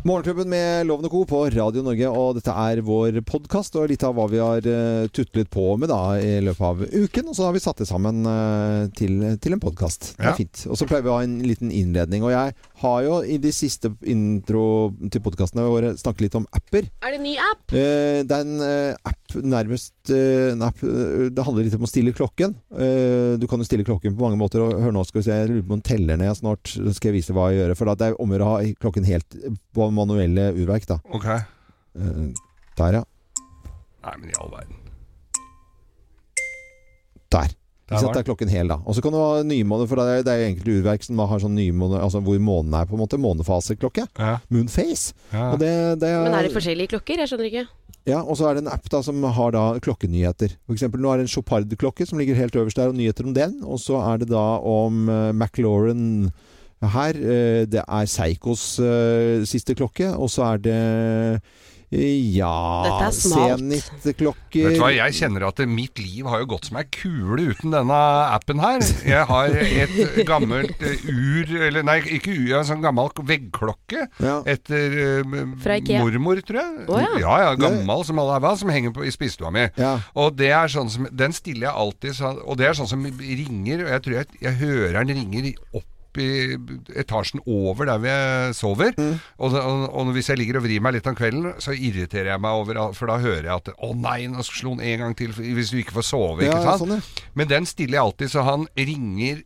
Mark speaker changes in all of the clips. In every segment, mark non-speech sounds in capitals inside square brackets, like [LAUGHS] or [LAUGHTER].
Speaker 1: Morgenklubben med Loven og Co. på Radio Norge, og dette er vår podkast og litt av hva vi har eh, tutlet på med da i løpet av uken. Og så har vi satt det sammen eh, til, til en podkast. Det
Speaker 2: Ja.
Speaker 1: er fint. Og så pleier vi å ha en liten innledning. Og jeg har jo i de siste intro til podkastene våre snakket litt om apper.
Speaker 3: Er det ny app?
Speaker 1: Eh, Det er en eh, app nærmest eh, en app, eh, Det handler litt om å stille klokken. Eh, Du kan jo stille klokken på mange måter. Og hør nå, skal vi se, jeg lurer på om den teller ned snart. Så skal jeg vise hva jeg gjør. For da det er om å gjøre å ha klokken helt på manuelle urverk. da
Speaker 2: Ok.
Speaker 1: Eh, Der, ja.
Speaker 2: Nei, men i all verden. Der
Speaker 1: Der. Ikke sant?
Speaker 2: var
Speaker 1: Det er klokken hel, da. Og så kan du ha nymåne, for det er, det er jo enkelte urverk som har sånn nymåne, altså hvor månen er, på en måte. Månefaseklokke.
Speaker 2: Ja.
Speaker 1: Moonface.
Speaker 2: Ja.
Speaker 1: Og det, det
Speaker 3: Men er det forskjellige klokker? Jeg skjønner ikke.
Speaker 1: Ja, og så er det en app da som har da klokkenyheter. For eksempel nå er det en Chopard-klokke som ligger helt øverst der, og nyheter om den. Og så er det da om eh, McLaurin her. eh, det er Seikos eh, siste klokke, og så er det eh, ja
Speaker 3: Dette er smalt.
Speaker 1: Zenit-klokker
Speaker 2: Vet du hva, jeg kjenner at mitt liv har jo gått som ei kule uten denne appen her. Jeg har et gammelt eh, ur, eller nei, ikke ur, jeg har en sånn gammel veggklokke
Speaker 1: Ja.
Speaker 2: etter eh,
Speaker 3: Fra Ikea.
Speaker 2: mormor, tror jeg.
Speaker 3: Å, ja.
Speaker 2: ja, gammel som alle er, hva, som henger på, i spisestua mi.
Speaker 1: Ja.
Speaker 2: Og det er sånn som, den stiller jeg alltid, sånn- og det er sånn som ringer, og jeg tror jeg, jeg hører den ringer i- opp i etasjen over der hvor jeg sover
Speaker 1: Mm.
Speaker 2: og, og, og hvis jeg ligger og vrir meg litt om kvelden så irriterer jeg meg over for da hører jeg at å nei, nå slo den en gang til hvis du ikke får sove,
Speaker 1: Ja,
Speaker 2: ikke
Speaker 1: ja,
Speaker 2: sant?
Speaker 1: sånn, ja.
Speaker 2: men den stiller jeg alltid så han ringer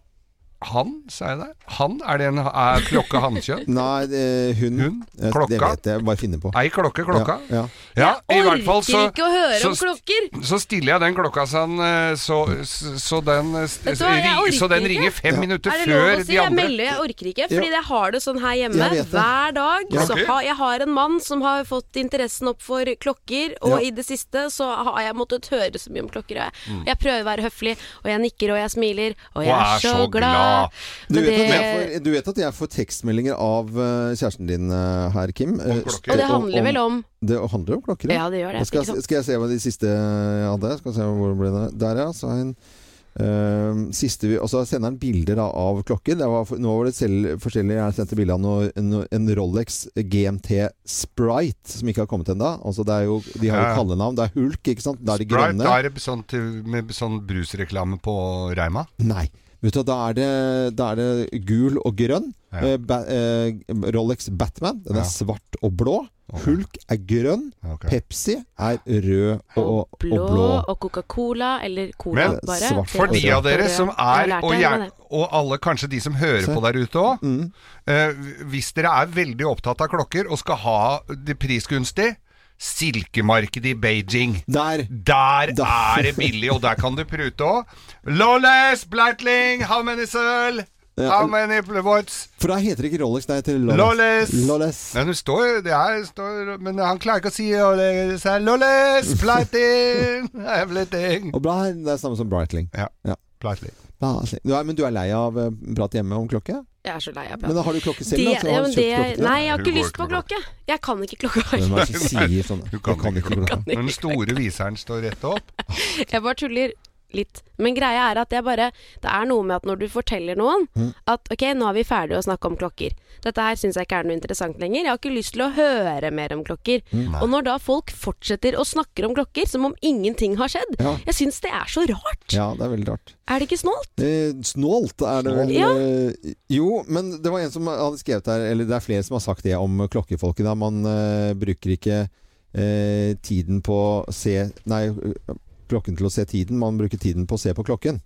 Speaker 2: han, sa jeg det? Han? Er det en er klokke
Speaker 1: [LAUGHS]
Speaker 2: hannkjønn?
Speaker 1: Nei, eh, hun.
Speaker 2: Hun?
Speaker 1: Eh, Det
Speaker 2: Klokka?
Speaker 1: vet jeg, bare finne på.
Speaker 2: Ei klokke, klokka?
Speaker 1: Ja, ja.
Speaker 2: Ja, i
Speaker 3: Orker
Speaker 2: hvert fall så
Speaker 3: ikke å høre om
Speaker 2: så-
Speaker 3: klokker!
Speaker 2: Så stiller jeg den klokka sånn, eh, så, så, så, den, eh,
Speaker 3: Vet du hva, jeg
Speaker 2: ri-
Speaker 3: orker
Speaker 2: så den
Speaker 3: ikke.
Speaker 2: ringer fem minutter
Speaker 3: Er det lov å
Speaker 2: før
Speaker 3: si?
Speaker 2: de
Speaker 3: Jeg
Speaker 2: andre.
Speaker 3: melder, jeg orker ikke. Fordi
Speaker 1: Ja.
Speaker 3: jeg har det sånn her hjemme
Speaker 1: Jeg vet det.
Speaker 3: hver dag.
Speaker 1: Ja.
Speaker 3: Så
Speaker 2: Ok.
Speaker 3: har, jeg har en mann som har fått interessen opp for klokker, og
Speaker 1: Ja.
Speaker 3: i det siste så har jeg måttet høre så mye om klokker. og Jeg,
Speaker 2: Mm.
Speaker 3: jeg prøver å være høflig, og jeg nikker og jeg smiler, og jeg er så glad.
Speaker 1: Du
Speaker 3: Men
Speaker 1: vet, at
Speaker 3: det-
Speaker 1: jeg får, du vet at jeg får tekstmeldinger av eh, kjæresten din eh, her, Kim. eh,
Speaker 2: klokker.
Speaker 3: og det handler vel om
Speaker 1: Det handler om klokker,
Speaker 3: Ja, det gjør det.
Speaker 1: Da Skal,
Speaker 3: Ikke
Speaker 1: jeg,
Speaker 3: sant?
Speaker 1: skal jeg se hva de siste jeg hadde? Skal jeg se hvor det ble det. Der, ja. Så har jeg en eh, siste vi- Og så sender han bilder da, av klokker. Det var, for- nå var det selv forskjellige Jeg sendte bilde av noe- en, en Rolex GMT Sprite, som ikke har kommet ennå. Altså, det er jo- de har jo
Speaker 2: Ja.
Speaker 1: kallenavn. Det er Hulk, ikke sant? Da er de
Speaker 2: Sprite,
Speaker 1: grønne.
Speaker 2: da er det sånn, til, med sånn brusreklame på Reima.
Speaker 1: Nei. Vet du, hva, da, er det, da er det gul og grønn.
Speaker 2: Ja.
Speaker 1: Eh, ba, eh, Rolex Batman den
Speaker 2: Ja.
Speaker 1: er svart og blå.
Speaker 2: Ok.
Speaker 1: Hulk er grønn.
Speaker 2: Ok.
Speaker 1: Pepsi er rød og,
Speaker 3: og
Speaker 1: og
Speaker 3: blå,
Speaker 1: blå.
Speaker 3: og Coca-Cola, eller Cola
Speaker 2: Men,
Speaker 3: bare.
Speaker 1: svart
Speaker 3: Det er
Speaker 2: For de
Speaker 3: også
Speaker 2: av dere
Speaker 3: rød.
Speaker 2: som
Speaker 3: Jeg
Speaker 2: er,
Speaker 3: har lært
Speaker 2: og,
Speaker 3: det, jeg har
Speaker 2: gjerne,
Speaker 3: det.
Speaker 2: og alle kanskje de som hører
Speaker 1: Se.
Speaker 2: på der ute òg, eh, hvis dere er veldig opptatt av klokker og skal ha det prisgunstig, silkemarkedet i Beijing.
Speaker 1: Der!
Speaker 2: Der
Speaker 1: Da-
Speaker 2: er det billig, og der kan du prute òg. Lawless, Blatling, how many søl? How many watts?
Speaker 1: For da heter det ikke Rolex, det heter Lolles.
Speaker 2: Lawless!
Speaker 1: Lolles.
Speaker 2: Men det står, det er, står Men han klarer ikke å si Lawless, Lawless, Blatling, [LAUGHS] everything.
Speaker 1: Og bla, det er samme som Breitling.
Speaker 2: Ja.
Speaker 1: Ja.
Speaker 2: Blatling.
Speaker 1: Bla, sli- Du er, men du er lei av eh, prat hjemme om klokke?
Speaker 3: Jeg er så lei av
Speaker 1: Men
Speaker 3: prat.
Speaker 1: da har du klokke
Speaker 3: Det,
Speaker 1: selv? da, så
Speaker 3: ja,
Speaker 1: har
Speaker 3: men
Speaker 1: du
Speaker 3: det,
Speaker 1: kjøpt klokke?
Speaker 3: nei, jeg har
Speaker 2: Hun
Speaker 3: ikke
Speaker 2: går
Speaker 3: lyst
Speaker 2: ikke
Speaker 3: på
Speaker 2: med
Speaker 3: klokke. Jeg kan ikke klokka.
Speaker 1: Hvem er det som
Speaker 2: Nei, nei.
Speaker 1: sier sånn?
Speaker 2: Du kan
Speaker 1: Jeg kan
Speaker 2: ikke
Speaker 1: ikke klokka.
Speaker 2: Men den store viseren står rett opp.
Speaker 3: Jeg bare tuller litt. Men greia er at jeg bare Det er noe med at når du forteller noen
Speaker 1: Mm.
Speaker 3: at ok, nå er vi ferdige å snakke om klokker. Dette her syns jeg ikke er noe interessant lenger. Jeg har ikke lyst til å høre mer om klokker.
Speaker 1: Mm.
Speaker 3: Og når da folk fortsetter å snakke om klokker som om ingenting har skjedd,
Speaker 1: Ja.
Speaker 3: jeg syns det er så rart.
Speaker 1: Ja, det er veldig rart.
Speaker 3: Er det ikke snålt?
Speaker 1: Eh, Snålt er det vel
Speaker 3: Ja.
Speaker 1: eh, Jo, men det var en som hadde skrevet her Eller det er flere som har sagt det om klokkefolket. Da. Man eh, bruker ikke eh, tiden på å se Nei, klokken til å se tiden. Man bruker tiden på å se på klokken.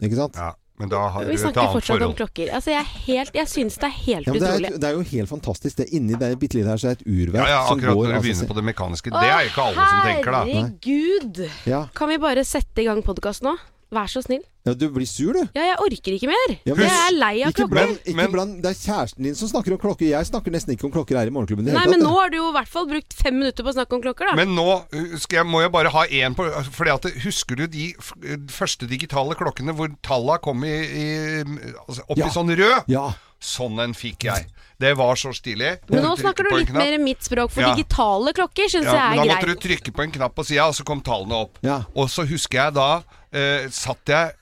Speaker 1: Ikke sant?
Speaker 2: Ja, men da har du
Speaker 3: Vi
Speaker 2: et
Speaker 3: snakker
Speaker 2: annet
Speaker 3: fortsatt om
Speaker 2: forhold.
Speaker 3: klokker. Altså, jeg, er helt- jeg syns det er helt
Speaker 1: Ja, men det, er,
Speaker 3: utrolig.
Speaker 1: et- det er jo helt fantastisk. Det er Inni det bitte lille her så er det et
Speaker 2: Ja,
Speaker 1: urverk
Speaker 2: ja,
Speaker 1: som
Speaker 2: akkurat
Speaker 1: går
Speaker 2: når du
Speaker 1: altså,
Speaker 2: begynner
Speaker 1: se-
Speaker 2: på det mekaniske. Det er ikke alle som tenker, da.
Speaker 3: Herregud!
Speaker 1: ja.
Speaker 3: Kan vi bare sette i gang podkast nå? Vær så snill.
Speaker 1: ja, du blir sur, du.
Speaker 3: Ja, jeg orker ikke mer.
Speaker 1: Ja, men-
Speaker 3: jeg er lei av
Speaker 1: Ikke
Speaker 3: klokker.
Speaker 1: bland, ikke
Speaker 2: Men-
Speaker 1: bland, det er kjæresten din som snakker om klokker. Jeg snakker nesten ikke om klokker her i Morgenklubben. i det
Speaker 3: Nei,
Speaker 1: hele
Speaker 3: men
Speaker 1: tatt,
Speaker 3: nå har du jo i hvert fall brukt fem minutter på å snakke om klokker,
Speaker 2: [LAUGHS]
Speaker 3: da.
Speaker 2: Men nå uh, skal jeg, må jeg bare ha én på øh, Fordi at Husker du de f uh, første digitale klokkene hvor talla kom i, i altså opp
Speaker 1: Ja.
Speaker 2: i sånn rød?
Speaker 1: Ja.
Speaker 2: Sånn en fikk jeg. Det var så stilig.
Speaker 3: Men nå
Speaker 2: Du trykker
Speaker 3: snakker du
Speaker 2: på en
Speaker 3: litt
Speaker 2: knapp.
Speaker 3: mer mitt språk, for
Speaker 2: Ja.
Speaker 3: digitale klokker syns
Speaker 2: ja, men Da
Speaker 3: jeg er
Speaker 2: måtte du
Speaker 3: greit.
Speaker 2: trykke på en knapp på sida, og så kom tallene opp.
Speaker 1: Ja.
Speaker 2: Og så husker jeg da eh, Satt jeg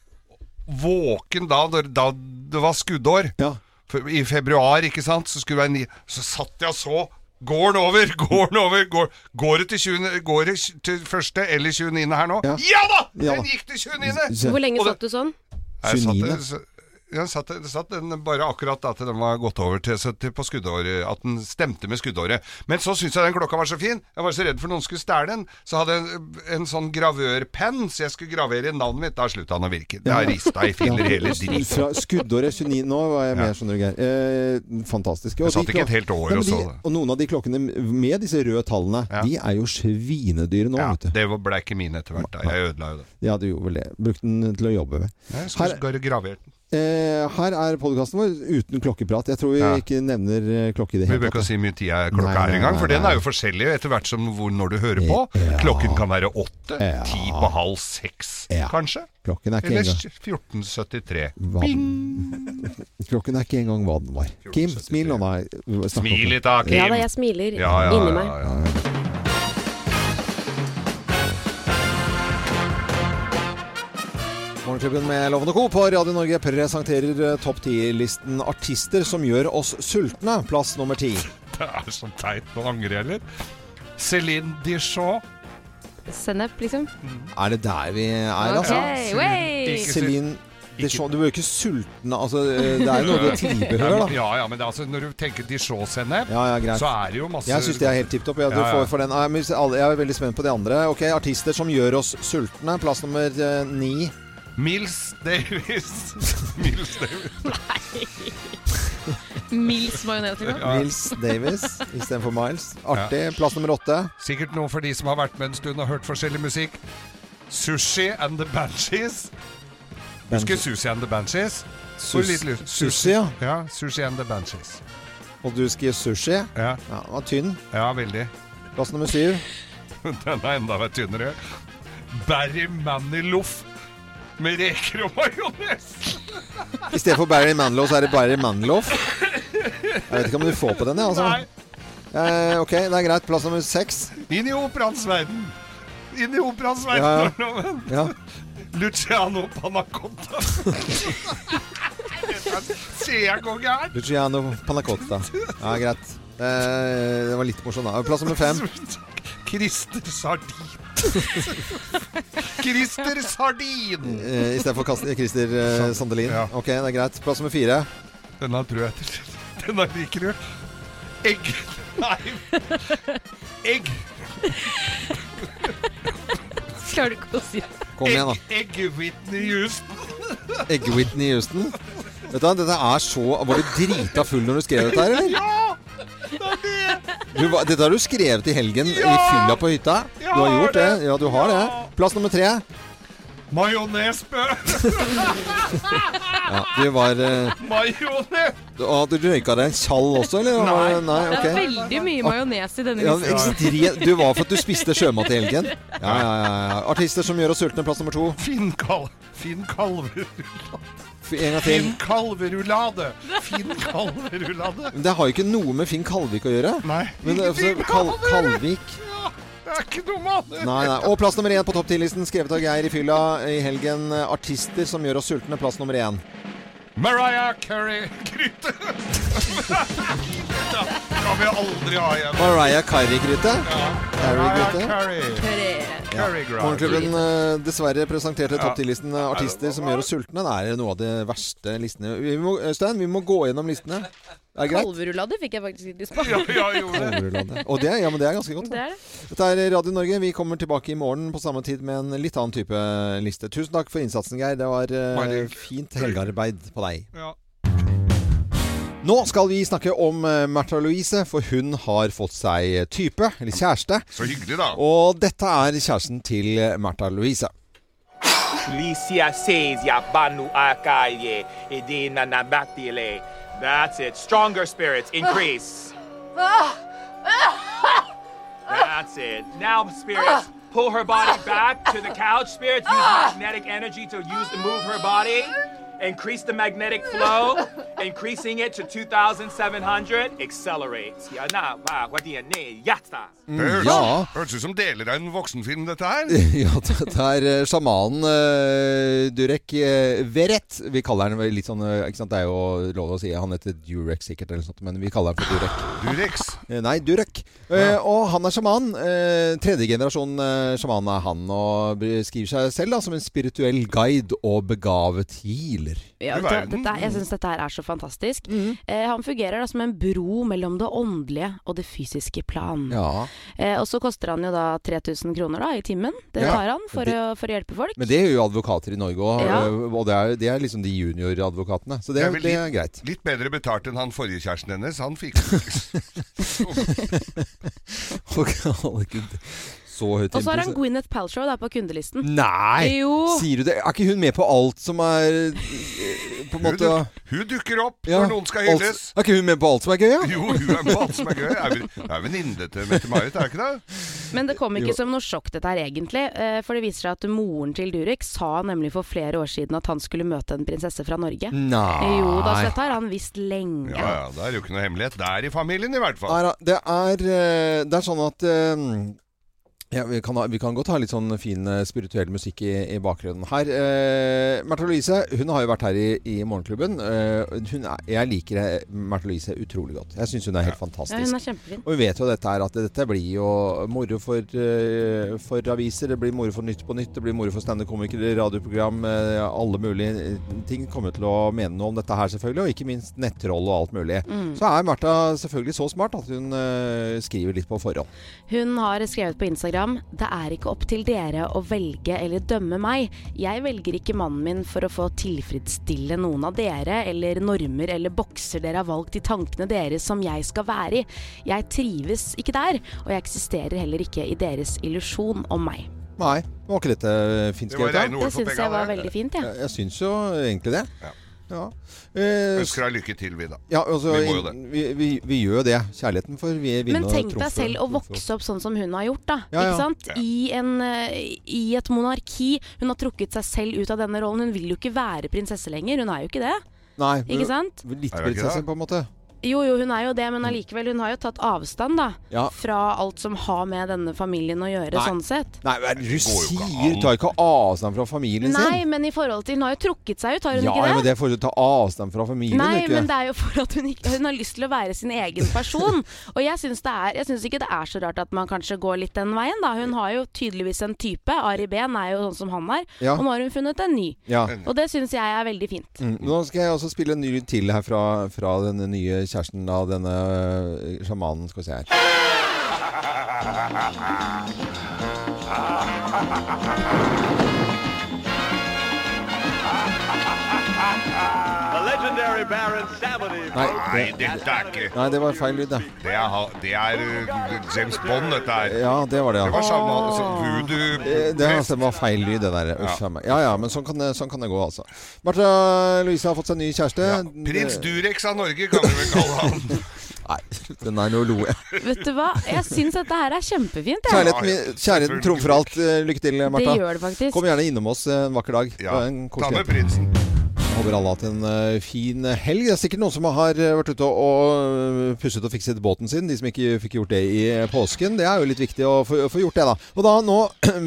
Speaker 2: våken da, da, da det var skuddår.
Speaker 1: Ja.
Speaker 2: For- I februar, ikke sant, så skulle det være ni Så satt jeg og så Går den over? [LAUGHS] Går den over? Går, går det til, 20, går det til første eller 29. her nå?
Speaker 1: Ja.
Speaker 2: Ja, da!
Speaker 1: Ja
Speaker 2: Den
Speaker 1: da.
Speaker 2: gikk til 29.
Speaker 1: Så-
Speaker 3: Hvor lenge
Speaker 2: Og det-
Speaker 3: satt du sånn?
Speaker 2: Jeg satt,
Speaker 1: 29.
Speaker 2: s- jeg satt, satt den bare akkurat da til den var gått over til, så til på skuddåret, at den stemte med skuddåret. Men så syntes jeg den klokka var så fin. Jeg var så redd for noen skulle stjele den. Så hadde jeg en, en sånn gravørpenn, så jeg skulle gravere navnet mitt. Da slutta den å virke. Det har rista i filler
Speaker 1: [LAUGHS]
Speaker 2: hele driten.
Speaker 1: Fra skuddåret 29 Nå var jeg med, skjønner du, Geir. Eh, fantastisk. Og
Speaker 2: Jeg satt
Speaker 1: de
Speaker 2: ikke
Speaker 1: klok-
Speaker 2: et helt år
Speaker 1: Nei, men
Speaker 2: og så
Speaker 1: de,
Speaker 2: det.
Speaker 1: Og noen av de klokkene med disse røde tallene,
Speaker 2: Ja.
Speaker 1: de er jo svinedyre nå,
Speaker 2: Ja,
Speaker 1: vet du.
Speaker 2: det var- ble ikke mine etter hvert. da. Jeg ødela jo det.
Speaker 1: Ja, du gjorde vel det. Brukte den til å jobbe med.
Speaker 2: Jeg
Speaker 1: Her-
Speaker 2: skulle bare gravert den.
Speaker 1: Eh, her er podkasten vår uten klokkeprat. Jeg tror vi
Speaker 2: Ja.
Speaker 1: ikke nevner eh, klokke i det
Speaker 2: Vi
Speaker 1: hele
Speaker 2: bør ikke
Speaker 1: tatt.
Speaker 2: si hvor mye tid er
Speaker 1: Nei,
Speaker 2: klokka
Speaker 1: nei,
Speaker 2: er engang,
Speaker 1: nei,
Speaker 2: for den
Speaker 1: nei.
Speaker 2: er jo forskjellig etter hvert som hvor, når du hører på.
Speaker 1: Ja.
Speaker 2: Klokken kan være åtte,
Speaker 1: Ja.
Speaker 2: ti på halv seks,
Speaker 1: Ja.
Speaker 2: kanskje.
Speaker 1: Klokken er, ikke
Speaker 2: Eller
Speaker 1: engang,
Speaker 2: 1473.
Speaker 1: hva, [LAUGHS] klokken er ikke engang hva den var. Kim, smil nå, da. Snakk om
Speaker 2: Smil
Speaker 1: det.
Speaker 2: litt da, Kim!
Speaker 3: Ja da, jeg smiler
Speaker 2: Ja, ja,
Speaker 3: inni meg.
Speaker 2: ja, ja. [LAUGHS]
Speaker 1: Morgenklubben med Loven og Co. på Radio Norge presenterer eh, topp 10-listen artister som gjør oss sultne. Plass nummer ti.
Speaker 2: Det er så teit. Nå angrer jeg litt. Céline Dijon.
Speaker 3: Sennep, liksom.
Speaker 1: Er det der vi er, altså?
Speaker 3: Ok, wey!
Speaker 2: Ikke
Speaker 1: Céline Dijon, du blir jo ikke sulten altså, eh, Det er jo noe
Speaker 2: [LAUGHS]
Speaker 1: med tilbehør, da.
Speaker 2: Ja, ja, men det, er altså, når du tenker Dijon-sennep,
Speaker 1: Ja, ja, greit.
Speaker 2: så er det jo masse
Speaker 1: Jeg syns det er helt tipp topp. Jeg,
Speaker 2: Ja, ja.
Speaker 1: får- får den. Nei, men alle- jeg er veldig spent på de andre. Ok, Artister som gjør oss sultne. Plass nummer eh, ni.
Speaker 2: Mills Davis. [LAUGHS] Mills Davis.
Speaker 4: Mils majones, liksom.
Speaker 2: Ja.
Speaker 1: Mills
Speaker 2: [LAUGHS]
Speaker 1: Davis istedenfor Miles. Artig. Plass nummer åtte.
Speaker 2: Sikkert noe for de som har vært med en stund og hørt forskjellig musikk. Sushi and the Banshees. Husker Sushi and the Banshees? Hvor
Speaker 1: Sus-
Speaker 2: litt lus-
Speaker 1: Sushi, ja.
Speaker 2: Ja, Sushi and the Banshees.
Speaker 1: Og du skriver sushi.
Speaker 2: Ja,
Speaker 1: Ja, den var tynn.
Speaker 2: ja veldig. [LAUGHS]
Speaker 1: Plass nummer syv.
Speaker 2: Den er enda vært tynnere. Barry Maniloff med reker og majones.
Speaker 1: I stedet for Barry Manilow, så er det Barry Manilow. Jeg vet ikke om du får på den, jeg, altså.
Speaker 2: Nei,
Speaker 1: Eh, ok, det er greit. Plass nummer seks.
Speaker 2: inn i operaens verden. Inn i operaens
Speaker 1: Ja,
Speaker 2: verden. Loven.
Speaker 1: Ja.
Speaker 2: Luciano Panacotta. [LAUGHS] Ser jeg går gærent?
Speaker 1: Luciano Panacotta. Ja, greit. Eh, det var litt morsomt, da. Plass nummer fem.
Speaker 2: Christer Sardin. Christer Sardin!
Speaker 1: Eh, I stedet for Kas- Christer eh, Sandelin.
Speaker 2: Sånn, Ja.
Speaker 1: Ok, det er greit. Plass nummer fire.
Speaker 2: Denne tror jeg Denne liker du. Egg Nei. Egg.
Speaker 4: Klarer du ikke å si det?
Speaker 1: Kom igjen,
Speaker 2: Egg,
Speaker 1: da.
Speaker 2: egg Whitney Houston.
Speaker 1: Egg-Whitney Houston. Vet du, hva, dette er så Var du drita full når du skrev dette her, eller?
Speaker 2: Ja! Det er det!
Speaker 1: Du, var- dette har du skrevet i helgen i
Speaker 2: Ja!
Speaker 1: fylla på hytta. Du
Speaker 2: Jeg
Speaker 1: har
Speaker 2: har
Speaker 1: gjort det.
Speaker 2: det.
Speaker 1: Ja, du har
Speaker 2: Ja.
Speaker 1: det. Plass nummer tre.
Speaker 2: Majonesbø.
Speaker 1: Ja, du var eh,
Speaker 2: Majones.
Speaker 1: du- Å, du røyka deg en tjall også, eller?
Speaker 2: Nei.
Speaker 1: Nei,
Speaker 4: Det
Speaker 1: ok. Ah.
Speaker 4: er veldig mye majones i denne
Speaker 1: Ja,
Speaker 4: listen.
Speaker 1: ekstrem- du var for at du spiste sjømat i helgen. Ja, ja, ja, ja. Artister som gjør oss sultne. Plass nummer to.
Speaker 2: Finn Kal... Finn Kalverulade.
Speaker 1: F- En gang til.
Speaker 2: Finn Kalverulade. Finn Kalverulade.
Speaker 1: Men Det har jo ikke noe med Finn Kalvik å gjøre.
Speaker 2: Nei.
Speaker 1: Men altså,
Speaker 2: Finn
Speaker 1: Kal
Speaker 2: Kalver.
Speaker 1: Kalvik
Speaker 2: Ja, det er ikke noe med det.
Speaker 1: Nei, nei. Og plass nummer én på topp 10-listen, skrevet av Geir i fylla i helgen. Artister som gjør oss sultne. Plass nummer én.
Speaker 2: Mariah Carey Gryte. Da kan vi aldri ha igjen.
Speaker 1: Mariah Carey-gryte.
Speaker 2: Mariah
Speaker 1: Carey-gryte.
Speaker 2: Carey. Carey Gryte.
Speaker 1: Morgenklubben eh, dessverre presenterte topp 10-listen eh,
Speaker 2: Nei, det
Speaker 1: artister
Speaker 2: var
Speaker 1: som gjør oss sultne. Det er noe av det verste listene vi må, Øystein, vi må gå gjennom listene. Er det greit?
Speaker 3: Kalverullade fikk jeg faktisk litt lyst på.
Speaker 2: Ja, ja, jeg gjorde det.
Speaker 1: Og det, ja, men det er ganske godt.
Speaker 3: Det er det.
Speaker 1: Dette er Radio Norge. Vi kommer tilbake i morgen på samme tid med en litt annen type liste. Tusen takk for innsatsen, Geir. Det var eh,
Speaker 2: Bare hyggelig.
Speaker 1: fint helgearbeid på deg.
Speaker 2: Ja.
Speaker 1: Nå skal vi snakke om eh, Märtha Louise, for hun har fått seg type, eller kjæreste.
Speaker 2: Så hyggelig, da.
Speaker 1: Og dette er kjæresten til Märtha Louise. [LAUGHS]
Speaker 5: Lisia says ya banu akaye edina nabatile. That's it. Stronger spirits increase. That's it. Now spirits pull her body back to the couch. Spirits use magnetic energy to use to move her body. Increase the magnetic flow, increasing it to 2,700. Accelerate. Yeah, nah, wow, what do you need? Yatsa.
Speaker 2: Det høres,
Speaker 1: Ja.
Speaker 2: høres ut som deler av en voksenfilm, dette her.
Speaker 1: ja, dette er eh, sjamanen eh, Durek eh, Verrett. Vi kaller han vel litt sånn eh, ikke sant? Det er jo lov å si han heter Durek sikkert, eller sånt, men vi kaller han for Durek.
Speaker 2: Durex.
Speaker 1: Eh, Nei, Durek. Eh, og han er sjaman. Eh, tredje generasjon eh, sjaman er han, og beskriver seg selv da, som en spirituell guide og begavet healer.
Speaker 3: Ja,
Speaker 2: Du
Speaker 3: dette,
Speaker 2: verden.
Speaker 3: dette,
Speaker 1: Mm.
Speaker 3: er- jeg syns dette her er så fantastisk. Eh, han fungerer da som en bro mellom det åndelige og det fysiske plan.
Speaker 1: Ja,
Speaker 3: Eh, og så koster han jo da 3000 kroner da, i timen. Det
Speaker 1: Ja.
Speaker 3: tar han for,
Speaker 1: Det-
Speaker 3: å, for å hjelpe folk.
Speaker 1: Men det gjør jo advokater i Norge òg,
Speaker 3: Ja.
Speaker 1: og det er, det er liksom de junioradvokatene. Så det,
Speaker 2: Det
Speaker 1: det,
Speaker 2: er vel
Speaker 1: er greit. [LAUGHS]
Speaker 2: Litt bedre betalt enn han forrige kjæresten hennes. Han fikk
Speaker 1: Og alle kunne- Så høyt
Speaker 3: og så har han
Speaker 1: innpå,
Speaker 3: Gwyneth Paltrow da, på
Speaker 1: [LAUGHS]
Speaker 3: kundelisten.
Speaker 1: Nei!
Speaker 3: Jo!
Speaker 1: Sier du det? Er ikke hun med på alt som er eh, På
Speaker 2: Hun,
Speaker 1: en måte
Speaker 2: duk- hun dukker opp
Speaker 1: ja,
Speaker 2: når noen skal
Speaker 1: alt-
Speaker 2: hylles.
Speaker 1: Er ikke hun med på alt som er gøy, ja?
Speaker 2: Jo, hun er med på alt som er gøy. Er vel- Hun er venninne til Mette-Marit, er hun ikke det?
Speaker 3: Men det kom
Speaker 1: Jo.
Speaker 3: ikke som noe sjokk dette her egentlig, eh, for det viser seg at moren til Durek sa nemlig for flere år siden at han skulle møte en prinsesse fra Norge.
Speaker 1: Nei.
Speaker 3: Jo da, så dette har han visst lenge.
Speaker 2: Ja, ja, Det er jo ikke noe hemmelighet. Det er i familien, i hvert fall.
Speaker 1: Nei da, det er eh, Det er sånn at eh, ja, vi, kan ha, vi kan godt ha litt sånn fin eh, spirituell musikk i, i bakgrunnen her. Uh, Märtha Louise hun har jo vært her i, i Morgenklubben. Eh, hun er, jeg liker eh, Märtha Louise utrolig godt. Jeg syns hun er helt
Speaker 3: Ja,
Speaker 1: fantastisk.
Speaker 3: hun er kjempefin.
Speaker 1: Og vi vet jo dette her, at dette blir jo moro for, eh, for aviser, det blir moro for Nytt på Nytt, det blir moro for standup-komikere, radioprogram, eh, alle mulige eh, ting kommer til å mene noe om dette her selvfølgelig, og ikke minst nettroll og alt mulig.
Speaker 3: Mm.
Speaker 1: Så er Martha selvfølgelig så smart at hun eh, skriver litt på forhånd.
Speaker 3: Hun har skrevet på Instagram Det er ikke opp til dere å velge eller dømme meg. Jeg velger ikke mannen min for å få tilfredsstille noen av dere eller normer eller bokser dere har valgt i tankene deres som jeg skal være i. Jeg trives ikke der, og jeg eksisterer heller ikke i deres illusjon om meg.
Speaker 1: Nei, var ikke dette eh, fint
Speaker 2: Det var
Speaker 1: skrevet? da?
Speaker 2: rene
Speaker 3: Det
Speaker 2: ord for
Speaker 3: syns jeg
Speaker 2: penga.
Speaker 3: var
Speaker 2: det.
Speaker 3: veldig fint, jeg.
Speaker 1: Jeg, jeg syns jo egentlig det.
Speaker 2: Ja.
Speaker 1: Ja. Eh,
Speaker 2: Ønsker deg lykke til, Vida.
Speaker 1: ja, altså,
Speaker 2: Vi må jo det.
Speaker 1: Vi, vi, vi gjør jo det. Kjærligheten for vi vinner
Speaker 3: Men
Speaker 1: og
Speaker 3: tenk deg
Speaker 1: trumfer-
Speaker 3: selv
Speaker 1: trumfer
Speaker 3: å
Speaker 1: opp.
Speaker 3: vokse opp sånn som hun har gjort, da.
Speaker 1: Ja, ja.
Speaker 3: Ikke sant? I, en, eh, I et monarki. Hun har trukket seg selv ut av denne rollen. Hun vil jo ikke være prinsesse lenger. Hun er jo ikke det.
Speaker 1: Nei,
Speaker 3: Ikke sant?
Speaker 1: Litt
Speaker 2: Er det ikke
Speaker 1: prinsesse,
Speaker 2: det?
Speaker 1: på en måte.
Speaker 3: Jo, jo, hun er jo det, men allikevel. Hun har jo tatt avstand, da.
Speaker 1: Mm. Ja.
Speaker 3: Fra alt som har med denne familien å gjøre,
Speaker 1: Nei.
Speaker 3: sånn sett.
Speaker 1: Nei, men du
Speaker 2: Det går jo ikke
Speaker 1: sier
Speaker 2: an.
Speaker 1: tar ikke avstand fra familien
Speaker 3: Nei,
Speaker 1: sin.
Speaker 3: men i forhold til Hun har jo trukket seg ut, har hun
Speaker 1: Ja, ja,
Speaker 3: ikke
Speaker 1: men det får du ta avstand fra familien,
Speaker 3: Nei,
Speaker 1: ikke?
Speaker 3: men det er jo for at hun, ikke, hun har lyst til å være sin egen
Speaker 1: [LAUGHS]
Speaker 3: person. Og jeg syns det er- jeg syns ikke det er så rart at man kanskje går litt den veien, da. Hun har jo tydeligvis en type. Ari Behn er jo sånn som han er.
Speaker 1: Ja.
Speaker 3: Og nå har hun funnet en ny.
Speaker 1: Ja.
Speaker 3: Og det syns jeg er veldig fint.
Speaker 1: Mm. Nå skal jeg også spille en ny lyd til her fra, fra denne nye kjæresten av denne øh, sjamanen. Skal vi se her.
Speaker 5: The legendary Baron Samity.
Speaker 1: Nei,
Speaker 2: Nei,
Speaker 1: det,
Speaker 2: dette er ikke
Speaker 1: nei, det var feil lyd, det.
Speaker 2: Det er, ha- det er uh, James Bond, dette her.
Speaker 1: Ja, det var det,
Speaker 2: Det
Speaker 1: ja.
Speaker 2: var samme altså, voodoo
Speaker 1: Eh, Det, altså, det var feil lyd, det der. Uff, ja. ja ja, men sånn kan, det- sånn kan det gå, altså. Martha Louise har fått seg ny kjæreste.
Speaker 2: ja, Prins Durex av Norge, kan vi vel kalle
Speaker 1: [LAUGHS]
Speaker 2: han.
Speaker 1: Nei, den er noe lo jeg.
Speaker 3: Vet du hva? Jeg syns dette her er kjempefint, jeg.
Speaker 1: Kjærligheten, min- kjærligheten trumfer alt. Eh, Lykke til,
Speaker 3: Det
Speaker 1: Martha.
Speaker 3: gjør det faktisk.
Speaker 1: Kom gjerne innom oss eh, en vakker dag. Det
Speaker 2: Ja,
Speaker 1: var en koselig
Speaker 2: ta med
Speaker 1: jente.
Speaker 2: prinsen.
Speaker 1: Håper alle har hatt en eh, fin helg. Det er sikkert noen som har eh, vært ute og, og eh, pusset og fikset båten sin. De som ikke fikk gjort det i eh, påsken. Det er jo litt viktig å få, få gjort det, da. Og da nå [CLEARS THROAT]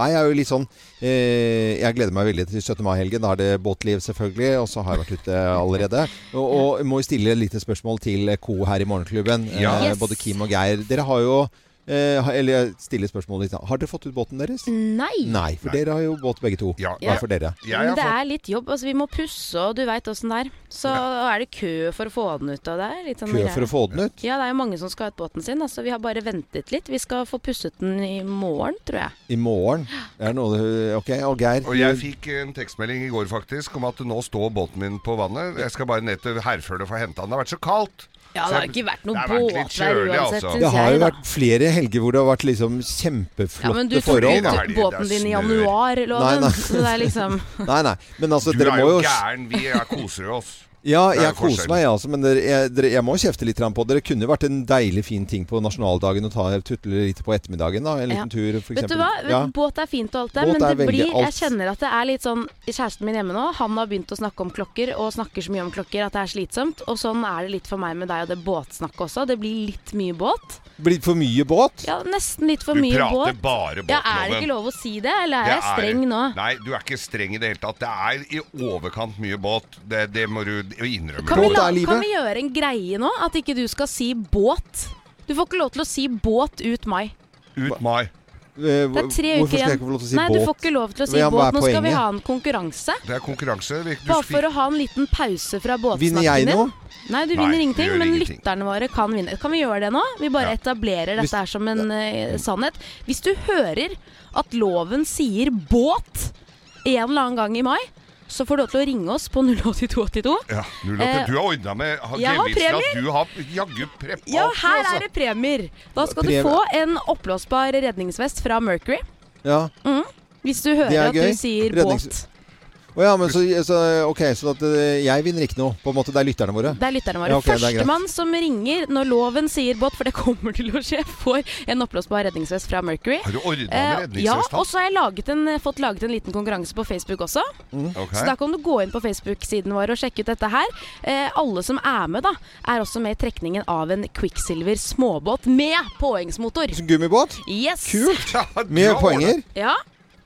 Speaker 1: er jeg jo litt sånn eh, Jeg gleder meg veldig til 17. mai-helgen. Da er det båtliv, selvfølgelig. Og så har jeg vært ute allerede. Og, og må jo stille et lite spørsmål til co her i Morgenklubben. Eh,
Speaker 2: Ja.
Speaker 3: Yes.
Speaker 1: Både Kim og Geir. Dere har jo eh, ha- Eller jeg stiller spørsmålet litt. da. Har dere fått ut båten deres?
Speaker 3: Nei.
Speaker 1: Nei, for dere har jo båt begge to.
Speaker 2: Ja.
Speaker 1: Hva er for dere?
Speaker 2: Jeg
Speaker 3: men
Speaker 2: har
Speaker 3: det
Speaker 2: fått
Speaker 3: er litt jobb. Altså, vi må pusse, og du veit åssen det er. Så er det kø for å få den ut. Og det er litt sånn
Speaker 1: Kø
Speaker 3: greier.
Speaker 1: for å få den ut?
Speaker 3: Ja, det er jo mange som skal ha ut båten sin, da, så vi har bare ventet litt. Vi skal få pusset den i morgen, tror jeg.
Speaker 1: I morgen? Er det noe du- Ok, og Geir
Speaker 2: Og jeg fikk en tekstmelding i går faktisk om at nå står båten min på vannet. Jeg skal bare ned til Herføl og få henta den. Det har vært så kaldt.
Speaker 3: Ja, det
Speaker 2: Så
Speaker 3: har
Speaker 2: jeg-
Speaker 3: ikke vært noe
Speaker 2: det har vært litt
Speaker 3: båtvær
Speaker 2: kjølig,
Speaker 3: uansett,
Speaker 2: altså.
Speaker 3: synes
Speaker 1: Det har
Speaker 3: jeg,
Speaker 1: jo
Speaker 3: da.
Speaker 1: vært flere helger hvor det har vært liksom
Speaker 3: Ja, men
Speaker 1: kjempeflotte
Speaker 3: du tok
Speaker 1: forhold.
Speaker 2: ikke
Speaker 1: da.
Speaker 2: det er
Speaker 3: ut
Speaker 2: helg, det
Speaker 3: båten
Speaker 2: er
Speaker 3: din i
Speaker 2: snø.
Speaker 3: januar,
Speaker 1: Nei,
Speaker 3: loven.
Speaker 1: nei.
Speaker 3: Så det er liksom
Speaker 1: Nei, nei. Men altså,
Speaker 2: Du
Speaker 1: dere
Speaker 2: er
Speaker 1: må
Speaker 2: jo
Speaker 1: jo
Speaker 3: [LAUGHS]
Speaker 2: gæren. Vi er koser oss.
Speaker 1: Ja,
Speaker 2: Det er
Speaker 1: jeg
Speaker 2: jo
Speaker 1: koser
Speaker 2: forskjell.
Speaker 1: meg, jeg også, men dere, jeg, dere, jeg må kjefte litt grann på dere. Kunne jo vært en deilig fin ting på nasjonaldagen å ta tutle litt på ettermiddagen, da. En
Speaker 3: Ja.
Speaker 1: liten tur, for
Speaker 3: Vet du
Speaker 1: eksempel.
Speaker 3: hva?
Speaker 1: Ja.
Speaker 3: Båt er fint og alt det,
Speaker 1: Båt
Speaker 3: men
Speaker 1: er
Speaker 3: det
Speaker 1: veldig
Speaker 3: blir,
Speaker 1: alt.
Speaker 3: jeg kjenner at det er litt sånn Kjæresten min hjemme nå, han har begynt å snakke om klokker, og snakker så mye om klokker at det er slitsomt. Og sånn er det litt for meg med deg og det båtsnakket også. Det blir litt mye båt.
Speaker 1: Blir det for mye båt?
Speaker 3: Ja, nesten litt for
Speaker 2: Du
Speaker 3: mye
Speaker 2: prater
Speaker 3: båt.
Speaker 2: bare båtloven.
Speaker 3: Ja, er det ikke lov å si det, eller er
Speaker 2: Det
Speaker 3: jeg streng nå?
Speaker 2: Nei, du er ikke streng i det hele tatt. Det er i overkant mye båt. Det, det må du innrømme.
Speaker 3: Kan vi,
Speaker 1: Båt
Speaker 3: la,
Speaker 1: er livet.
Speaker 3: kan vi gjøre en greie nå? At ikke du skal si båt. Du får ikke lov til å si båt ut mai.
Speaker 2: Ut mai.
Speaker 1: Eh,
Speaker 3: Det er
Speaker 1: Hvorfor
Speaker 3: tre uker
Speaker 1: skal
Speaker 3: igjen.
Speaker 1: jeg ikke få lov til å si
Speaker 3: Nei,
Speaker 1: båt?
Speaker 3: du får ikke lov til å si
Speaker 1: Ja, men hva er
Speaker 3: båt. Nå skal vi
Speaker 1: poenget?
Speaker 3: ha en konkurranse.
Speaker 2: Det er konkurranse. Du
Speaker 3: Bare
Speaker 2: fikk-
Speaker 3: for å ha en liten pause fra
Speaker 1: Vinner
Speaker 3: båtsnakken
Speaker 1: jeg
Speaker 3: din.
Speaker 1: nå?
Speaker 3: Nei, du
Speaker 2: Nei,
Speaker 3: vinner
Speaker 2: du
Speaker 3: ingenting,
Speaker 2: gjør
Speaker 3: men
Speaker 2: ingenting.
Speaker 3: lytterne våre kan vinne. Kan vi gjøre det nå? Vi bare
Speaker 2: Ja.
Speaker 3: etablerer
Speaker 1: Hvis-
Speaker 3: dette her som en eh, sannhet. Hvis du hører at loven sier båt en eller annen gang i mai, så får du lov til å ringe oss på 08282.
Speaker 2: Ja, null åtte.
Speaker 3: Eh,
Speaker 2: du har ordna med ha-
Speaker 3: jeg har
Speaker 2: gevinster at
Speaker 3: premier.
Speaker 2: du har jaggu preppa
Speaker 3: Ja,
Speaker 2: opp,
Speaker 3: her
Speaker 2: altså.
Speaker 3: er det premier! Da skal du
Speaker 1: Premie.
Speaker 3: få en oppblåsbar redningsvest fra Mercury.
Speaker 1: Ja.
Speaker 3: Hvis du hører
Speaker 1: er
Speaker 3: at
Speaker 1: gøy.
Speaker 3: du sier
Speaker 1: Rednings- Å ja, men så, så Ok, så at eh, jeg vinner ikke noe. På en måte, det er lytterne våre.
Speaker 3: båt Det er lytterne våre.
Speaker 1: Ja, ok, det er greit.
Speaker 3: Førstemann som ringer når loven sier båt, for det [LAUGHS] kommer til å skje, får en oppblåsbar redningsvest fra Mercury.
Speaker 2: Har du ordna med
Speaker 3: Eh, ja,
Speaker 2: redningsvest?
Speaker 3: og så har jeg laget en, eh, fått laget en liten konkurranse på Facebook også.
Speaker 2: Ok.
Speaker 3: Så da kan du gå inn på Facebook-siden vår og sjekke ut dette her. Eh, alle som er med, da, er også med i trekningen av en Quicksilver småbåt med påhengsmotor.
Speaker 1: Som gummibåt?
Speaker 3: Yes!
Speaker 1: Kult!
Speaker 2: [LAUGHS] Ja, du
Speaker 1: Med
Speaker 2: har ordnet-
Speaker 1: poenger?
Speaker 3: Ja,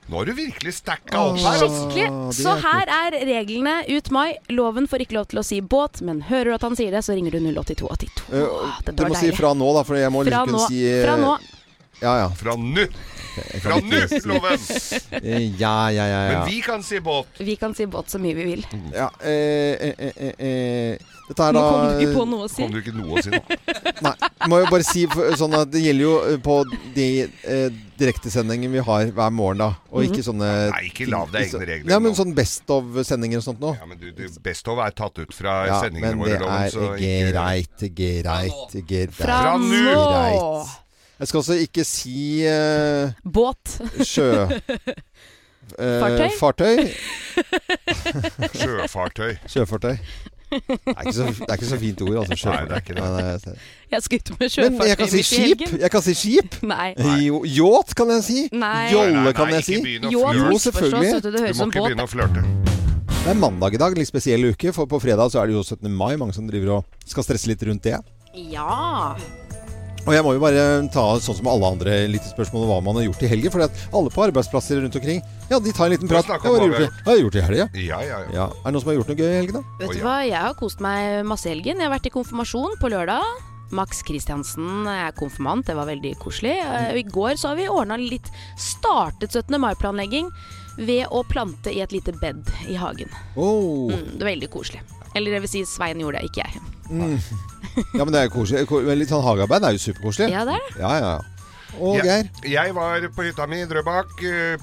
Speaker 2: Nå har du virkelig stacka opp her. altså.
Speaker 3: skikkelig.
Speaker 1: Ah, det
Speaker 3: Så
Speaker 1: er
Speaker 3: her er reglene ut mai. Loven får ikke lov til å si båt, men hører du at han sier det, så ringer du 08282.
Speaker 1: Eh,
Speaker 3: Ah,
Speaker 1: du
Speaker 3: Dette
Speaker 1: må
Speaker 3: var
Speaker 1: si
Speaker 3: deilig.
Speaker 1: fra nå, da, for jeg må
Speaker 3: Fra
Speaker 1: liksom
Speaker 3: nå.
Speaker 1: kunne si eh,
Speaker 3: Fra nå.
Speaker 1: Ja, ja.
Speaker 2: Fra
Speaker 1: Eh,
Speaker 2: nå!
Speaker 1: Jeg
Speaker 2: Fra
Speaker 1: kan
Speaker 2: nå,
Speaker 1: ikke si-
Speaker 2: loven!
Speaker 1: [LAUGHS] Eh, Ja, ja, ja.
Speaker 2: Men
Speaker 1: ja.
Speaker 2: vi kan si båt.
Speaker 3: Vi kan si båt så mye vi vil.
Speaker 1: ja eh, eh, eh, eh, eh. Dette er
Speaker 4: Nå
Speaker 1: da
Speaker 4: kom du ikke på noe å si.
Speaker 2: Kom du ikke noe å si nå?
Speaker 1: Nei, må jo bare si for- sånn at det gjelder jo eh, på de eh, direktesendingene vi har hver morgen, da. Og ikke sånne
Speaker 2: Nei, ikke lav deg egne regler
Speaker 1: Ja, men
Speaker 2: nå.
Speaker 1: sånn Best of-sendinger og sånt nå.
Speaker 2: Ja, men du, du, Best of er tatt ut fra
Speaker 1: Ja,
Speaker 2: sendingene
Speaker 1: men det
Speaker 2: våre, loven.
Speaker 1: er greit, greit, greit.
Speaker 3: Fra,
Speaker 2: Fra nå.
Speaker 3: nå.
Speaker 1: Greit. Jeg skal altså ikke si eh,
Speaker 3: Båt.
Speaker 1: sjø... eh,
Speaker 3: Fartøy?
Speaker 1: fartøy? [LAUGHS]
Speaker 2: Sjøfartøy. [LAUGHS]
Speaker 1: Sjøfartøy. Det er, ikke så, det er ikke så fint ord, altså.
Speaker 2: Nei, det er ikke det.
Speaker 1: Sjøfartøy.
Speaker 3: Jeg skal ut med
Speaker 1: Men jeg kan
Speaker 3: sjøfartøy
Speaker 1: si
Speaker 3: mitt i
Speaker 1: skip.
Speaker 3: helgen.
Speaker 1: Jeg kan si skip.
Speaker 3: Nei.
Speaker 1: Jo- Yacht kan jeg si.
Speaker 3: Nei.
Speaker 1: Jolle
Speaker 2: Nei, nei,
Speaker 1: kan
Speaker 2: nei,
Speaker 1: jeg si.
Speaker 2: Ikke begynn å
Speaker 3: Jo,
Speaker 1: Jo,
Speaker 2: flørte.
Speaker 1: selvfølgelig.
Speaker 3: selvfølgelig. Du
Speaker 2: Du må ikke begynne å flørte.
Speaker 1: Det er mandag i dag, litt spesiell uke. For på fredag så er det jo 17. mai. Mange som driver og skal stresse litt rundt det.
Speaker 3: Ja.
Speaker 1: Og jeg må jo bare ta sånn som alle andre litt spørsmål om hva man har gjort i helgen. For alle på arbeidsplasser rundt omkring, ja, de tar en liten
Speaker 2: Vi
Speaker 1: prat.
Speaker 2: snakker
Speaker 1: Ja,
Speaker 2: om
Speaker 1: hva
Speaker 2: hva
Speaker 1: har du
Speaker 2: vi
Speaker 1: gjort? Ja, jeg har gjort det i helga.
Speaker 2: Ja, ja, ja.
Speaker 1: Ja. Er det noen som har gjort noe gøy i helgen, da?
Speaker 3: Vet
Speaker 2: Å,
Speaker 3: du
Speaker 2: ja.
Speaker 3: hva, jeg har kost meg masse i helgen. Jeg har vært i konfirmasjon på lørdag. Max Kristiansen er konfirmant, det var veldig koselig. Eh, Og I går så har vi ordna litt Startet 17. mai-planlegging ved å plante i et lite bed i hagen.
Speaker 1: Oh.
Speaker 3: Mm, det var veldig koselig. Eller det vil si, Svein gjorde det, ikke jeg.
Speaker 1: Ja, men det er jo koselig. Ko- Litt sånn hagearbeid er jo superkoselig.
Speaker 3: Ja, det er det.
Speaker 1: Ja, ja, ja. Og
Speaker 2: Ja,
Speaker 1: Geir.
Speaker 2: Jeg var på hytta mi i Drøbak. eh,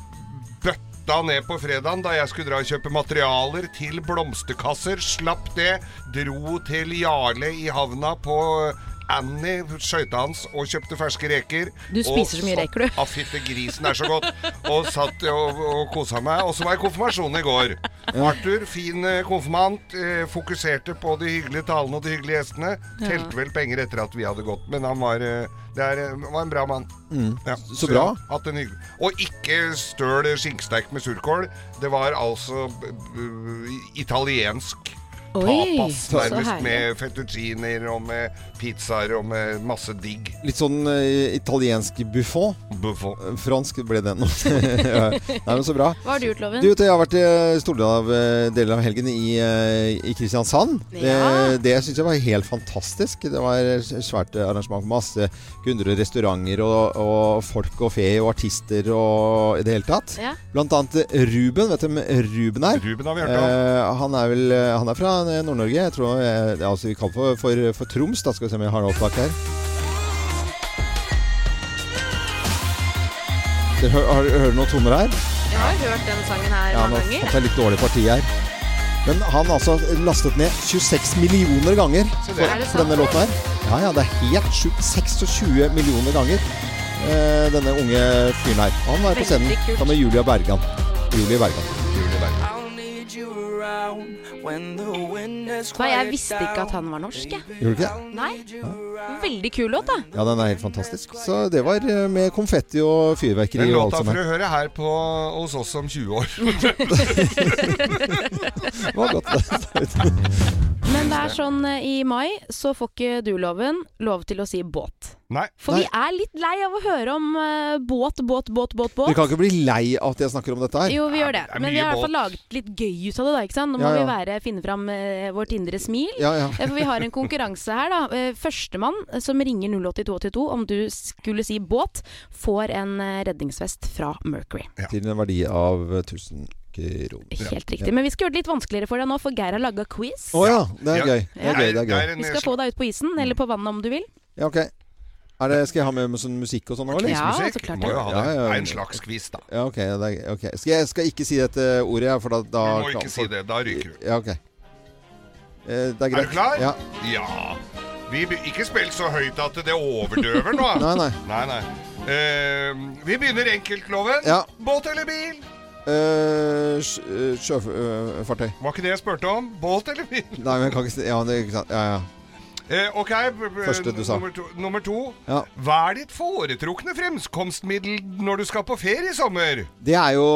Speaker 2: Bøtta ned på fredagen da jeg skulle dra og kjøpe materialer til blomsterkasser. Slapp det. Dro til Jarle i havna på Annie, skøyta hans, og kjøpte ferske reker.
Speaker 3: Du
Speaker 2: Og
Speaker 3: spiser så mye
Speaker 2: satt-
Speaker 3: reker, du.
Speaker 2: Ja, fytte grisen er så godt. Og satt og, og kosa meg. Og så var jeg i konfirmasjonen i går. Arthur, fin eh, konfirmant, eh, fokuserte på de hyggelige talene og de hyggelige gjestene. Telte vel penger etter at vi hadde gått, men han var, eh, det er, eh, var en bra mann. Ja,
Speaker 1: så
Speaker 2: jeg har
Speaker 1: bra.
Speaker 2: Hatt en hyggelig. Og ikke støl skinksteik med surkål. Det var altså b- b- italiensk.
Speaker 3: Oi,
Speaker 2: Tapas,
Speaker 3: så
Speaker 2: nærmest
Speaker 3: herlig.
Speaker 2: med fettucciner og med pizzaer og med masse digg.
Speaker 1: Litt sånn eh, italiensk buffon.
Speaker 2: Buffo.
Speaker 1: Fransk ble [LAUGHS] det nå. Nei, men så bra.
Speaker 3: Hva har du gjort,
Speaker 1: Du,
Speaker 3: Loven?
Speaker 1: vet du, jeg har vært i store av, eh, deler av helgen i, eh, i Kristiansand. Eh,
Speaker 3: Ja.
Speaker 1: Det, det syns jeg var helt fantastisk. Det var et svært eh, arrangement med masse kunder og restauranter og, og folk og fe og artister og i det hele tatt.
Speaker 3: Ja.
Speaker 1: Blant annet eh, Ruben. Vet du hvem Ruben er?
Speaker 2: Ruben har vi hørt om.
Speaker 1: Eh, han er vel eh, Han er fra eh, Nord-Norge. Jeg tror eh, det er altså vi kaller for, for, for Troms. Da skal vi se om vi har noe opptak her. Dere Hør, har, hører du noen toner her?
Speaker 3: Jeg har hørt den sangen her
Speaker 1: Ja, nå
Speaker 3: mange
Speaker 1: fant
Speaker 3: ganger.
Speaker 1: jeg litt dårlig parti her. Men han har altså lastet ned 26 millioner ganger
Speaker 2: Se
Speaker 1: for,
Speaker 2: det.
Speaker 3: Er det
Speaker 1: for denne
Speaker 3: sant?
Speaker 1: låten her. Ja, ja, det er helt sjukt. 26 millioner ganger. eh, denne unge fyren her. Og Han er på
Speaker 3: Veldig
Speaker 1: scenen
Speaker 3: kult.
Speaker 1: sammen med Julia Bergan. Julie Bergan.
Speaker 2: Julie Berg.
Speaker 6: I'll need you around
Speaker 3: Hva, jeg visste ikke at han var norsk, jeg.
Speaker 1: Gjorde du ikke det?
Speaker 3: Nei. Veldig kul låt, da.
Speaker 1: Ja, den er helt fantastisk. Så det var eh, med konfetti og fyrverkeri
Speaker 2: Den
Speaker 1: og alt
Speaker 2: låta
Speaker 1: som
Speaker 2: får
Speaker 1: er.
Speaker 2: du høre her på, hos oss om 20
Speaker 1: [LAUGHS]
Speaker 2: år.
Speaker 1: Det var
Speaker 2: [LAUGHS]
Speaker 1: godt.
Speaker 3: Men det er sånn eh, i mai så får ikke du loven lov til å si båt.
Speaker 2: Nei.
Speaker 3: For vi er litt lei av å høre om eh, båt, båt, båt, båt,
Speaker 1: Du
Speaker 3: båt.
Speaker 1: kan ikke bli lei av at jeg snakker om dette her.
Speaker 3: Jo, vi gjør det.
Speaker 2: det er
Speaker 3: Men vi
Speaker 2: mye
Speaker 3: har i hvert
Speaker 2: båt.
Speaker 3: fall laget litt gøy ut av det, da. ikke sant? Nå må
Speaker 1: Ja, ja.
Speaker 3: vi være, finne fram eh, vårt indre smil.
Speaker 1: Ja, ja.
Speaker 3: Eh, For vi har en konkurranse her, da. Eh, Førstemann som ringer 08282 om du skulle si båt, får en eh, redningsvest fra Mercury.
Speaker 1: Til en verdi av eh, 1000 kroner.
Speaker 3: Helt riktig. Men vi skal gjøre det litt vanskeligere for deg nå, for Geir har laga quiz.
Speaker 1: Å ja, det er
Speaker 2: Ja.
Speaker 1: gøy. Det er gøy, det er gøy.
Speaker 3: Vi skal få deg ut på isen,
Speaker 1: Mm.
Speaker 3: eller på vannet om du vil.
Speaker 1: Ja, ok. Er det, skal jeg ha med sånn musikk og sånn òg, eller?
Speaker 3: Ja, så klart
Speaker 2: Må
Speaker 3: det.
Speaker 2: jo ha det.
Speaker 1: Ja, ja, ja.
Speaker 2: Det er en slags quiz, da.
Speaker 1: Ja, ok. ja, Det er, ok. Skal jeg skal ikke si dette ordet, jeg, for da, da
Speaker 2: Du må ikke si det. Da ryker du.
Speaker 1: Ja, ok. Eh, Det er greit.
Speaker 2: Er du klar?
Speaker 1: Ja.
Speaker 2: ja. Vi be- ikke spill så høyt at det overdøver nå.
Speaker 1: [LAUGHS] Nei, nei.
Speaker 2: Nei, nei. Eh, vi begynner enkeltloven.
Speaker 1: Ja.
Speaker 2: Båt eller bil?
Speaker 1: Eh, sj- eh, Sjøfartøy.
Speaker 2: Var ikke det jeg spurte om. Båt eller bil?
Speaker 1: [LAUGHS] Nei, men jeg kan ikke si Ja, det er ikke sant. Ja, ja.
Speaker 2: Eh, ok, b- b-
Speaker 1: Første du sa.
Speaker 2: Nummer to, nummer to.
Speaker 1: Ja.
Speaker 2: Hva er ditt foretrukne fremkomstmiddel når du skal på ferie i sommer?
Speaker 1: Det er jo,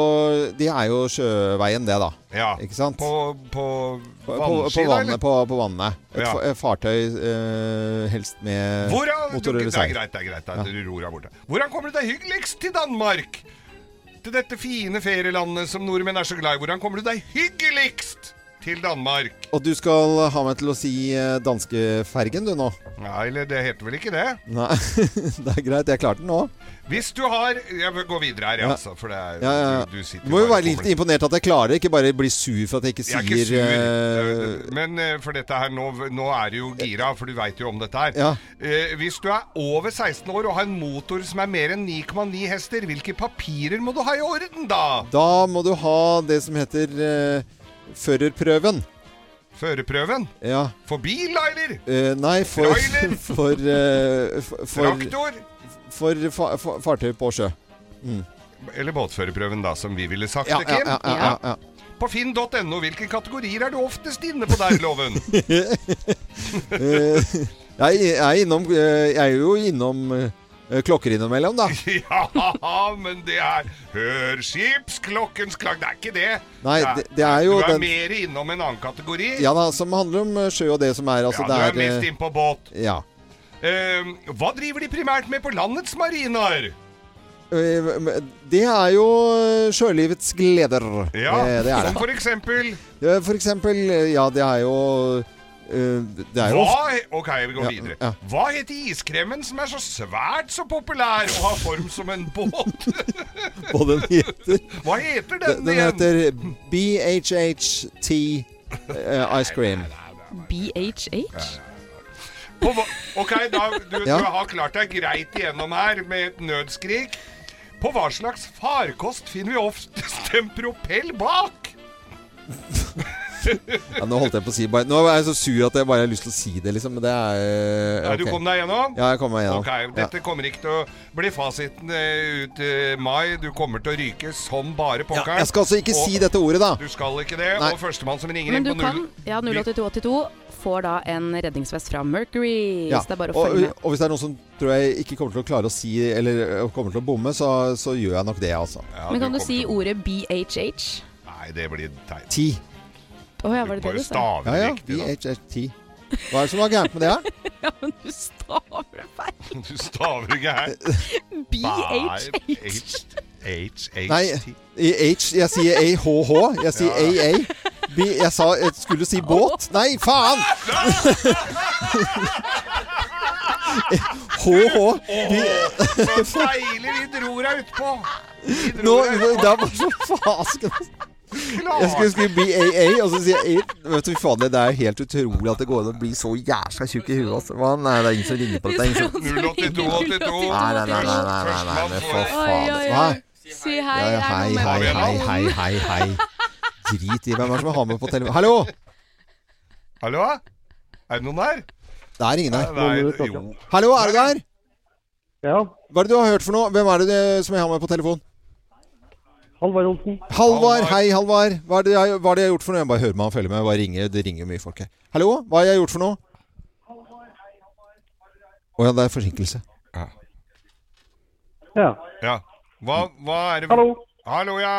Speaker 1: det er jo sjøveien, det, da.
Speaker 2: Ja.
Speaker 1: Ikke sant?
Speaker 2: På, på
Speaker 1: På, på, på
Speaker 2: vannski, da,
Speaker 1: vannet.
Speaker 2: eller?
Speaker 1: På, på vannet. Et
Speaker 2: Ja.
Speaker 1: fa- eh, fartøy, eh, helst med
Speaker 2: Hvordan, du,
Speaker 1: motor
Speaker 2: det
Speaker 1: eller
Speaker 2: er
Speaker 1: seil.
Speaker 2: greit, det er greit. Det er, du ror deg bort. Hvordan kommer du deg hyggeligst til Danmark? Til dette fine ferielandet som nordmenn er så glad i. Hvordan kommer du deg hyggeligst til Danmark?
Speaker 1: Og du skal ha meg til å si eh, danskefergen, du, nå.
Speaker 2: Nei, eller det heter vel ikke det?
Speaker 1: Nei, [LAUGHS] det er greit. Jeg klarte den nå.
Speaker 2: Hvis du har Jeg bør gå videre her, jeg,
Speaker 1: Ja.
Speaker 2: altså. For det er,
Speaker 1: Ja, ja, ja.
Speaker 2: Du, du sitter
Speaker 1: Du må jo
Speaker 2: bare
Speaker 1: være
Speaker 2: og
Speaker 1: litt
Speaker 2: kommer-
Speaker 1: imponert at jeg klarer det, ikke bare bli sur for at jeg ikke
Speaker 2: Jeg
Speaker 1: sier
Speaker 2: er ikke sur,
Speaker 1: eh,
Speaker 2: eh, men eh, for dette her, nå, nå er du jo gira, for du veit jo om dette her.
Speaker 1: Ja.
Speaker 2: Eh, Hvis du er over 16 år og har en motor som er mer enn 9,9 hester, hvilke papirer må du ha i orden da?
Speaker 1: Da må du ha det som heter eh, førerprøven.
Speaker 2: Førerprøven?
Speaker 1: Ja.
Speaker 2: For bil, da, eller?
Speaker 1: eh, nei, for
Speaker 2: Trailer.
Speaker 1: [LAUGHS] For, eh, for, for,
Speaker 2: Traktor?
Speaker 1: for, fa fa fartøy på sjø.
Speaker 2: Eller båtførerprøven, da, som vi ville sagt
Speaker 1: Ja,
Speaker 2: det,
Speaker 1: ja,
Speaker 2: Kim.
Speaker 1: ja, ja, ja, ja.
Speaker 2: På finn.no, hvilke kategorier er du oftest inne på der,
Speaker 1: [LAUGHS]
Speaker 2: Loven? [LAUGHS]
Speaker 1: Eh, jeg, jeg, er innom, eh, jeg er jo innom eh, klokker innimellom, da.
Speaker 2: ja, men det er Hør skipsklokkens klang. Det er ikke det.
Speaker 1: Nei, det- det er jo
Speaker 2: Du er
Speaker 1: den-
Speaker 2: mer innom en annen kategori.
Speaker 1: Ja da, Som handler om eh, sjø og det som er. Altså,
Speaker 2: ja, du er,
Speaker 1: det er,
Speaker 2: mest
Speaker 1: eh,
Speaker 2: inn på båt.
Speaker 1: ja.
Speaker 2: Eh, hva driver de primært med på landets marinaer?
Speaker 1: Eh, Det er jo eh, sjølivets gleder.
Speaker 2: Ja,
Speaker 1: Eh, det er
Speaker 2: [LAUGHS] Som
Speaker 1: det.
Speaker 2: for eksempel
Speaker 1: Ja, For eksempel eh, Ja, det er jo eh, Det er jo [LAUGHS] ofte
Speaker 2: hva, Ok, vi går
Speaker 1: Ja,
Speaker 2: videre.
Speaker 1: ja.
Speaker 2: Hva heter iskremen som er så svært så populær og har form som en båt? [LAUGHS]
Speaker 1: hva den heter.
Speaker 2: Hva heter den,
Speaker 1: Den, den
Speaker 2: igjen?
Speaker 1: heter BHHT eh, Ice Cream.
Speaker 4: BHH?
Speaker 2: På hva- ok, da, du,
Speaker 1: Ja.
Speaker 2: du har klart deg greit igjennom her med et nødskrik. På hva slags farkost finner vi oftest en propell bak?
Speaker 1: Ja, nå holdt jeg på å si bare, Nå er jeg så sur at jeg bare har lyst til å si det, liksom. Men det er eh,
Speaker 2: Ja, Du
Speaker 1: ok.
Speaker 2: kom deg gjennom?
Speaker 1: Ja, jeg kom meg gjennom.
Speaker 2: Ok, Dette kommer ikke til å bli fasiten eh, ut eh, mai. Du kommer til å ryke som bare
Speaker 1: ja.
Speaker 2: pokkeren.
Speaker 1: Jeg skal altså ikke
Speaker 2: Og-
Speaker 1: si dette ordet, da.
Speaker 2: Du skal ikke det.
Speaker 1: Nei.
Speaker 2: Og førstemann som ringer
Speaker 3: Men
Speaker 2: inn
Speaker 3: du
Speaker 2: på null...
Speaker 3: kan Ja, 08282 får da en redningsvest fra Mercury.
Speaker 1: Ja.
Speaker 3: Så det er bare å
Speaker 1: Og,
Speaker 3: følge med.
Speaker 1: og hvis det er noen som tror jeg ikke kommer til å klare å si Eller eh, kommer til å bomme, så, så gjør jeg nok det, altså.
Speaker 2: Ja,
Speaker 3: Men kan du
Speaker 2: kommer
Speaker 3: si
Speaker 2: til å-
Speaker 3: ordet BHH?
Speaker 2: Nei, det blir teit.
Speaker 1: Ti.
Speaker 3: Å ja, var
Speaker 2: Du
Speaker 3: det
Speaker 2: må jo
Speaker 3: det du [LAUGHS] sa?
Speaker 2: stave
Speaker 1: Ja, ja.
Speaker 2: riktig, da.
Speaker 1: VHHT. Hva er det som var gærent
Speaker 2: [LAUGHS]
Speaker 1: med det her?
Speaker 4: Ja, men du staver det feil.
Speaker 2: Du staver ikke her.
Speaker 4: BHH.
Speaker 1: Nei,
Speaker 2: H-H-T.
Speaker 1: i H Jeg sier AHH. Jeg sier AA. B, jeg sa jeg skulle si båt. Nei, faen! [LAUGHS] HH. Vi-
Speaker 2: Så deilig vi dro deg utpå! Vi dro
Speaker 1: Nå,
Speaker 2: deg
Speaker 1: nå-
Speaker 2: utpå.
Speaker 1: det er bare så fasken.
Speaker 2: Klart.
Speaker 1: Jeg skulle skrive BAA, og så sier jeg A. Vet du, fy faen, det er helt utrolig at det går an å bli så jævla tjukk i huet. Altså. Hva? Nei, det er ingen som ringer på dette. Det er ingen som...
Speaker 2: 08282.
Speaker 1: Nei, nei, nei, nei, nei, nei, nei, men for
Speaker 4: Oi,
Speaker 1: faen.
Speaker 4: oi,
Speaker 1: Hva?
Speaker 4: oi. Si hei.
Speaker 1: Ja,
Speaker 4: det
Speaker 1: ja,
Speaker 4: er
Speaker 1: hei,
Speaker 4: noe
Speaker 1: hei,
Speaker 4: med-
Speaker 1: hei, hei, hei, hei. Drit i hvem er det som har med på telefonen. Hallo!
Speaker 2: Hallo? Er det noen der?
Speaker 1: Det er ingen her.
Speaker 2: Nei, jo.
Speaker 1: Hallo, er du der?
Speaker 6: Ja,
Speaker 1: Hva er det du har hørt for noe? Hvem er det eh, som jeg har med på telefon?
Speaker 6: Halvard Olsen.
Speaker 1: Halvard, hei Halvard. Hva er det jeg, hva er det jeg har gjort for noe? Jeg bare hører meg og følger med. Bare ringer, det ringer mye folk her. Hallo, hva har jeg gjort for noe? Å ja, det er forsinkelse.
Speaker 2: Ja.
Speaker 6: Ja.
Speaker 2: ja. Hva, hva er det
Speaker 6: Hallo.
Speaker 2: Hallo, ja.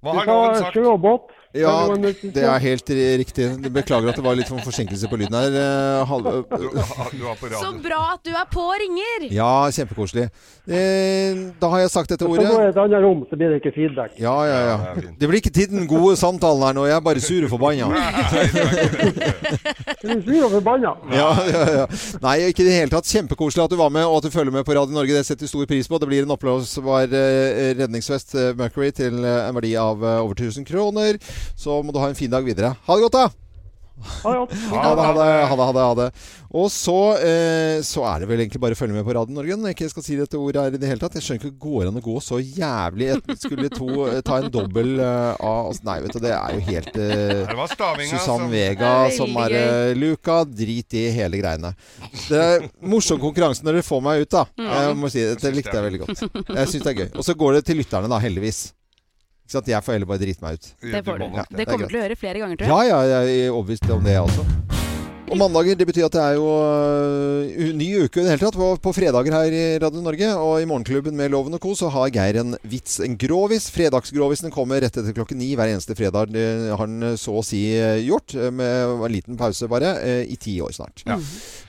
Speaker 2: Hva
Speaker 6: Du
Speaker 2: har
Speaker 6: sa
Speaker 2: loven sagt?
Speaker 6: sjø og båt.
Speaker 1: Ja,
Speaker 6: Er det noen nytt?
Speaker 1: det er helt ri- riktig. Beklager at det var litt for forsinkelse på lyden her. eh, Halv...
Speaker 2: Du, du var på
Speaker 3: Så
Speaker 2: radioen.
Speaker 3: bra at du er på og ringer!
Speaker 1: Ja, kjempekoselig. Eh, Da har jeg sagt dette
Speaker 6: Så
Speaker 1: ordet.
Speaker 6: går jeg i et annet rom, så blir det ikke feedback.
Speaker 1: Ja, ja,
Speaker 2: Ja,
Speaker 1: ja.
Speaker 2: det er fint.
Speaker 1: Det blir ikke til den gode samtalen her nå. Jeg er bare sur og forbanna.
Speaker 6: Du blir sur og forbanna.
Speaker 1: Ja, ja, ja. Nei, ikke i det hele tatt. Kjempekoselig at du var med, og at du følger med på Radio Norge. Det setter vi stor pris på. Det blir en oppblåsbar eh, redningsvest eh, Mercury til eh, en verdi av eh, over 1000 kroner. Så må du ha en fin dag videre. Ha det godt, da!
Speaker 6: Ha det godt.
Speaker 1: Ha det, ha det, ha det. ha det, ha det. Og så, eh, så er det vel egentlig bare å følge med på Radio Norge når jeg ikke skal si dette ordet her i det hele tatt. Jeg skjønner ikke går an å gå så jævlig et, Skulle to eh, ta en dobbel eh, av oss? Nei, vet du, det er jo helt eh,
Speaker 2: Det var altså. stavinga.
Speaker 1: Susann
Speaker 2: som-
Speaker 1: Vega
Speaker 3: Det er veldig
Speaker 1: som er eh, Luca. Drit i hele greiene. Det er morsom konkurranse når dere får meg ut, da.
Speaker 3: Mm.
Speaker 1: Jeg må si, det likte jeg veldig godt. Jeg syns det er gøy. Og så går det til lytterne, da, heldigvis. Ikke sant? Jeg får heller bare drite meg ut.
Speaker 3: Det får du.
Speaker 2: må nok det.
Speaker 1: det
Speaker 3: Det
Speaker 1: er
Speaker 3: kommer du til å gjøre flere ganger, tror jeg.
Speaker 1: Ja, ja, jeg er overbevist om det, jeg også. Og mandager, det betyr at det er jo øh, ny uke i det hele tatt. På, på fredager her i Radio Norge og i Morgenklubben med Loven og co. så har Geir en vits, en grovis. Fredagsgrovisen kommer rett etter klokken ni hver eneste fredag. Det har han så å si øh, gjort, øh, med en liten pause bare, øh, i ti år snart.
Speaker 2: Ja.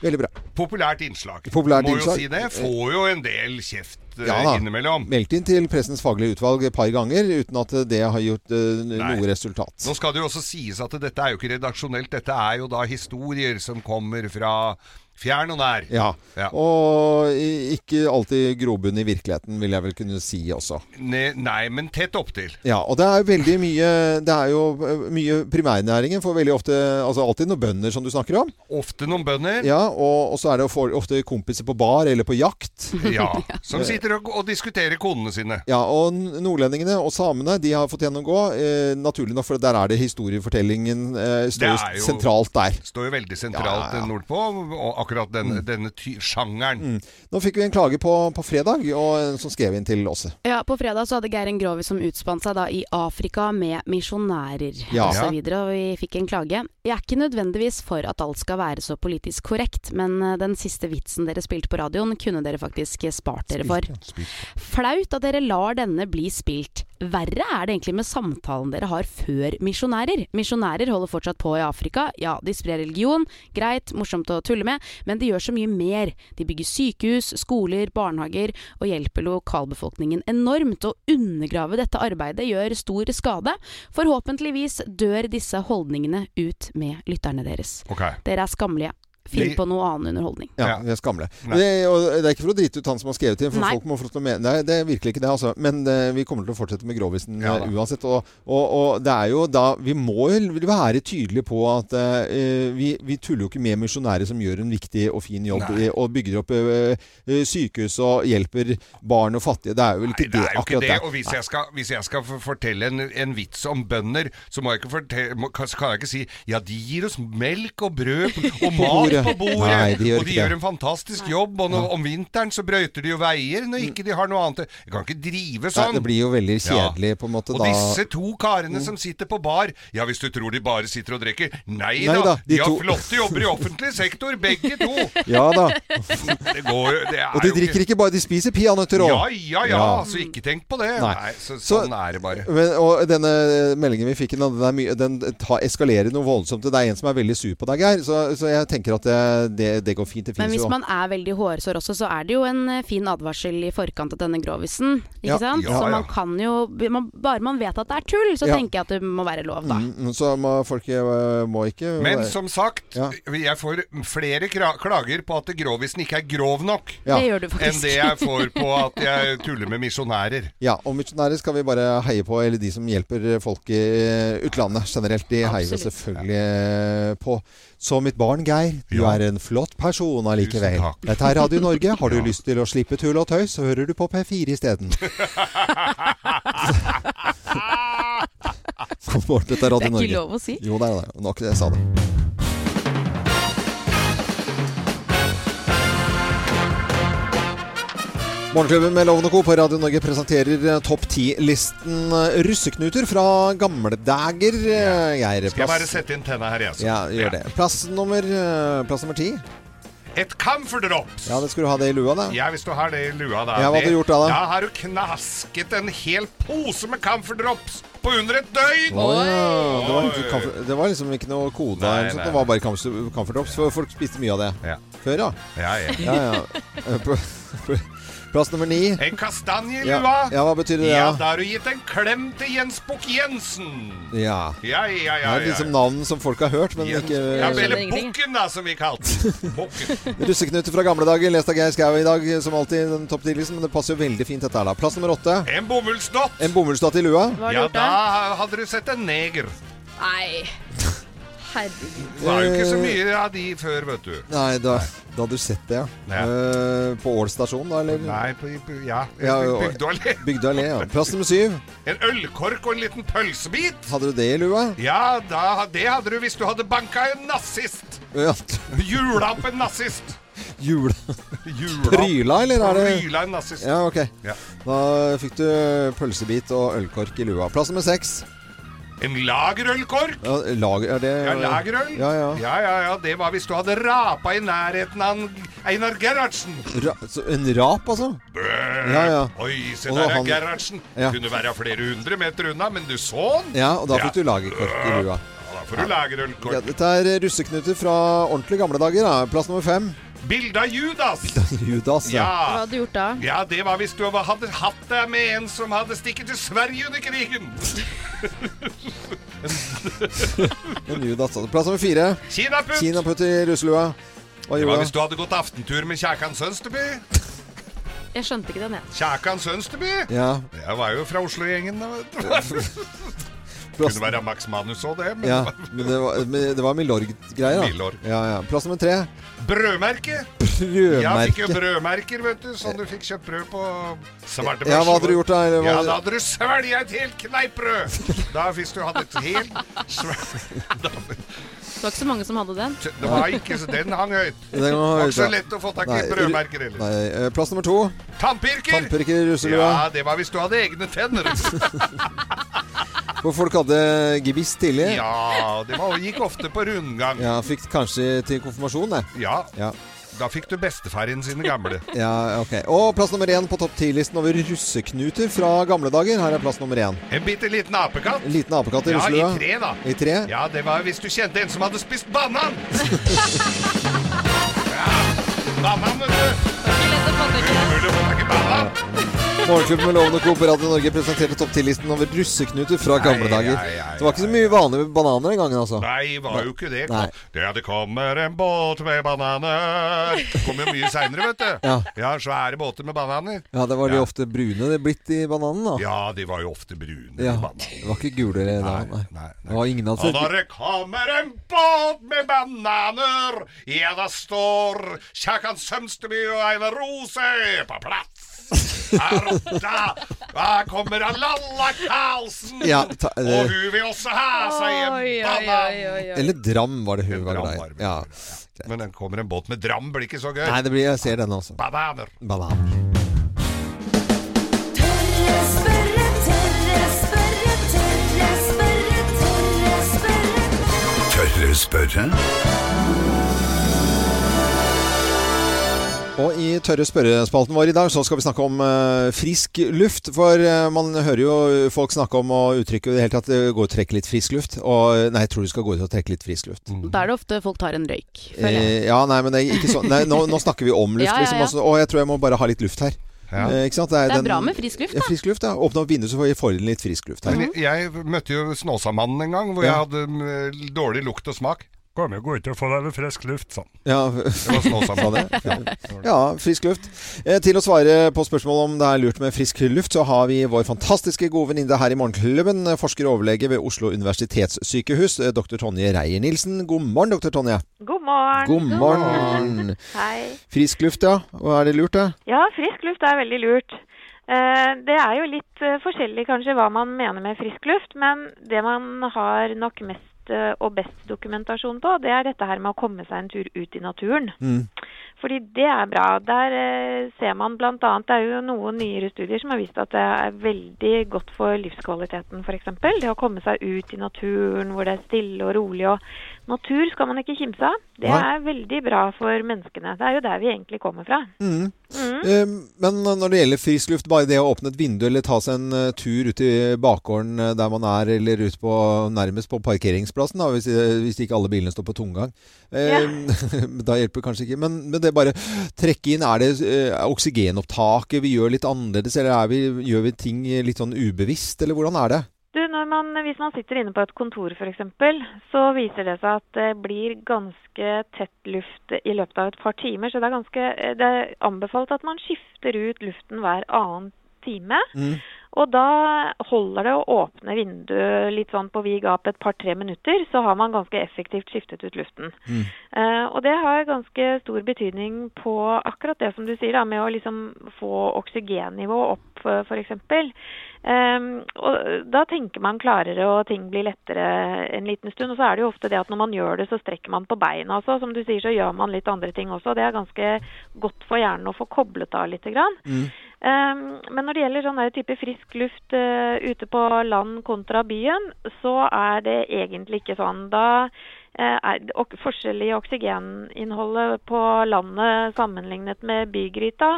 Speaker 1: Veldig bra.
Speaker 2: Populært innslag.
Speaker 1: Populært
Speaker 2: Må
Speaker 1: innslag.
Speaker 2: jo si det. Får jo en del kjeft eh,
Speaker 1: Ja da.
Speaker 2: innimellom.
Speaker 1: Meldt inn til Pressens faglige utvalg et par ganger uten at det har gjort øh, noe resultat.
Speaker 2: Nå skal det jo også sies at dette er jo ikke redaksjonelt, dette er jo da historier som kommer fra fjern og nær.
Speaker 1: Ja.
Speaker 2: Ja.
Speaker 1: Og i- ikke alltid grobunn i virkeligheten, vil jeg vel kunne si også.
Speaker 2: Ne, nei, men tett opptil.
Speaker 1: Ja, og det er veldig mye Det er jo eh, mye primærnæringen for veldig ofte Altså alltid noen bønder som du snakker om.
Speaker 2: Ofte noen bønder ja.
Speaker 1: Ja, og, og så er det jo for, ofte kompiser på bar eller på jakt.
Speaker 2: [LAUGHS]
Speaker 3: [LAUGHS]
Speaker 2: som sitter og, og diskuterer konene sine.
Speaker 1: Ja, og n- nordlendingene og samene, de har fått gjennomgå. Eh, naturlig nok, for der er det historiefortellingen eh, står
Speaker 2: Det er jo-
Speaker 1: sentralt der.
Speaker 2: Står jo veldig sentralt
Speaker 1: Ja, Mm. ja, ja.
Speaker 2: nordpå, og akkurat denne, denne ty sjangeren.
Speaker 1: Nå fikk vi en klage på, på fredag, og en som skrev inn til Åse.
Speaker 3: Ja, På fredag så hadde Geir en grovis som utspant seg da i Afrika med misjonærer
Speaker 1: Ja.
Speaker 3: og så videre, og vi fikk en klage. Jeg er ikke nødvendigvis for at alt skal være så politisk korrekt, men eh, den siste vitsen dere spilte på radioen, kunne dere faktisk spart dere for. Flaut at dere lar denne bli spilt. Verre er det egentlig med samtalen dere har før misjonærer. Misjonærer holder fortsatt på i Afrika. Ja, de sprer religion. Greit, morsomt å tulle med. Men de gjør så mye mer. De bygger sykehus, skoler, barnehager og hjelper lokalbefolkningen enormt. Å undergrave dette arbeidet gjør stor skade. Forhåpentligvis dør disse holdningene ut med lytterne deres.
Speaker 2: Ok.
Speaker 3: Dere er skammelige. Finn
Speaker 2: Vi-
Speaker 3: på noe annen underholdning.
Speaker 1: Ja,
Speaker 2: Ja.
Speaker 1: vi er skamle.
Speaker 2: Nei.
Speaker 1: Det, og det er ikke for å drite ut han som har skrevet inn, for
Speaker 3: Nei.
Speaker 1: folk må få lov til å mene Nei, det er virkelig ikke det, altså. Men eh, vi kommer til å fortsette med grovisen
Speaker 2: Ja
Speaker 1: eh,
Speaker 2: da.
Speaker 1: uansett. Og, og, og det er jo da Vi må jo være tydelige på at eh, vi, vi tuller jo ikke med misjonærer som gjør en viktig og fin jobb
Speaker 2: Nei.
Speaker 1: eh, og bygger opp eh, eh, sykehus og hjelper barn og fattige. Det er jo vel
Speaker 2: Nei,
Speaker 1: ikke
Speaker 2: det
Speaker 1: det,
Speaker 2: er jo ikke
Speaker 1: akkurat
Speaker 2: det. Og hvis jeg skal, hvis jeg skal for- fortelle en, en vits om bønder, så må jeg ikke fortelle, må, kan kan jeg ikke si Ja, de gir oss melk og brød
Speaker 1: [LAUGHS]
Speaker 2: og mat
Speaker 1: bordet.
Speaker 2: på bordet,
Speaker 1: Nei, de gjør
Speaker 2: og de
Speaker 1: ikke det.
Speaker 2: gjør en fantastisk jobb, og nå, om vinteren så brøyter de jo veier når ikke de har noe annet Jeg kan ikke drive
Speaker 1: Nei,
Speaker 2: sånn!
Speaker 1: det blir jo veldig
Speaker 2: Ja.
Speaker 1: kjedelig på en måte
Speaker 2: og
Speaker 1: da. Mm.
Speaker 2: disse to karene som sitter på bar Ja, hvis du tror de bare sitter og drikker Nei,
Speaker 1: Nei
Speaker 2: da,
Speaker 1: da,
Speaker 2: de,
Speaker 1: de
Speaker 2: har
Speaker 1: to-
Speaker 2: flotte jobber i offentlig sektor, begge
Speaker 1: [LAUGHS]
Speaker 2: to!
Speaker 1: Ja
Speaker 2: [LAUGHS]
Speaker 1: da.
Speaker 2: Det går jo det er
Speaker 1: Og de
Speaker 2: jo
Speaker 1: drikker ikke bare, de spiser peanøtter òg.
Speaker 2: Ja, ja, ja,
Speaker 1: Ja.
Speaker 2: så ikke tenk på det. Nei,
Speaker 1: Nei.
Speaker 2: så,
Speaker 1: Så-
Speaker 2: sånn er det bare.
Speaker 1: Men, og denne eh, meldingen vi fikk, den, er mye- den ta, eskalerer noe voldsomt. Det er en som er veldig sur på deg, Geir. Så, så jeg tenker at det, det, det går fint. Det
Speaker 3: Men
Speaker 1: finnes
Speaker 3: hvis
Speaker 1: jo
Speaker 3: man er veldig hårsår også, så er det jo en eh, fin advarsel i forkant av denne grovisen. Ikke
Speaker 1: Ja.
Speaker 3: sant?
Speaker 2: Ja,
Speaker 3: så
Speaker 2: ja.
Speaker 3: man kan jo man, Bare man vet at det er tull, så
Speaker 1: Ja.
Speaker 3: tenker jeg at det må være lov, da.
Speaker 1: Mm, Så må, folk eh, må ikke
Speaker 2: Men som sagt,
Speaker 1: Ja.
Speaker 2: jeg får flere kra- klager på at grovisen ikke er grov nok.
Speaker 1: Ja.
Speaker 3: Det gjør du
Speaker 2: Enn
Speaker 3: faktisk.
Speaker 2: det jeg får på at jeg tuller med misjonærer.
Speaker 1: Ja, og misjonærer skal vi bare heie på, eller de som hjelper folk i utlandet generelt. De heier vi
Speaker 3: Absolutt.
Speaker 1: selvfølgelig eh, på. Så mitt barn Geir, du
Speaker 2: Ja.
Speaker 1: er en flott person allikevel.
Speaker 2: Tusen takk.
Speaker 1: Dette er Radio Norge.
Speaker 2: [LAUGHS]
Speaker 1: Har du lyst til å slippe tull og tøys, så hører du på P4 isteden. God morgen, dette er
Speaker 4: Det
Speaker 1: Radio
Speaker 4: er ikke
Speaker 1: Norge.
Speaker 4: lov å si.
Speaker 1: Jo, det er det. Nok det jeg sa det. Morgenklubben med Lovende Co. på Radio Norge presenterer eh, topp ti-listen eh, russeknuter fra gamle dager. Eh, Geir,
Speaker 2: Skal jeg bare
Speaker 1: plass,
Speaker 2: sette inn tenna her, jeg. så?
Speaker 1: ja, gjør det. Plass nummer eh, Plass nummer ti.
Speaker 2: Et camphordrops!
Speaker 1: Ja, det skulle du ha det i lua, da.
Speaker 2: Ja, hvis du har det i lua da
Speaker 1: Ja, hva har
Speaker 2: det-
Speaker 1: du gjort da, da?
Speaker 2: Da har du knasket en hel pose med camphordrops på under et døgn!
Speaker 1: Å ja, det, var ikke kamfer, det var liksom ikke noe kode.
Speaker 2: Nei,
Speaker 1: eller noe sånt,
Speaker 2: nei.
Speaker 1: det var bare kamfer- camferdrops. For folk spiste mye av det
Speaker 2: Ja.
Speaker 1: før, ja.
Speaker 2: Ja, ja.
Speaker 1: ja,
Speaker 2: [LAUGHS]
Speaker 1: ja. Eh, pl- Plass nummer ni.
Speaker 2: En kastanje i
Speaker 1: Ja,
Speaker 2: lua!
Speaker 1: ja, hva betyr det?
Speaker 2: Ja,
Speaker 1: Ja,
Speaker 2: da har du gitt en klem til Jens Bukk-Jensen!
Speaker 1: ja.
Speaker 2: Ja, ja,
Speaker 1: Det
Speaker 2: ja.
Speaker 1: er
Speaker 2: ja.
Speaker 1: liksom navn som folk har hørt, men
Speaker 2: Jens-
Speaker 1: ikke
Speaker 2: ja, eller
Speaker 4: Skjønner ingenting.
Speaker 2: Bukken, da, som vi kalte
Speaker 1: [LAUGHS]
Speaker 2: den. Bukken.
Speaker 1: Russeknuter fra gamle dager, lest av Geir Skau i dag, som alltid den topp 10-listen. Men det passer jo veldig fint, dette her, da. Plass nummer åtte.
Speaker 2: En bomullsdott!
Speaker 1: En bomullsdatt i lua.
Speaker 3: [LAUGHS] Hva har du
Speaker 2: Ja,
Speaker 3: gjort
Speaker 2: da
Speaker 3: da?
Speaker 2: hadde du sett en neger.
Speaker 4: Nei. Herregud.
Speaker 2: Det var jo ikke
Speaker 1: Eh.
Speaker 2: så mye av de før, vet du.
Speaker 1: Nei, da, da hadde du sett det, ja.
Speaker 2: Ja.
Speaker 1: Eh, på Ål stasjon, da, eller?
Speaker 2: Nei, på, på- ja.
Speaker 1: Ja, jo.
Speaker 2: Bygdålig.
Speaker 1: Bygdøy allé, ja. Plass nummer syv.
Speaker 2: En ølkork og en liten pølsebit.
Speaker 1: Hadde du det i lua?
Speaker 2: Ja, da, det hadde du hvis du hadde banka en nazist.
Speaker 1: Ja. [LAUGHS]
Speaker 2: Jula opp en nazist.
Speaker 1: Jula
Speaker 2: Jula opp.
Speaker 1: Pryla, eller er det
Speaker 2: Pryla en nazist.
Speaker 1: Ja, ok.
Speaker 2: Ja.
Speaker 1: Da fikk du pølsebit og ølkork i lua. Plass nummer seks.
Speaker 2: En lagerølkork.
Speaker 1: Ja, lager, er det
Speaker 2: Ja, lagerøl.
Speaker 1: Ja, ja.
Speaker 2: ja, ja, ja, Det var hvis du hadde rapa i nærheten av en- Einar Gerhardsen.
Speaker 1: Ra, så en rap, altså? Ja, ja.
Speaker 2: Oi, se
Speaker 1: Og
Speaker 2: der er
Speaker 1: han-
Speaker 2: Gerhardsen.
Speaker 1: Ja.
Speaker 2: Kunne være flere hundre meter unna, men du så han.
Speaker 1: Ja, og da
Speaker 2: Ja.
Speaker 1: fikk du lagerkork i lua.
Speaker 2: Ja, da får du lagerølkork.
Speaker 1: Ja, dette er russeknuter fra ordentlig gamle dager. Da. Plass nummer fem. [LAUGHS]
Speaker 2: Bilde av Judas.
Speaker 1: Judas.
Speaker 3: Hva
Speaker 2: Ja.
Speaker 3: hadde du gjort da?
Speaker 2: ja, det var hvis du hadde hatt deg med en som hadde stikket til Sverige under krigen.
Speaker 1: En Judas altså. Plass nummer fire.
Speaker 2: Kinaputt.
Speaker 1: Kinaputt i russelua. Hva
Speaker 2: Det var hvis
Speaker 1: gjorde du?
Speaker 2: du hadde gått aftentur med Kjakan Sønsteby.
Speaker 3: Jeg skjønte ikke den, jeg.
Speaker 2: Kjakan Sønsteby!
Speaker 1: Ja.
Speaker 2: Jeg var jo fra Oslo-gjengen. da, vet du.
Speaker 1: Plass,
Speaker 2: Kunne være Max Manus og det, men
Speaker 1: ja.
Speaker 2: det var
Speaker 1: Men det var, men det var Milorg-greier, da.
Speaker 2: Milorg.
Speaker 1: Ja, ja. Plass nummer tre.
Speaker 2: [LAUGHS] brødmerke. Ja, fikk jo
Speaker 1: Brødmerke.
Speaker 2: brødmerker, vet du, sånn du fikk kjøpt brød på svarte
Speaker 1: Ja, hva hadde du gjort da? Eller
Speaker 2: Ja,
Speaker 1: hva-
Speaker 2: da hadde du svelget et helt kneippbrød! Da hvis du hadde et helt svæ- da,
Speaker 4: Det var ikke så mange som hadde den.
Speaker 2: Det var ikke så Den hang høyt.
Speaker 1: Den hang
Speaker 2: var
Speaker 1: høyt,
Speaker 2: ikke så
Speaker 1: ja.
Speaker 2: lett å få tak i
Speaker 1: Nei,
Speaker 2: brødmerker heller.
Speaker 1: Nei, eh, plass nummer to.
Speaker 2: Tannpirker!
Speaker 1: Tannpirker i russelua.
Speaker 2: Ja, det var hvis du hadde egne tenner.
Speaker 1: For folk hadde gebiss tidlig. Ja.
Speaker 2: Ja, det var, gikk ofte på rundgang.
Speaker 1: Fikk kanskje til konfirmasjon, det.
Speaker 2: Ja,
Speaker 1: Ja.
Speaker 2: da fikk du bestefaren sine gamle.
Speaker 1: ja, ok. Og plass nummer én på topp ti-listen over russeknuter fra gamle dager. Her er plass nummer én.
Speaker 2: En bitte liten apekatt.
Speaker 1: En liten apekatt i
Speaker 2: Ja, i
Speaker 1: russelua.
Speaker 2: tre, da.
Speaker 1: I tre?
Speaker 2: Ja, det var hvis du kjente en som hadde spist
Speaker 1: [LAUGHS]
Speaker 2: banan. Ja, banan, vet du.
Speaker 4: Ikke lett å fatte ikke det.
Speaker 2: Mulig å få tak i banan.
Speaker 1: Morgenklubben med Lovende Co. på Radio Norge presenterte topp ti-listen over russeknuter fra gamle dager.
Speaker 2: nei, nei,
Speaker 1: Det var ikke så mye vanlige bananer den gangen, altså.
Speaker 2: Nei, var jo ikke det.
Speaker 1: Nei.
Speaker 2: Det at det kommer en båt med bananer Kommer jo mye seinere, vet du.
Speaker 1: Ja.
Speaker 2: svære båter med bananer.
Speaker 1: Ja, det var de
Speaker 2: Ja.
Speaker 1: ofte brune det er blitt i bananen, da.
Speaker 2: Ja, de var jo ofte brune. de
Speaker 1: Ja,
Speaker 2: bananer.
Speaker 1: Det var ikke gule
Speaker 2: Nei,
Speaker 1: da, nei.
Speaker 2: nei, nei.
Speaker 1: Det var ingen av
Speaker 2: Og når det kommer en båt med bananer, ja, da står Kjakan Sømsteby og Einar Rose på plass. Her oppe da, da kommer Lalla Karlsen,
Speaker 1: Ja, ta- det-
Speaker 2: og hun vil også ha seg en banan.
Speaker 1: Eller Dram var det hun var
Speaker 2: Dram
Speaker 1: glad
Speaker 2: var
Speaker 1: i.
Speaker 2: det.
Speaker 1: Ja.
Speaker 2: Men den kommer en båt med dram, blir ikke så gøy.
Speaker 1: Nei, det blir, jeg ser denne også.
Speaker 2: Bananer.
Speaker 1: Banan.
Speaker 7: Tørre spørre, tørre spørre, tørre spørre, tørre spørre.
Speaker 8: Tørre spørre?
Speaker 1: Og i tørre spørrespalten vår i dag så skal vi snakke om eh, frisk luft. For eh, man hører jo folk snakke om og uttrykke i det hele tatt eh, gå ut og trekke litt frisk luft. Og eh, nei, jeg tror du skal gå ut og trekke litt frisk luft.
Speaker 4: Da er det ofte folk tar en røyk. Føler jeg.
Speaker 1: Eh, ja, nei, men det er ikke sånn Nei, nå, nå snakker vi om luft,
Speaker 4: [LAUGHS] Ja, ja,
Speaker 1: liksom.
Speaker 4: ja.
Speaker 1: Altså, å, jeg tror jeg må bare ha litt luft her.
Speaker 2: Ja.
Speaker 1: Eh, ikke sant?
Speaker 4: Det er
Speaker 1: den-
Speaker 4: bra med frisk luft,
Speaker 1: Ja,
Speaker 4: da.
Speaker 1: frisk luft, ja. Åpne opp vinduet, så får vi- får inn litt frisk luft her.
Speaker 2: Men jeg, jeg møtte jo Snåsamannen en gang, hvor
Speaker 1: Ja.
Speaker 2: jeg hadde mm, dårlig lukt og smak. Kom jo, gå ut og få deg litt frisk luft, sånn.
Speaker 1: Ja, [LAUGHS]
Speaker 2: Det var
Speaker 1: Sa
Speaker 2: Snåsamannen.
Speaker 1: det? Ja, frisk luft. Eh, til å svare på spørsmålet om det er lurt med frisk luft, så har vi vår fantastiske gode venninne her i Morgenklubben, eh, forsker og overlege ved Oslo universitetssykehus, eh, dr. Tonje Reier-Nilsen. God morgen, dr. Tonje.
Speaker 9: God morgen.
Speaker 1: God morgen.
Speaker 9: Hei.
Speaker 1: Frisk luft, ja. Og er det lurt, det?
Speaker 9: Ja, frisk luft er veldig lurt. Eh, Det er jo litt eh, forskjellig kanskje hva man mener med frisk luft, men det man har nok mest eh, og best dokumentasjon på, det er dette her med å komme seg en tur ut i naturen. Fordi det er bra. Der eh, ser man bl.a. Det er jo noen nyere studier som har vist at det er veldig godt for livskvaliteten, f.eks. Det å komme seg ut i naturen hvor det er stille og rolig. Og natur skal man ikke kimse av. Det
Speaker 1: Nei.
Speaker 9: er veldig bra for menneskene. Det er jo der vi egentlig kommer fra.
Speaker 1: Mm. Eh, Men når det gjelder frisk luft, bare det å åpne et vindu eller ta seg en eh, tur ut i bakgården eh, der man er, eller ut på, nærmest på parkeringsplassen, da, hvis, eh, hvis ikke alle bilene står på tomgang. Eh, [LAUGHS] da hjelper kanskje ikke. Men, men det bare trekke inn Er det eh, er oksygenopptaket vi gjør litt annerledes, eller er vi, gjør vi ting litt sånn ubevisst, eller hvordan er det?
Speaker 9: Du, når man, hvis man sitter inne på et kontor f.eks., så viser det seg at det blir ganske tett luft i løpet av et par timer. Så det er, ganske, det er anbefalt at man skifter ut luften hver annen time. Og da holder det å åpne vinduet litt sånn på vid gap et par-tre minutter, så har man ganske effektivt skiftet ut luften. Eh, og det har ganske stor betydning på akkurat det som du sier, da, med å liksom få oksygennivået opp, eh, f.eks. Um, og da tenker man klarere, og ting blir lettere en liten stund. Og så er det jo ofte det at når man gjør det, så strekker man på beina også. Som du sier, så gjør man litt andre ting også. Det er ganske godt for hjernen å få koblet av litt. Grann. Um, men når det gjelder sånn der type frisk luft eh, ute på land kontra byen, så er det egentlig ikke sånn. Da eh, er det ok forskjell i oksygeninnholdet på landet sammenlignet med bygryta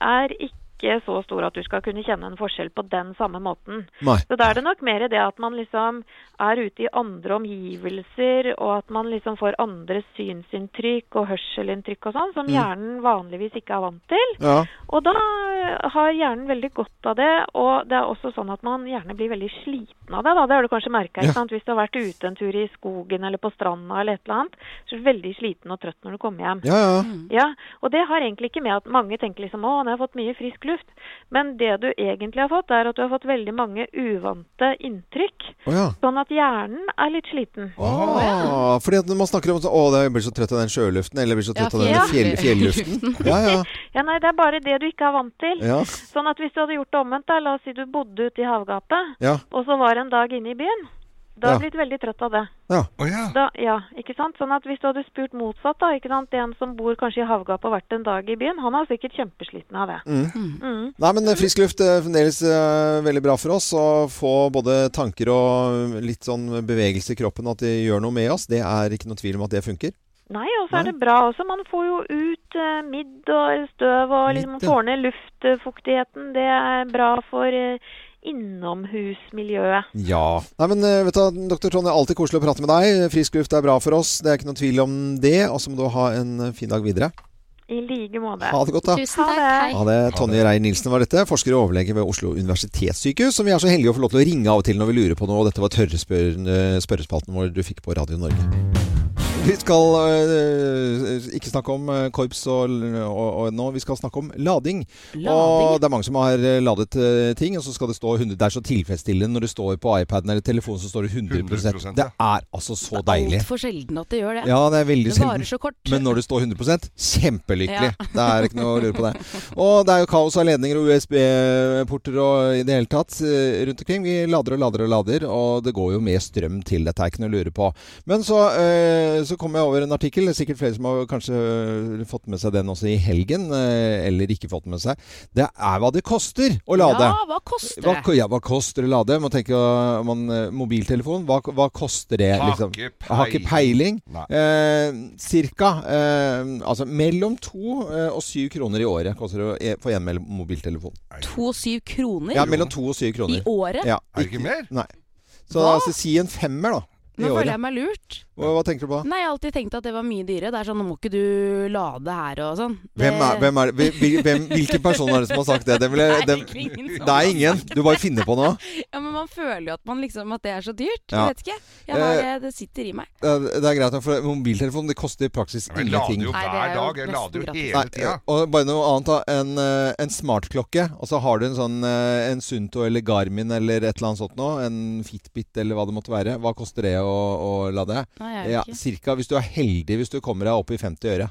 Speaker 9: er ikke så stor at du skal kunne kjenne en forskjell på den samme måten.
Speaker 1: Nei.
Speaker 9: Så da er det nok mer det at man liksom er ute i andre omgivelser, og at man liksom får andre synsinntrykk og hørselinntrykk og sånn, som
Speaker 1: Mm.
Speaker 9: hjernen vanligvis ikke er vant til.
Speaker 1: Ja.
Speaker 9: Og da eh, har hjernen veldig godt av det, og det er også sånn at man gjerne blir veldig sliten av det. Da. Det har du kanskje merka
Speaker 1: Ja.
Speaker 9: hvis du har vært ute en tur i skogen eller på stranda eller et eller annet. Så er du veldig sliten og trøtt når du kommer hjem.
Speaker 1: Ja, ja.
Speaker 9: Ja, og det har egentlig ikke med at mange tenker liksom å, nå har jeg fått mye frisk luft. Men det du egentlig har fått, er at du har fått veldig mange uvante inntrykk.
Speaker 1: Å, ja.
Speaker 9: Sånn at hjernen er litt sliten.
Speaker 1: Ah, fordi at når man snakker om sånn, Å, jeg blir så trøtt av den sjøluften, eller jeg blir så
Speaker 4: Ja,
Speaker 1: trøtt av den fjell,
Speaker 4: fjell-
Speaker 1: fjelluften. Ja, ja.
Speaker 9: Ja, nei, det er bare det du ikke er vant til.
Speaker 1: Ja.
Speaker 9: Sånn at hvis du hadde gjort det omvendt, da, la oss si du bodde ute i havgapet,
Speaker 1: Ja.
Speaker 9: og så var det en dag inne i byen, da
Speaker 1: Ja.
Speaker 9: hadde du blitt veldig trøtt av det.
Speaker 1: ja.
Speaker 2: Å ja.
Speaker 9: Da, ja, ikke sant? Sånn at hvis du hadde spurt motsatt, da, ikke sant? en som bor kanskje i havgapet og vært en dag i byen, han er sikkert kjempesliten av det.
Speaker 1: Nei, men frisk luft er fremdeles eh, veldig bra for oss. Å få både tanker og litt sånn bevegelse i kroppen, at det gjør noe med oss, det er ikke noe tvil om at det funker.
Speaker 9: Nei, og så er det bra også. Man får jo ut eh, midd og støv og liksom
Speaker 1: Midd, ja.
Speaker 9: får ned luftfuktigheten. Det er bra for eh, innomhusmiljøet.
Speaker 1: Ja. Nei, men eh, vet du, hva, Dr. Trond, det er alltid koselig å prate med deg. Frisk luft er bra for oss, det er ikke noe tvil om det. Og så må du ha en eh, fin dag videre.
Speaker 9: I like måte.
Speaker 1: Ha det godt, da.
Speaker 4: Tusen takk.
Speaker 9: det.
Speaker 4: Hei.
Speaker 1: Ja, det er Tonje Reier Nilsen var dette, forsker og overlege ved Oslo universitetssykehus, som vi er så heldige å få lov til å ringe av og til når vi lurer på noe. Og dette var tørrespør- spørrespalten vår du fikk på Radio Norge. Vi skal øh, ikke snakke om øh, korps og, og, og nå, vi skal snakke om lading. Og det er mange som har øh, ladet øh, ting, og så skal det stå 100 Det er så tilfredsstillende når det står på iPaden eller telefonen, så står det 100,
Speaker 2: 100%,
Speaker 1: Det er altså så deilig.
Speaker 4: Altfor sjelden at det gjør det.
Speaker 1: Ja, det er veldig
Speaker 4: Det varer så kort.
Speaker 1: men når det står 100 kjempelykkelig. Det er ikke noe å lure på det. Og det er jo kaos av ledninger og USB-porter og i det hele tatt eh, rundt omkring. Vi lader og lader og lader, og det går jo mer strøm til dette, er ikke noe å lure på. Men så, eh, så kom jeg over en artikkel, det er sikkert flere som har kanskje eh, fått med seg den også i helgen, eh, eller ikke fått med seg. Det er hva det koster å lade.
Speaker 4: Ja, hva koster
Speaker 1: Hva,
Speaker 4: det?
Speaker 1: ja, hva koster det å lade? Man tenker eh, man, eh, mobiltelefon. Hva, hva koster det? Liksom?
Speaker 2: Har ikke
Speaker 1: Jeg har ikke peiling.
Speaker 2: Nei.
Speaker 1: Eh, cirka eh, altså mellom to eh, og syv kroner i året koster det å e- få en mel- mobiltelefon.
Speaker 4: 2,7 kroner
Speaker 1: Ja, mellom to og syv
Speaker 4: i
Speaker 1: kroner.
Speaker 4: året?
Speaker 1: Ja,
Speaker 2: Er det ikke mer?
Speaker 1: Nei. Så
Speaker 4: Hva?
Speaker 1: altså, si en femmer, da. I
Speaker 4: Nå føler
Speaker 1: året.
Speaker 4: jeg meg lurt.
Speaker 1: Hva, hva tenker du på?
Speaker 4: Nei, jeg har alltid tenkt at det var mye dyrere. Det er sånn, nå må ikke du lade her og sånn. Det...
Speaker 1: Hvem er, hvem er det? Hvil- hvil- Hvem, hvilken person er det som har sagt det? Den vil jeg-
Speaker 4: Det er
Speaker 1: den,
Speaker 4: egentlig ingen som
Speaker 1: det er ingen. Du bare finner på noe.
Speaker 4: Ja, men man føler jo at, man liksom, at det er så dyrt.
Speaker 1: Ja.
Speaker 4: Jeg vet ikke. Jeg har,
Speaker 1: Eh,
Speaker 4: det, det sitter i meg.
Speaker 1: Det er- det er greit, for mobiltelefon det koster i praksis
Speaker 2: Jeg lader
Speaker 1: ingenting.
Speaker 2: jo
Speaker 4: Nei, det
Speaker 2: hver
Speaker 4: er jo
Speaker 2: dag. Jeg
Speaker 4: nesten
Speaker 2: lader jo
Speaker 4: gratis.
Speaker 2: hele
Speaker 1: Nei,
Speaker 2: tida.
Speaker 1: og bare noe annet da En, eh, en smartklokke Og så har du en sånn eh, En Sunto eller Garmin Eller et eller annet sånt nå En Fitbit eller hva det måtte være Hva koster det å, å lade?
Speaker 4: Nei, jeg vet
Speaker 1: Ja,
Speaker 4: ikke.
Speaker 1: cirka hvis du er heldig Hvis du kommer deg opp i 50 øre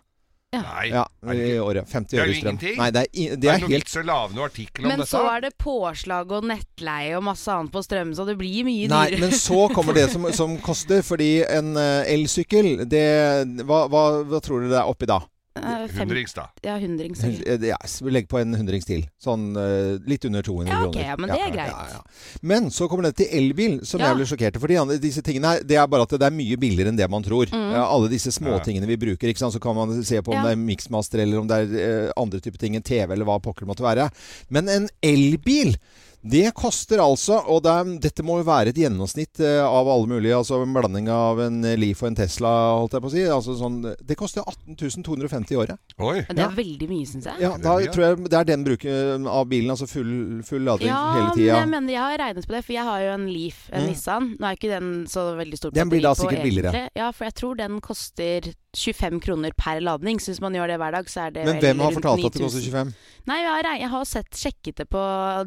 Speaker 2: Nei.
Speaker 1: Ja,
Speaker 2: er det
Speaker 1: i
Speaker 2: ikke-
Speaker 1: året 50
Speaker 2: Det er
Speaker 1: øre
Speaker 2: jo
Speaker 1: i strøm
Speaker 2: ingenting.
Speaker 1: Nei, det er, i-
Speaker 2: Det
Speaker 1: det
Speaker 2: er
Speaker 1: er
Speaker 2: noe
Speaker 1: helt
Speaker 2: vits å lage noen artikkel om
Speaker 4: Men
Speaker 2: dette.
Speaker 4: så er det påslag og nettleie og masse annet på strøm, så det blir mye
Speaker 1: Nei,
Speaker 4: dyrere.
Speaker 1: men
Speaker 4: [LAUGHS]
Speaker 1: så kommer det som, som koster Fordi en eh, elsykkel det, hva, hva, hva tror du det er oppi da?
Speaker 4: Eh,
Speaker 3: fem-
Speaker 2: Hundrings, da.
Speaker 3: Ja, hundrings. sikkert.
Speaker 1: Eh, Ja, s- legg på en hundrings til. Sånn eh, litt under 200
Speaker 3: Ja, ok,
Speaker 1: kroner.
Speaker 3: ja, men det er greit.
Speaker 1: Men så kommer det til elbil, som jeg
Speaker 3: Ja.
Speaker 1: ble sjokkert over. For de andre, disse tingene her, det er bare at det er mye billigere enn det man tror. Ja, alle disse småtingene vi bruker, ikke sant? så kan man se på om
Speaker 3: Mm. Ja.
Speaker 1: det er mixmaster eller om det er eh, andre typer ting, en TV eller hva pokker det måtte være. Men en elbil det koster altså, og det er, dette må jo være et gjennomsnitt eh, av alle mulige, altså en blanding av en Leaf og en Tesla, holdt jeg på å si. Altså sånn, det koster 18 250 i året.
Speaker 2: Oi.
Speaker 3: Det er veldig mye, syns jeg.
Speaker 1: Ja,
Speaker 2: det
Speaker 1: da
Speaker 2: mye?
Speaker 1: tror jeg det er den bruken av bilen, altså full, full lading hele
Speaker 3: men jeg
Speaker 1: tida.
Speaker 3: mener jeg har regnet på det, for jeg har jo en Leaf, en Nissan. Nå er ikke den så veldig stor
Speaker 1: Den blir da
Speaker 3: batteri på,
Speaker 1: sikkert billigere.
Speaker 3: egentlig. Ja, for jeg tror den koster 25 kroner per ladning. Så hvis man gjør det hver dag, så er det
Speaker 1: Men
Speaker 3: vel
Speaker 1: hvem har
Speaker 3: rundt
Speaker 1: fortalt at det koster
Speaker 3: 9000?
Speaker 1: 25?
Speaker 3: Nei, jeg har, reg- jeg har sett, sjekket det på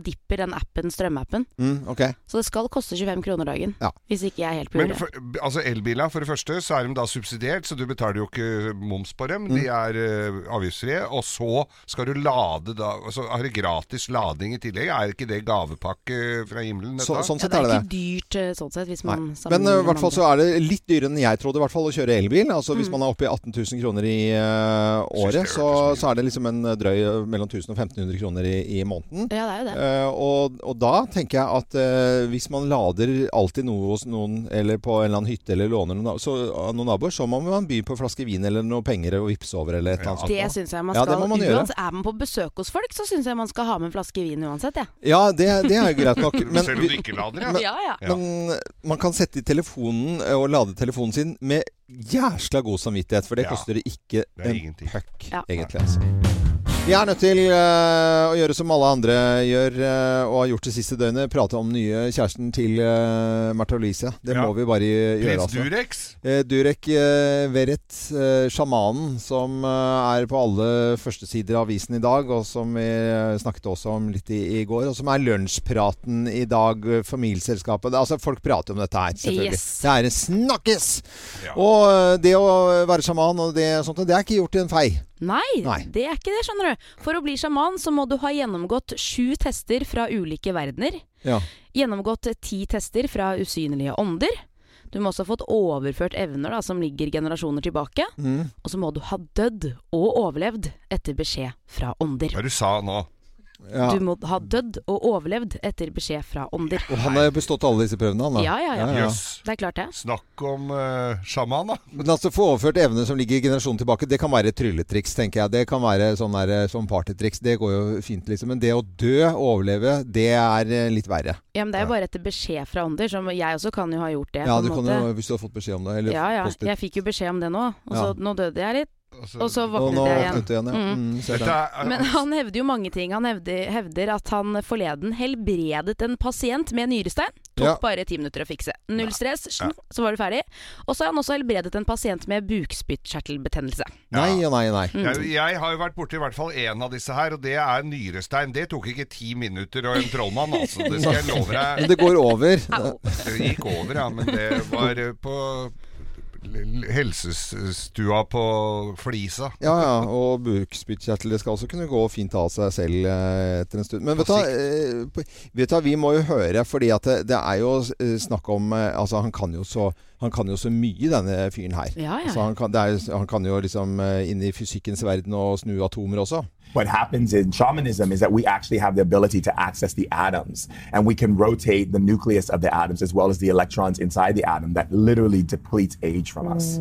Speaker 3: Dipper, den appen, strømappen.
Speaker 1: Mm, ok.
Speaker 3: Så det skal koste 25 kroner dagen.
Speaker 1: Ja.
Speaker 3: Hvis ikke jeg er helt på
Speaker 2: Men
Speaker 3: jordet.
Speaker 2: for, altså elbiler, for det første, så er de da subsidiert, så du betaler jo ikke moms på dem. De er eh, avgiftsfrie. Og så skal du lade da Så har du gratis lading i tillegg. Er ikke det gavepakke eh, fra himmelen? Dette?
Speaker 1: Så, sånn
Speaker 3: Ja,
Speaker 1: sett
Speaker 3: det
Speaker 1: er
Speaker 3: er
Speaker 1: det det.
Speaker 3: ikke dyrt eh, sånn sett, hvis
Speaker 1: Nei.
Speaker 3: man
Speaker 1: Men eh, i hvert fall så
Speaker 3: andre. Mm.
Speaker 1: er det litt dyrere enn jeg trodde i hvert fall, å kjøre elbil. Altså Hvis man er oppe i 18 000 kroner i eh, året,
Speaker 2: Synes det hørtes
Speaker 1: så,
Speaker 2: mye ut.
Speaker 1: så er det liksom en drøy eh, mellom 1000 og 1500 kroner i, i måneden.
Speaker 3: Ja, det er jo det.
Speaker 1: Eh, og, og da tenker jeg at eh, hvis man lader alltid noe hos noen, eller på en eller annen hytte, eller låner noen, så, av noen naboer, så må man by på en flaske vin eller noe penger og vippse over, eller et eller annet. sånt.
Speaker 3: Det syns jeg man
Speaker 1: Ja, det
Speaker 3: skal.
Speaker 1: må man gjøre.
Speaker 3: uansett, er man på besøk hos folk, så syns jeg man skal ha med en flaske vin uansett, jeg.
Speaker 1: Ja, det, det er jo greit
Speaker 2: [LAUGHS]
Speaker 1: nok. Men,
Speaker 2: Selv om du ikke lader, ja.
Speaker 3: Ja, ja.
Speaker 2: Ja.
Speaker 1: men man kan sette i telefonen eh, og lade telefonen sin med jæsla god samvittighet, for det
Speaker 2: Ja.
Speaker 1: koster ikke
Speaker 2: Det er
Speaker 1: en
Speaker 2: ingenting.
Speaker 1: puck,
Speaker 3: Ja.
Speaker 1: egentlig. Altså. Vi er nødt til eh, å gjøre som alle andre gjør, eh, og har gjort det siste døgnet, prate om nye kjæresten til eh, Märtha Louise. Det
Speaker 2: Ja.
Speaker 1: må vi bare gjøre.
Speaker 2: Prins
Speaker 1: altså.
Speaker 2: Durex.
Speaker 1: Eh, Durek eh, Verrett, eh, sjamanen, som eh, er på alle førstesider av avisen i dag, og som vi eh, snakket også om litt i, i går, og som er lunsjpraten i dag, eh, familieselskapet. Altså, folk prater om dette her, selvfølgelig.
Speaker 3: Yes.
Speaker 1: Det er en snakkes!
Speaker 2: Ja.
Speaker 1: Og eh, det å være sjaman og det sånt, det er ikke gjort i en fei.
Speaker 3: Nei,
Speaker 1: Nei.
Speaker 3: det er ikke det, skjønner du. For å bli sjaman så må du ha gjennomgått sju tester fra ulike verdener.
Speaker 1: Ja.
Speaker 3: Gjennomgått ti tester fra usynlige ånder. Du må også ha fått overført evner da, som ligger generasjoner tilbake.
Speaker 1: Mm.
Speaker 3: Og så må du ha dødd og overlevd etter beskjed fra ånder.
Speaker 2: Hva er det du sa nå?
Speaker 1: Ja.
Speaker 3: Du må ha dødd og overlevd etter beskjed fra ånder.
Speaker 1: Og han har jo bestått alle disse prøvene, han da.
Speaker 3: Ja, ja, ja.
Speaker 1: Ja.
Speaker 2: Jøss.
Speaker 3: Det er klart det.
Speaker 2: Snakk om eh, sjaman, da.
Speaker 1: Men altså, få overført evner som ligger generasjonen tilbake, det kan være et trylletriks, tenker jeg. Det kan være sånn der, sånn partytriks. Det går jo fint, liksom. Men det å dø, overleve, det er eh, litt verre.
Speaker 3: Ja, men det er jo bare etter beskjed fra ånder, som jeg også kan jo ha gjort det.
Speaker 1: Ja,
Speaker 3: på en
Speaker 1: du kan
Speaker 3: måte.
Speaker 1: jo, hvis du har fått beskjed om det. Eller
Speaker 3: ja, ja.
Speaker 1: postet.
Speaker 3: Jeg fikk jo beskjed om det nå, og så
Speaker 1: Ja.
Speaker 3: nå døde jeg litt.
Speaker 2: Altså,
Speaker 3: Og så
Speaker 1: Og
Speaker 3: våknet
Speaker 1: nå
Speaker 3: jeg igjen.
Speaker 1: åpnet du igjen, ja.
Speaker 3: Mm.
Speaker 1: Mm, ser
Speaker 2: dette
Speaker 1: den.
Speaker 2: er, eh,
Speaker 3: Men han hevder jo mange ting. Han hevder, hevder at han forleden helbredet en pasient med nyrestein. Tok
Speaker 1: Ja.
Speaker 3: bare ti minutter å fikse. Null stress, sjen, så var du ferdig. Og så har han også helbredet en pasient med bukspyttkjertelbetennelse.
Speaker 1: Nei og nei og nei.
Speaker 2: jeg, jeg har jo vært borti i hvert fall én av disse her, og det er nyrestein. Det tok ikke ti minutter og en trollmann, altså. Det skal jeg love deg.
Speaker 1: [LAUGHS] Men det går over.
Speaker 2: Det gikk over, ja, men det var eh, på l- helsestua på Flisa.
Speaker 1: Ja, ja, og bukspyttkjertel det skal også kunne gå fint av seg selv eh, etter en stund. Men vet du, hva, eh, på- vet du hva, vi må jo høre, fordi at det, det er jo eh, snakk om eh, Altså, han kan jo så, han kan jo så mye, denne fyren her.
Speaker 3: Ja, ja.
Speaker 1: Altså, han, kan, det er, jo- han kan jo liksom eh, inn i fysikkens verden og snu atomer også.
Speaker 5: what happens in shamanism is that we actually have the ability to access the atoms and we can rotate the nucleus of the atoms as well as the electrons inside the atom that literally depletes age from us.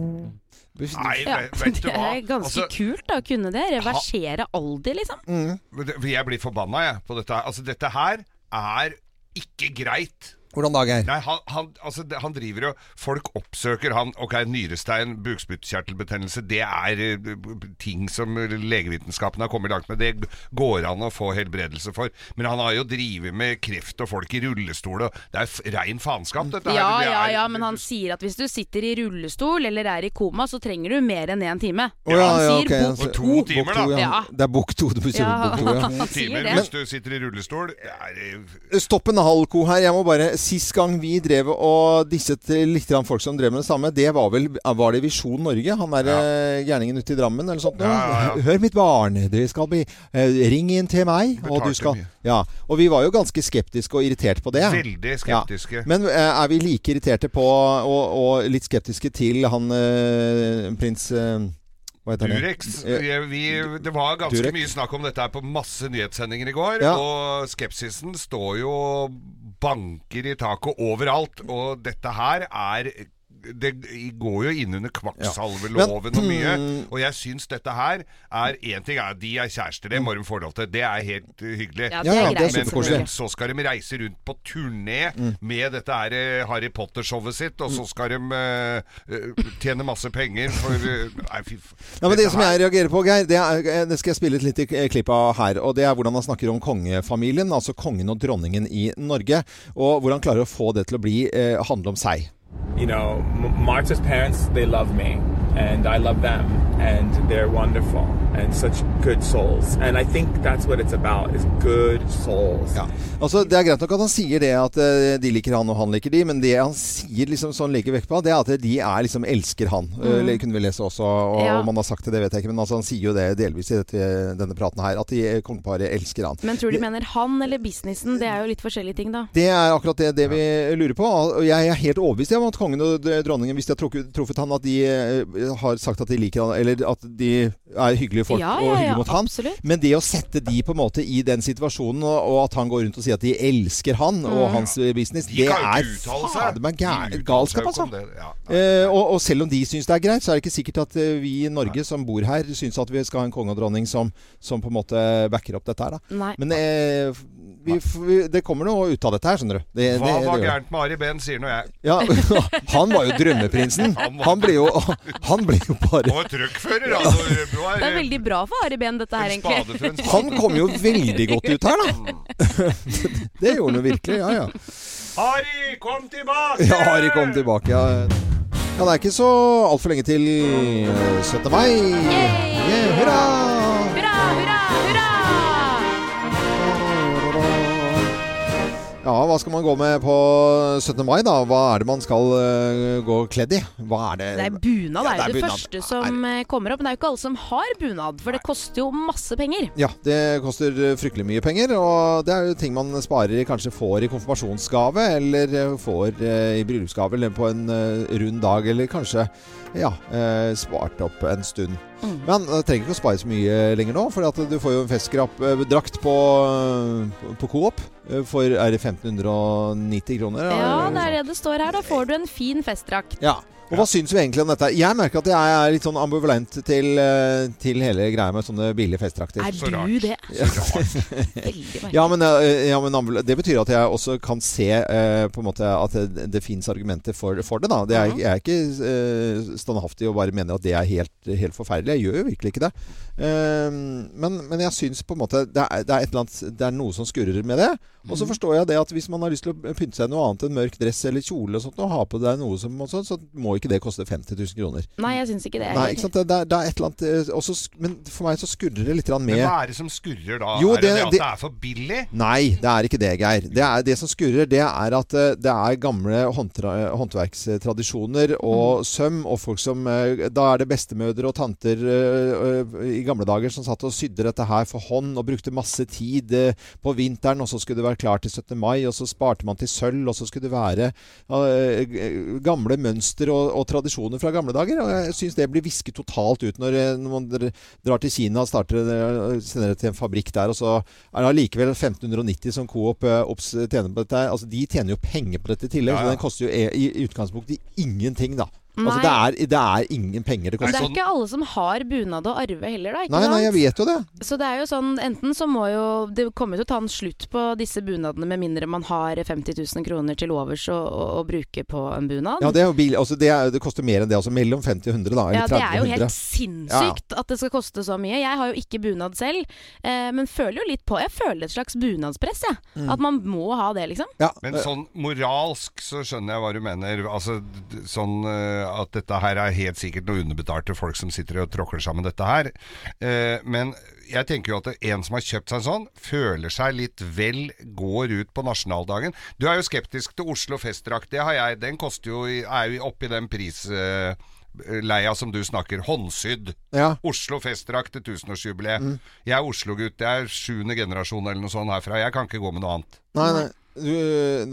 Speaker 2: Nei,
Speaker 3: Ja,
Speaker 2: ve- vet du
Speaker 3: det
Speaker 2: hva?
Speaker 3: er ganske
Speaker 2: Altså,
Speaker 3: kult da, å kunne det. Reversere alder, liksom.
Speaker 2: jeg blir forbanna, jeg, på dette her. Altså, dette her er ikke greit.
Speaker 1: Hvordan dag er
Speaker 2: Nei, han, han, altså, det- han driver og Folk oppsøker han. Ok, nyrestein, bukspyttkjertelbetennelse, det er eh, ting som legevitenskapen har kommet langt med. Det går an å få helbredelse for. Men han har jo drevet med kreft og folk i rullestol, og det er f- rein faenskap, dette her.
Speaker 3: Ja,
Speaker 2: Det
Speaker 3: ja,
Speaker 2: er-
Speaker 3: ja, men han sier at hvis du sitter i rullestol eller er i koma, så trenger du mer enn én time.
Speaker 1: Å, ja,
Speaker 3: han
Speaker 1: ja,
Speaker 3: sier
Speaker 1: ok,
Speaker 3: bok-
Speaker 1: han sier-
Speaker 2: Og to
Speaker 1: bok
Speaker 2: timer,
Speaker 1: to,
Speaker 2: da.
Speaker 1: ja.
Speaker 3: Ja.
Speaker 1: Det er bok to. Du sier
Speaker 3: Ja,
Speaker 1: bok to, ja.
Speaker 3: [LAUGHS] han sier
Speaker 2: Timer
Speaker 3: det.
Speaker 2: hvis du sitter i rullestol. Det er, eh,
Speaker 1: Stopp en halv ko her. Jeg må bare Sist gang vi drev og disset litt grann folk som drev med det samme, det var vel Var det Visjon Norge? Han der eh, gærningen ute i Drammen eller sånt? noe?
Speaker 2: Ja, ja, ja.
Speaker 1: Hør, mitt barn, dere skal bli eh, Ring inn til meg,
Speaker 2: Betalte
Speaker 1: og du skal
Speaker 2: mye.
Speaker 1: Ja. Og vi var jo ganske skeptiske og irritert på det.
Speaker 2: Veldig skeptiske.
Speaker 1: Ja. Men eh, er vi like irriterte på og, og litt skeptiske til han eh, prins eh, Hva heter det?
Speaker 2: Durex.
Speaker 1: Eh,
Speaker 2: Vi, vi- det var ganske
Speaker 1: Durex.
Speaker 2: mye snakk om dette her på masse nyhetssendinger i går.
Speaker 1: Ja.
Speaker 2: Og skepsisen står jo banker i taket overalt. Og dette her er det går jo inn under kvakksalveloven og mye.
Speaker 1: Mm.
Speaker 2: Og jeg syns dette her er Én ting er at de er kjærester, det må de få lov til. Det er helt uh, hyggelig.
Speaker 1: Ja, det er Ja, ja, det er greit.
Speaker 2: Men-
Speaker 1: superkoselig.
Speaker 2: Men så skal de reise rundt på turné
Speaker 1: Mm.
Speaker 2: med dette her eh, Harry Potter-showet sitt, og så skal de eh, eh, tjene masse penger for eh, Nei, fy f...
Speaker 1: Ja, men Det
Speaker 2: dette
Speaker 1: som
Speaker 2: her-
Speaker 1: jeg reagerer på, Geir, det, er, det skal jeg spille et lite eh, klipp av her. og Det er hvordan han snakker om kongefamilien, altså kongen og dronningen i Norge. Og hvordan han klarer å få det til å bli, eh, handle om seg.
Speaker 5: You know, M- Marta's parents, they love me, and I love them, and they're wonderful and such good souls. And I think that's what it's about is good souls.
Speaker 1: Altså, Det er greit nok at han sier det at eh, de liker han og han liker de, men det han sier liksom sånn like vekk på, det er at de er liksom elsker han. Eh,
Speaker 2: Mhm.
Speaker 1: Det kunne vi lese også, og
Speaker 4: Ja.
Speaker 1: om han har sagt det, det vet jeg ikke. Men altså, han sier jo det delvis i dette, denne praten her, at de eh, kongeparet elsker han.
Speaker 4: Men tror du de mener han eller businessen? Det er jo litt forskjellige ting, da.
Speaker 1: Det er akkurat det, det vi lurer på. Og jeg er helt overbevist om at kongen og dronningen, hvis de har trukket- truffet han, at de eh, har sagt at de liker han, eller at de er hyggelige folk
Speaker 4: Ja,
Speaker 1: og
Speaker 4: ja, ja,
Speaker 1: hyggelige mot han.
Speaker 4: absolutt.
Speaker 1: Men det å sette de på en måte i den situasjonen, og, og at han går rundt og sier at de elsker han og
Speaker 2: Mm.
Speaker 1: hans eh, business,
Speaker 2: De
Speaker 1: det
Speaker 2: kan jo ikke
Speaker 1: er
Speaker 2: uttale seg.
Speaker 1: fader meg
Speaker 2: De
Speaker 1: gæ-
Speaker 2: uttaler seg
Speaker 1: galskap,
Speaker 2: jo ikke
Speaker 1: altså.
Speaker 2: om det, ja.
Speaker 1: Eh, og, og selv om de syns det er greit, så er det ikke sikkert at eh, vi i Norge som bor her, syns at vi skal ha en konge og dronning som, som på en måte backer opp dette her. Da.
Speaker 4: Nei.
Speaker 1: Men eh, f- vi, f- vi, det kommer noe ut av dette her, skjønner du. Det, det-
Speaker 2: Hva
Speaker 1: det gjør
Speaker 2: var
Speaker 1: det.
Speaker 2: gærent med Ari Behn, sier nå jeg.
Speaker 1: [LAUGHS] Ja, han var jo drømmeprinsen.
Speaker 2: [LAUGHS] Han var-
Speaker 1: Han ble jo, [LAUGHS] han ble jo bare
Speaker 2: Og truckfører, altså. Det var,
Speaker 4: Det er veldig bra for Ari Behn, dette her,
Speaker 2: En spade for en
Speaker 4: egentlig.
Speaker 1: Han kom jo veldig godt ut her, da.
Speaker 2: [LAUGHS]
Speaker 1: [LAUGHS] Det gjorde han jo virkelig. Ja, ja.
Speaker 2: Ari, kom tilbake!
Speaker 1: Ja, Ari kom tilbake. Ja, ja det er ikke så altfor lenge til 17. mai. Yeah, hurra!
Speaker 4: Hurra, hurra, hurra!
Speaker 1: Ja, hva skal man gå med på 17. mai, da? Hva er det man skal eh, gå kledd i? Hva er det
Speaker 4: Det er bunad, det
Speaker 1: Ja,
Speaker 4: er jo det
Speaker 1: bunad.
Speaker 4: første som eh, kommer opp. Men det er jo ikke alle som har bunad, for det koster jo masse penger.
Speaker 1: Ja, det koster eh, fryktelig mye penger, og det er jo ting man sparer i, kanskje får i konfirmasjonsgave, eller eh, får eh, i bryllupsgave, eller på en eh, rund dag, eller kanskje ja, eh, spart opp en stund.
Speaker 4: Mm.
Speaker 1: Men eh, trenger ikke å spare så mye eh, lenger nå, for at du får jo en festdrakt på, eh, på Coop eh, for er det 1590 kroner.
Speaker 4: Ja,
Speaker 1: eller
Speaker 4: det er det det står her. Da får du en fin festdrakt.
Speaker 1: ja. Og hva syns vi egentlig om dette? Jeg merker at jeg er litt sånn ambivalent til, eh, til hele greia med sånne billige festdrakter.
Speaker 4: Er Så du rart. det?
Speaker 1: [LAUGHS] Ja. ja, men, eh, ja, men ambul- det betyr at jeg også kan se eh, på en måte at det, det fins argumenter for, for det. da. Det er, jeg er ikke eh, standhaftig og bare mener at det er helt, helt forferdelig. Jeg gjør jo virkelig ikke det. Eh, men, men jeg syns på en måte det er, det, er et eller annet, det er noe som skurrer med det. Og
Speaker 4: Mhm.
Speaker 1: så forstår jeg det at hvis man har lyst til å pynte seg i noe annet enn mørk dress eller kjole, og sånt, og ha på deg noe som, og sånt, så må ikke det koste 50 000 kroner.
Speaker 4: Nei, jeg syns ikke det.
Speaker 1: Nei, ikke sant? Det, det, er- det er et eller annet eh, også, sk- Men for meg så skurrer det litt grann
Speaker 2: Men
Speaker 1: med
Speaker 2: hva er det som skurrer da?
Speaker 1: Jo,
Speaker 2: er det,
Speaker 1: det-
Speaker 2: det at
Speaker 1: det-
Speaker 2: det er for billig?
Speaker 1: Nei, det er ikke det, Geir. Det, er, det som skurrer, det er at eh, det er gamle håndtra, håndverkstradisjoner og søm, og folk som eh, Da er det bestemødre og tanter eh, eh, i gamle dager som satt og sydde dette her for hånd og brukte masse tid eh, på vinteren, og så skulle det være klart til 17. mai, og så sparte man til sølv, og så skulle det være eh, g- gamle mønster og, og tradisjoner fra gamle dager. Og jeg syns det blir visket totalt ut når, eh, når man dr- drar til Kina og starter, eh, sender det til en fabrikk der, og så er det allikevel 1590 som Coop eh, Ops tjener på dette. her. Altså, de tjener jo penger på dette i tillegg,
Speaker 2: Ja, ja.
Speaker 1: så den koster jo e- i i utgangspunktet ingenting, da. Altså, det
Speaker 4: Nei.
Speaker 1: er, det er ingen penger det
Speaker 4: Men det
Speaker 1: koster.
Speaker 4: er ikke alle som har bunad og arve heller, da. Ikke
Speaker 1: Nei, nei,
Speaker 4: sant?
Speaker 1: jeg vet jo det.
Speaker 4: Så det er jo sånn, enten så må jo Det kommer jo til å ta en slutt på disse bunadene med mindre man har 50 000 kroner til overs å, å, å bruke på en bunad.
Speaker 1: Ja, det, er jo bil, altså, det, er, det koster mer enn det, altså. Mellom 50 og 100, da. Eller
Speaker 4: Ja, det
Speaker 1: 30
Speaker 4: er jo
Speaker 1: og 100.
Speaker 4: helt sinnssykt at det skal koste så mye. Jeg har jo ikke bunad selv, eh, men føler jo litt på Jeg føler et slags bunadspress, jeg.
Speaker 2: Mm.
Speaker 4: At man må ha det, liksom.
Speaker 1: Eh.
Speaker 2: Men sånn moralsk så skjønner jeg hva du mener. Altså d- sånn eh, at dette her er helt sikkert noe underbetalte folk som sitter og tråkler sammen dette her. Eh, men jeg tenker jo at en som har kjøpt seg en sånn, føler seg litt vel går ut på nasjonaldagen. Du er jo skeptisk til Oslo festdrakt, det har jeg. Den koster jo, i- er jo oppi den prisleia som du snakker. Håndsydd.
Speaker 1: Ja.
Speaker 2: Oslo festdrakt til tusenårsjubileet. Jeg er Oslo-gutt. Jeg er sjuende generasjon eller noe sånt herfra. Jeg kan ikke gå med noe annet.
Speaker 1: Nei, nei. du,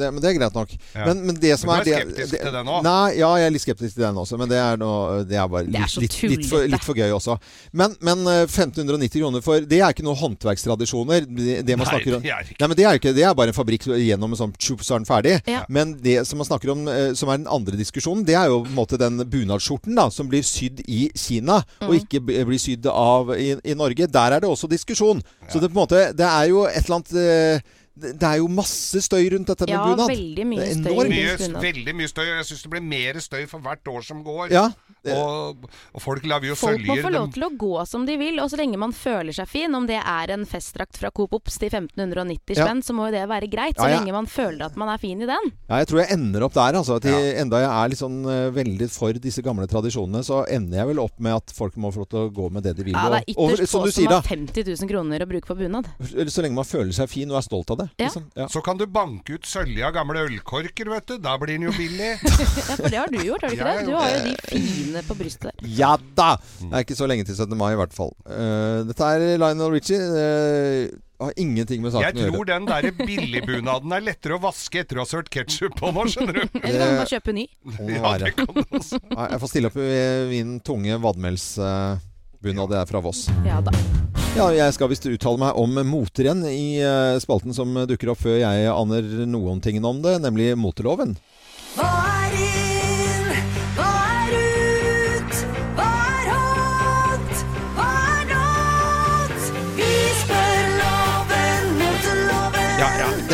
Speaker 1: det, men det er greit nok.
Speaker 2: Ja.
Speaker 1: Men, men det som
Speaker 2: Men
Speaker 1: er,
Speaker 2: du er
Speaker 1: det-
Speaker 2: skeptisk
Speaker 1: det-
Speaker 2: til den også?
Speaker 1: Nei, ja, jeg er litt skeptisk til den også. Men det er, noe, det er bare
Speaker 2: Det er
Speaker 1: litt,
Speaker 2: så
Speaker 1: litt, litt, for,
Speaker 2: tullete.
Speaker 1: litt for gøy også. Men, men eh, 1590 kroner for Det er ikke noen håndverkstradisjoner. Det, det man
Speaker 2: Nei,
Speaker 1: snakker om
Speaker 2: det er ikke.
Speaker 1: Nei, men det er ikke det. er bare en fabrikk gjennom en sånn tjup, så er den ferdig.
Speaker 2: Ja.
Speaker 1: Men det som man snakker om, eh, som er den andre diskusjonen, det er jo på en måte den bunadsskjorten da, som blir sydd i Kina, og
Speaker 3: Mm.
Speaker 10: Mhm.
Speaker 1: ikke b- blir sydd av i, i Norge. Der er det også diskusjon. Så det, på en måte, det er jo et eller annet eh, det det er jo masse støy rundt dette med
Speaker 3: Ja,
Speaker 1: bunad.
Speaker 3: veldig mye
Speaker 1: Det er
Speaker 3: støy
Speaker 1: enormt.
Speaker 3: rundt
Speaker 2: Mye, veldig mye støy, og jeg syns det blir mer støy for hvert år som går.
Speaker 1: Ja.
Speaker 2: Og, og folk lager jo
Speaker 3: Folk må
Speaker 2: søljer.
Speaker 3: få lov
Speaker 2: dem-
Speaker 3: til å gå som de vil, og så lenge man føler seg fin, om det er en festdrakt fra Coop Ops til 1590
Speaker 1: Ja.
Speaker 3: spenn, så må jo det være greit,
Speaker 1: Ja,
Speaker 3: så
Speaker 1: ja.
Speaker 3: lenge man føler at man er fin i den.
Speaker 1: Ja, jeg tror jeg ender opp der. Altså, at jeg, Enda jeg er litt sånn eh, veldig for disse gamle tradisjonene, så ender jeg vel opp med at folk må få lov til å gå med det de vil.
Speaker 3: Ja, det er
Speaker 1: og- og-
Speaker 3: ytterst
Speaker 1: som du
Speaker 3: få som
Speaker 1: sier, da,
Speaker 3: har 50 000 kroner å bruke på bunad.
Speaker 1: så lenge man føler seg fin og er stolt av det.
Speaker 3: Ja.
Speaker 1: Liksom. Ja.
Speaker 2: Så kan du banke ut sølje av gamle ølkorker, vet du. Da blir den jo billig.
Speaker 1: [LAUGHS]
Speaker 3: Ja, for det har du gjort, har du
Speaker 2: Jeg
Speaker 3: ikke det?
Speaker 2: har
Speaker 3: Du
Speaker 2: gjort
Speaker 3: har jo de fine på brystet der.
Speaker 1: Ja da! Det er ikke så lenge til 17. mai, i hvert fall. Eh, dette er Lionel Richie. eh, har ingenting med
Speaker 2: Jeg
Speaker 1: saken å gjøre.
Speaker 2: tror den derre billigbunaden er lettere å vaske etter å ha sølt ketsjup på nå, skjønner du.
Speaker 1: Eller kan du bare
Speaker 3: kjøpe ny.
Speaker 2: [LAUGHS] Ja, det kan du også.
Speaker 1: Nei, Jeg får stille opp i min tunge vadmelsbunad. Det er fra Voss.
Speaker 3: Ja da.
Speaker 1: Ja, jeg skal visst uttale meg om moterenn i eh, spalten som dukker opp før jeg aner noen ting om det, nemlig moteloven.
Speaker 11: Hva er inn? Hva er ut? Hva er hot? Hva er not? Vi spør loven mot loven.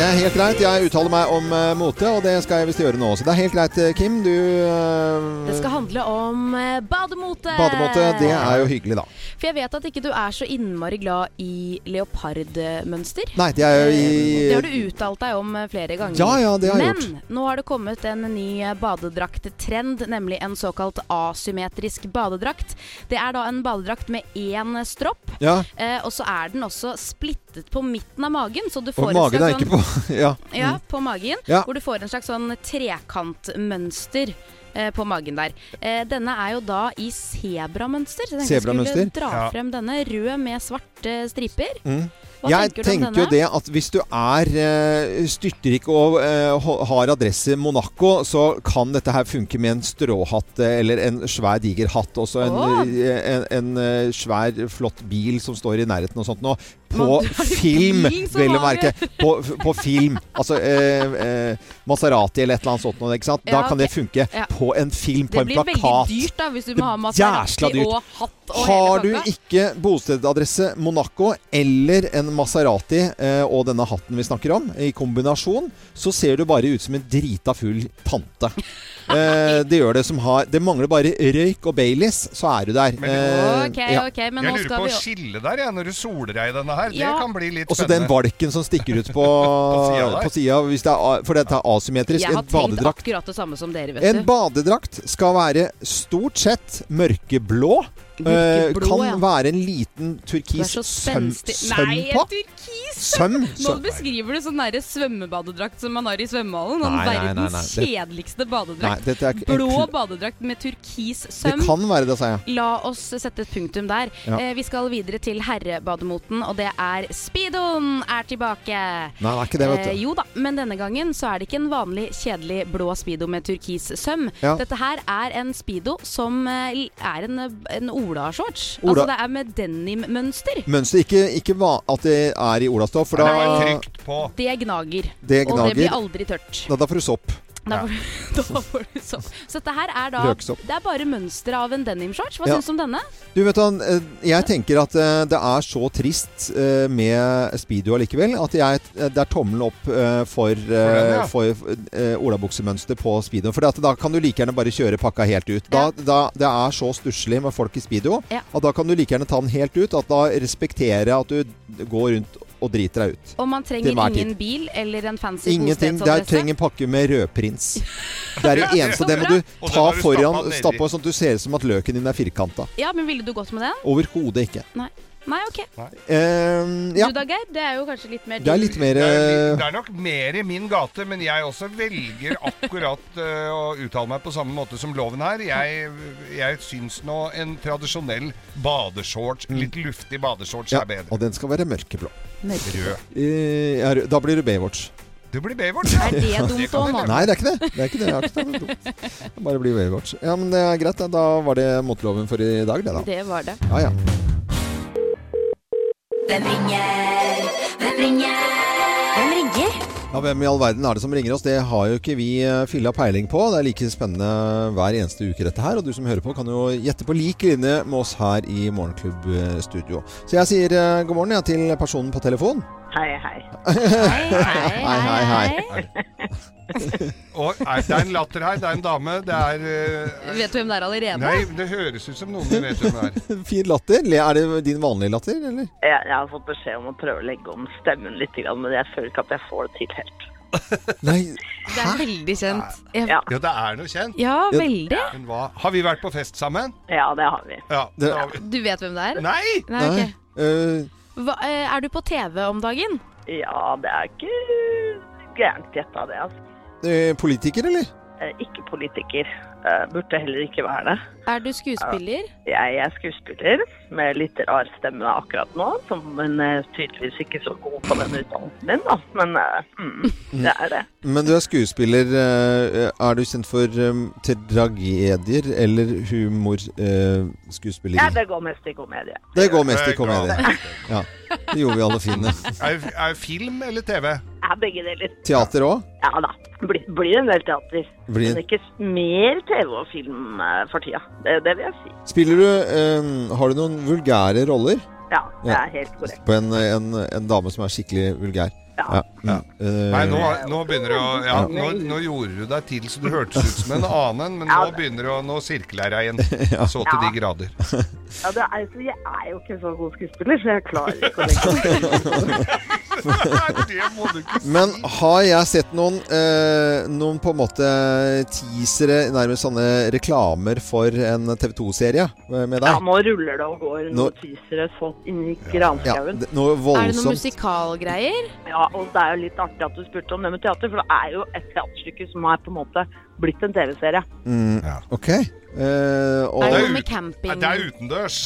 Speaker 1: Det er helt greit. Jeg uttaler meg om eh, mote, og det skal jeg visst gjøre nå også. Det er helt greit, eh, Kim. Du eh,
Speaker 3: Det skal handle om eh, bademote!
Speaker 1: Bademote, det er jo hyggelig, da.
Speaker 3: For jeg vet at ikke du er så innmari glad i leopardmønster. Eh,
Speaker 1: Nei, det er jo i
Speaker 3: Det har du uttalt deg om eh, flere ganger.
Speaker 1: Ja, ja, det har jeg
Speaker 3: Men nå har det kommet en ny eh, badedrakttrend, nemlig en såkalt asymmetrisk badedrakt. Det er da en badedrakt med én eh, stropp,
Speaker 1: Ja.
Speaker 3: eh, og så er den også splittet på midten av magen. Så du får
Speaker 1: Og
Speaker 3: en
Speaker 1: magen er
Speaker 3: slags
Speaker 1: ikke på [LAUGHS] Ja.
Speaker 3: ja, på magen.
Speaker 1: Mm. Ja.
Speaker 3: Hvor du får en slags sånn trekantmønster eh, på magen der. Eh, denne er jo da i sebramønster. Så jeg tenkte jeg skulle
Speaker 1: Sebramønster?
Speaker 3: dra
Speaker 1: Ja.
Speaker 3: frem denne. Rød med svarte striper.
Speaker 1: Mm.
Speaker 3: Hva
Speaker 1: Jeg
Speaker 3: tenker
Speaker 1: tenker,
Speaker 3: du om
Speaker 1: jo
Speaker 3: denne?
Speaker 1: det at hvis du er eh, styrtrik og eh, ho- har adresse i Monaco, så kan dette her funke med en stråhatt eh, eller en svær diger hatt. Og så en,
Speaker 3: Åh!
Speaker 1: eh, en, en eh, svær, flott bil som står i nærheten og sånt nå. På
Speaker 3: Man drar i
Speaker 1: film,
Speaker 3: bilen som
Speaker 1: [LAUGHS] vel å
Speaker 3: vanlig.
Speaker 1: merke. På, på film. Altså eh, eh, Maserati eller et eller annet sånt noe. Ikke sant? Da
Speaker 3: Ja,
Speaker 1: kan det
Speaker 3: ok.
Speaker 1: funke
Speaker 3: Ja.
Speaker 1: på en film, på
Speaker 3: Det
Speaker 1: en
Speaker 3: blir veldig
Speaker 1: plakat.
Speaker 3: dyrt da, hvis du må ha
Speaker 1: Jæsla
Speaker 3: Maserati
Speaker 1: dyrt.
Speaker 3: og hatt og
Speaker 1: Har du
Speaker 3: hele pakka.
Speaker 1: ikke bostedadresse Monaco eller en Maserati eh, og denne hatten vi snakker om, i kombinasjon, så ser du bare ut som en drita full
Speaker 3: [LAUGHS]
Speaker 1: tante. Eh, det gjør det som har Det mangler bare røyk og Baileys, så er du der. Eh,
Speaker 3: Ok,
Speaker 1: ja.
Speaker 3: ok, men
Speaker 2: jeg
Speaker 3: nå
Speaker 2: lurer
Speaker 3: skal
Speaker 2: på
Speaker 3: vi
Speaker 2: å
Speaker 3: jo
Speaker 2: skille der, jeg, når du soler deg i denne her.
Speaker 3: Ja.
Speaker 2: Det kan bli litt
Speaker 1: Og så den
Speaker 2: spennende.
Speaker 1: valken som stikker
Speaker 2: [LAUGHS]
Speaker 1: ut på,
Speaker 2: siden der.
Speaker 1: på sida, hvis det er a- for dette er asymmetrisk.
Speaker 3: Jeg har
Speaker 1: En
Speaker 3: tenkt
Speaker 1: badedrakt
Speaker 3: akkurat det samme som dere, vet
Speaker 1: En
Speaker 3: du.
Speaker 1: badedrakt skal være stort sett mørkeblå. Eh,
Speaker 3: Mørkeblå,
Speaker 1: kan
Speaker 3: ja.
Speaker 1: være en liten
Speaker 3: Du er
Speaker 1: turkis
Speaker 3: så
Speaker 1: søm,
Speaker 3: spenstig.
Speaker 1: søm
Speaker 3: Nei,
Speaker 1: på.
Speaker 3: en turkis!
Speaker 1: Søm?
Speaker 3: Nå
Speaker 1: Søm.
Speaker 3: beskriver du sånn nære svømmebadedrakt som man har i svømmehallen.
Speaker 1: Nei,
Speaker 3: Den
Speaker 1: nei, nei, nei,
Speaker 3: verdens
Speaker 1: det-
Speaker 3: kjedeligste
Speaker 1: Nei,
Speaker 3: badedrakt.
Speaker 1: dette er ikke-
Speaker 3: Blå
Speaker 1: en kul-
Speaker 3: badedrakt med turkis
Speaker 1: Det
Speaker 3: søm.
Speaker 1: kan være det, sa jeg.
Speaker 3: La oss sette et punktum der.
Speaker 1: Ja.
Speaker 3: Eh, vi skal videre til herrebademoten, og det er speedoen er tilbake.
Speaker 1: Nei, det er ikke det, vet du.
Speaker 3: Eh, jo da, men denne gangen så er det ikke en vanlig kjedelig blå speedo med turkis søm.
Speaker 1: Ja.
Speaker 3: Dette her er en speedo som eh, er en, en Ola-shorts.
Speaker 1: Ola.
Speaker 3: Altså det er med denimmønster.
Speaker 1: Mønster ikke, ikke va at det er i olastoff, for da
Speaker 3: Det gnager.
Speaker 1: Det
Speaker 3: Og
Speaker 1: gnager.
Speaker 3: det blir aldri tørt.
Speaker 1: Da, da får du sopp.
Speaker 3: Da får, da får du [LAUGHS] sopp. Så dette her er da
Speaker 1: Løksopp.
Speaker 3: Det er bare mønsteret av en denimshorts. Hva
Speaker 1: Ja.
Speaker 3: syns du om denne?
Speaker 1: Du vet han, eh, Jeg tenker at eh, det er så trist eh, med speedo allikevel at jeg, det er tommelen opp eh, for,
Speaker 2: den, ja.
Speaker 1: eh, for eh, olabuksemønster på speedoen. For at da kan du like gjerne bare kjøre pakka helt ut. Da, da, det er så stusslig med folk i speedo at da kan du like gjerne ta den helt ut. At da respekterer jeg at du går rundt og driter deg ut.
Speaker 3: Og man trenger
Speaker 1: Til hver tid.
Speaker 3: ingen bil eller en fancy sånn
Speaker 1: Ingenting. Der
Speaker 3: bostedsadresse.
Speaker 1: trenger en pakke med rødprins. Det er
Speaker 3: [LAUGHS]
Speaker 1: det eneste. Det må
Speaker 3: bra.
Speaker 1: du
Speaker 2: Og den
Speaker 1: ta
Speaker 2: har du stappet
Speaker 1: foran,
Speaker 2: nedi.
Speaker 1: stappe på sånn at du ser ut som at løken din er firkanta.
Speaker 3: Ja, men ville du gått med den?
Speaker 1: Overhodet ikke.
Speaker 3: Nei. Nei, ok.
Speaker 1: Eh, ja.
Speaker 3: Du da, Geir? Det er jo kanskje litt mer
Speaker 1: Det er litt mer
Speaker 2: Det er, litt-
Speaker 1: eh,
Speaker 2: det er nok mer i min gate, men jeg også velger akkurat [LAUGHS] eh, å uttale meg på samme måte som loven her. Jeg, jeg syns nå en tradisjonell badeshorts, litt luftig badeshorts,
Speaker 1: ja,
Speaker 2: er bedre.
Speaker 1: Og den skal være mørkeblå.
Speaker 2: Mørkeblå.
Speaker 1: Eh, ja, rød. da blir det Baywatch.
Speaker 2: Du blir Baywatch, ja.
Speaker 1: Er
Speaker 3: [LAUGHS]
Speaker 1: det
Speaker 2: kan
Speaker 4: [LAUGHS]
Speaker 1: dumt
Speaker 2: vi
Speaker 1: også,
Speaker 2: lage.
Speaker 1: nå? Nei, det er ikke det. Det er ikke det. Jeg har ikke noe dumt. Det Bare bli Baywatch. Ja, men det er greit. da. Da var det moteloven for i dag, det da.
Speaker 4: Det var det.
Speaker 1: Ja, ja.
Speaker 7: Hvem ringer? Hvem ringer? Hvem ringer?
Speaker 1: Ja, Hvem i all verden er det som ringer oss? Det har jo ikke vi eh, fylla peiling på. Det er like spennende hver eneste uke, dette her. Og du som hører på, kan jo gjette på lik linje med oss her i Morgenklubb-studio. Så jeg sier eh, god morgen ja, til personen på telefon. [LAUGHS]
Speaker 11: Hei, hei.
Speaker 1: hei, hei, hei.
Speaker 2: Og er det er en latter her, det er en dame, det er eh,
Speaker 4: Vet du hvem det er allerede?
Speaker 2: Nei, det høres ut som noen du vet hvem er.
Speaker 1: Fin latter. Le- Er det din vanlige latter, eller?
Speaker 11: Jeg, jeg har fått beskjed om å prøve å legge om stemmen litt, grann, men jeg føler ikke at jeg får det til helt.
Speaker 4: Det er veldig kjent. Jeg,
Speaker 2: Ja, det er noe kjent.
Speaker 4: Ja, veldig.
Speaker 2: Men hva? Har vi vært på fest sammen?
Speaker 11: Ja, det har vi.
Speaker 2: Ja, det har vi.
Speaker 4: Du vet hvem det er?
Speaker 2: Nei!
Speaker 4: Nei, ok.
Speaker 1: Eh,
Speaker 4: Hva, eh, er du på TV om dagen?
Speaker 11: Ja, det er ikke gærent gjetta, det. altså.
Speaker 1: eh, politiker, eller?
Speaker 11: Eh, Ikke politiker. Eh, Burde heller ikke være det.
Speaker 4: Er du skuespiller?
Speaker 11: Jeg er skuespiller med litt rar stemme akkurat nå, som, men eh, tydeligvis ikke så god på den utdannelsen min, da. Men eh, mm, det er det.
Speaker 1: Men du er skuespiller. eh, Er du kjent for eh, tragedier eller
Speaker 11: Ja,
Speaker 1: humorskuespilleri?
Speaker 11: det går mest i komedie.
Speaker 1: Det går mest i
Speaker 2: Det går.
Speaker 1: komedie. Ja, det gjorde vi alle fine.
Speaker 2: Er, er film eller TV?
Speaker 11: Ja, begge deler.
Speaker 1: Teater òg?
Speaker 11: Ja da. Blir, blir en del teater.
Speaker 1: Blir-
Speaker 11: Men ikke mer TV og film eh, for tida. Det, det vil jeg si.
Speaker 1: Spiller du eh, Har du noen vulgære roller?
Speaker 11: Ja, det
Speaker 1: Ja.
Speaker 11: er helt korrekt.
Speaker 1: På en, en, en dame som er skikkelig vulgær? Ja. Mm. Eh,
Speaker 2: Nei, nå, nå begynner det å ja, nå, nå gjorde du deg til så du hørtes ut som en annen, men nå begynner det å Nå sirkler jeg [LAUGHS] igjen. Så til de grader.
Speaker 11: Ja, det er, altså, jeg er jo ikke så god skuespiller, så jeg klarer ikke å
Speaker 1: [LAUGHS]
Speaker 11: legge
Speaker 2: det må du ikke
Speaker 1: Men har jeg sett noen, eh, noen på en måte teasere, nærmest sånne reklamer for en TV 2-serie med deg?
Speaker 11: Ja, nå ruller det og går. Nå
Speaker 1: Nå-
Speaker 11: pyser det sånn inni
Speaker 1: Ja,
Speaker 11: granskauen.
Speaker 1: det- noe
Speaker 4: Er det noen
Speaker 1: voldsomt.
Speaker 4: musikalgreier?
Speaker 11: Ja, og det er jo litt artig at du spurte om det med teater, for det er jo et teaterstykke som er på en måte blitt en TV-serie.
Speaker 1: Mm, ok. Eh, og,
Speaker 4: Er det noe med camping?
Speaker 2: Det er utendørs.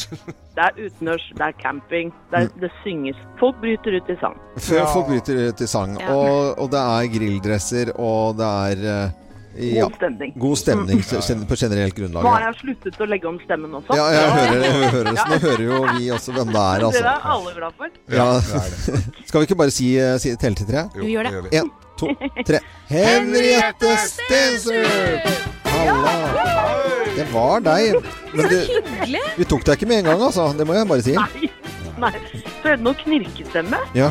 Speaker 11: Det er utendørs, det er camping, det,
Speaker 1: Mm.
Speaker 11: er, det synges. Folk bryter ut i sang.
Speaker 1: før folk bryter ut i sang.
Speaker 11: Ja.
Speaker 1: Og, og det er grilldresser, og det er eh,
Speaker 11: God stemning.
Speaker 1: God stemning
Speaker 11: Mm.
Speaker 1: gen- på generelt grunnlag.
Speaker 11: Nå har
Speaker 1: Ja,
Speaker 11: jeg sluttet å legge om stemmen også.
Speaker 1: ja jeg hører, jeg hører, det.
Speaker 11: Ja.
Speaker 1: så nå hører jo vi også hvem det er,
Speaker 11: Det er
Speaker 1: altså.
Speaker 11: alle glad for.
Speaker 2: [LAUGHS]
Speaker 1: Ja.
Speaker 11: [LAUGHS]
Speaker 1: Skal vi ikke bare si, eh, si telle til tre?
Speaker 11: Jo, Vi gjør det gjør vi.
Speaker 1: En, to, tre. Henriette Stensrup! Halla! Det var deg. Men du,
Speaker 11: Hyggelig.
Speaker 1: vi tok deg ikke med en gang, altså. Det må jeg bare si.
Speaker 11: Nei, så er det noe knirkestemme.
Speaker 1: Ja.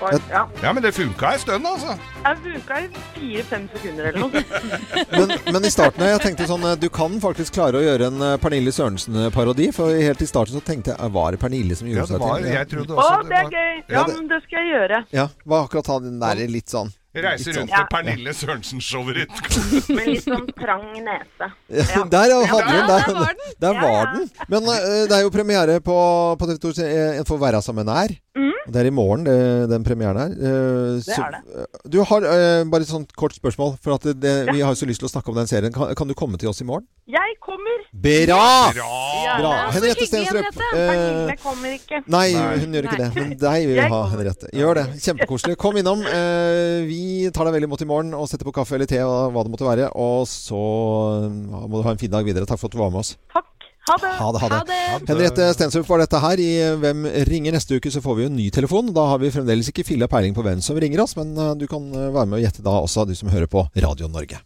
Speaker 11: Var- Ja.
Speaker 2: Ja, men det funka en stund, altså.
Speaker 11: Jeg bruka i fire-fem sekunder eller noe.
Speaker 1: Men, men i starten her, jeg tenkte sånn eh, Du kan faktisk klare å gjøre en eh, Pernille Sørensen-parodi. For helt i starten så tenkte jeg eh, Var det Pernille som gjorde
Speaker 2: Ja, det var-
Speaker 1: seg til
Speaker 2: jeg trodde
Speaker 11: Å,
Speaker 2: også det
Speaker 11: det er
Speaker 2: var-
Speaker 11: gøy!
Speaker 1: [LAUGHS] Ja,
Speaker 11: Ja,
Speaker 1: det-
Speaker 11: men det skal jeg
Speaker 1: [LAUGHS]
Speaker 11: gjøre.
Speaker 1: Ja, var akkurat han den der litt sånn
Speaker 2: Reiser
Speaker 1: litt sånn-
Speaker 2: rundt med Pernille Sørensen-showet ditt.
Speaker 9: [LAUGHS]
Speaker 11: Med litt sånn trang nese.
Speaker 1: Ja. [LAUGHS] Der ja, hadde
Speaker 11: Ja,
Speaker 1: hun der,
Speaker 11: der var
Speaker 1: den! Der var den. Men eh, det er jo premiere på, på TV 2 En får være som en er. Og Det er i morgen, det, den premieren her. Eh,
Speaker 7: Det
Speaker 1: så-
Speaker 7: er
Speaker 1: eh, Du har eh, bare et sånt kort spørsmål, for at det, det, vi har jo så lyst til å snakke om den serien. Kan, kan du komme til oss i morgen?
Speaker 11: Jeg kommer.
Speaker 1: Bra!
Speaker 11: Gjerne.
Speaker 1: Bra. Henriette Stenstrup. eh,
Speaker 11: Pernille kommer ikke.
Speaker 1: Nei, hun gjør ikke det. Men deg vil vi
Speaker 11: Jeg
Speaker 1: ha,
Speaker 11: kommer.
Speaker 1: Henriette. Gjør det. Kjempekoselig. Kom innom. Eh, Vi tar deg vel imot i morgen og setter på kaffe eller te og hva det måtte være. Og så eh, må du ha en fin dag videre. Takk for at du var med oss.
Speaker 11: Ha det.
Speaker 1: Ha det, ha det. Henriette Stensrup var dette her. I Hvem ringer neste uke, så får vi jo en ny telefon. Da har vi fremdeles ikke filla peiling på hvem som ringer oss, men eh, du kan eh, være med og gjette da også, du som hører på Radio Norge.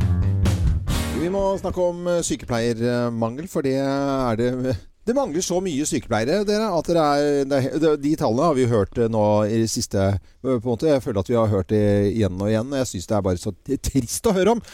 Speaker 1: Vi må snakke om eh, sykepleiermangel, for det er det [LAUGHS] det mangler så mye sykepleiere, dere, at det er, det er, det- de tallene har vi jo hørt eh, nå i det siste eh, på en måte. Jeg føler at vi har hørt det igjen og igjen. og Jeg syns det er bare så t- trist å høre om.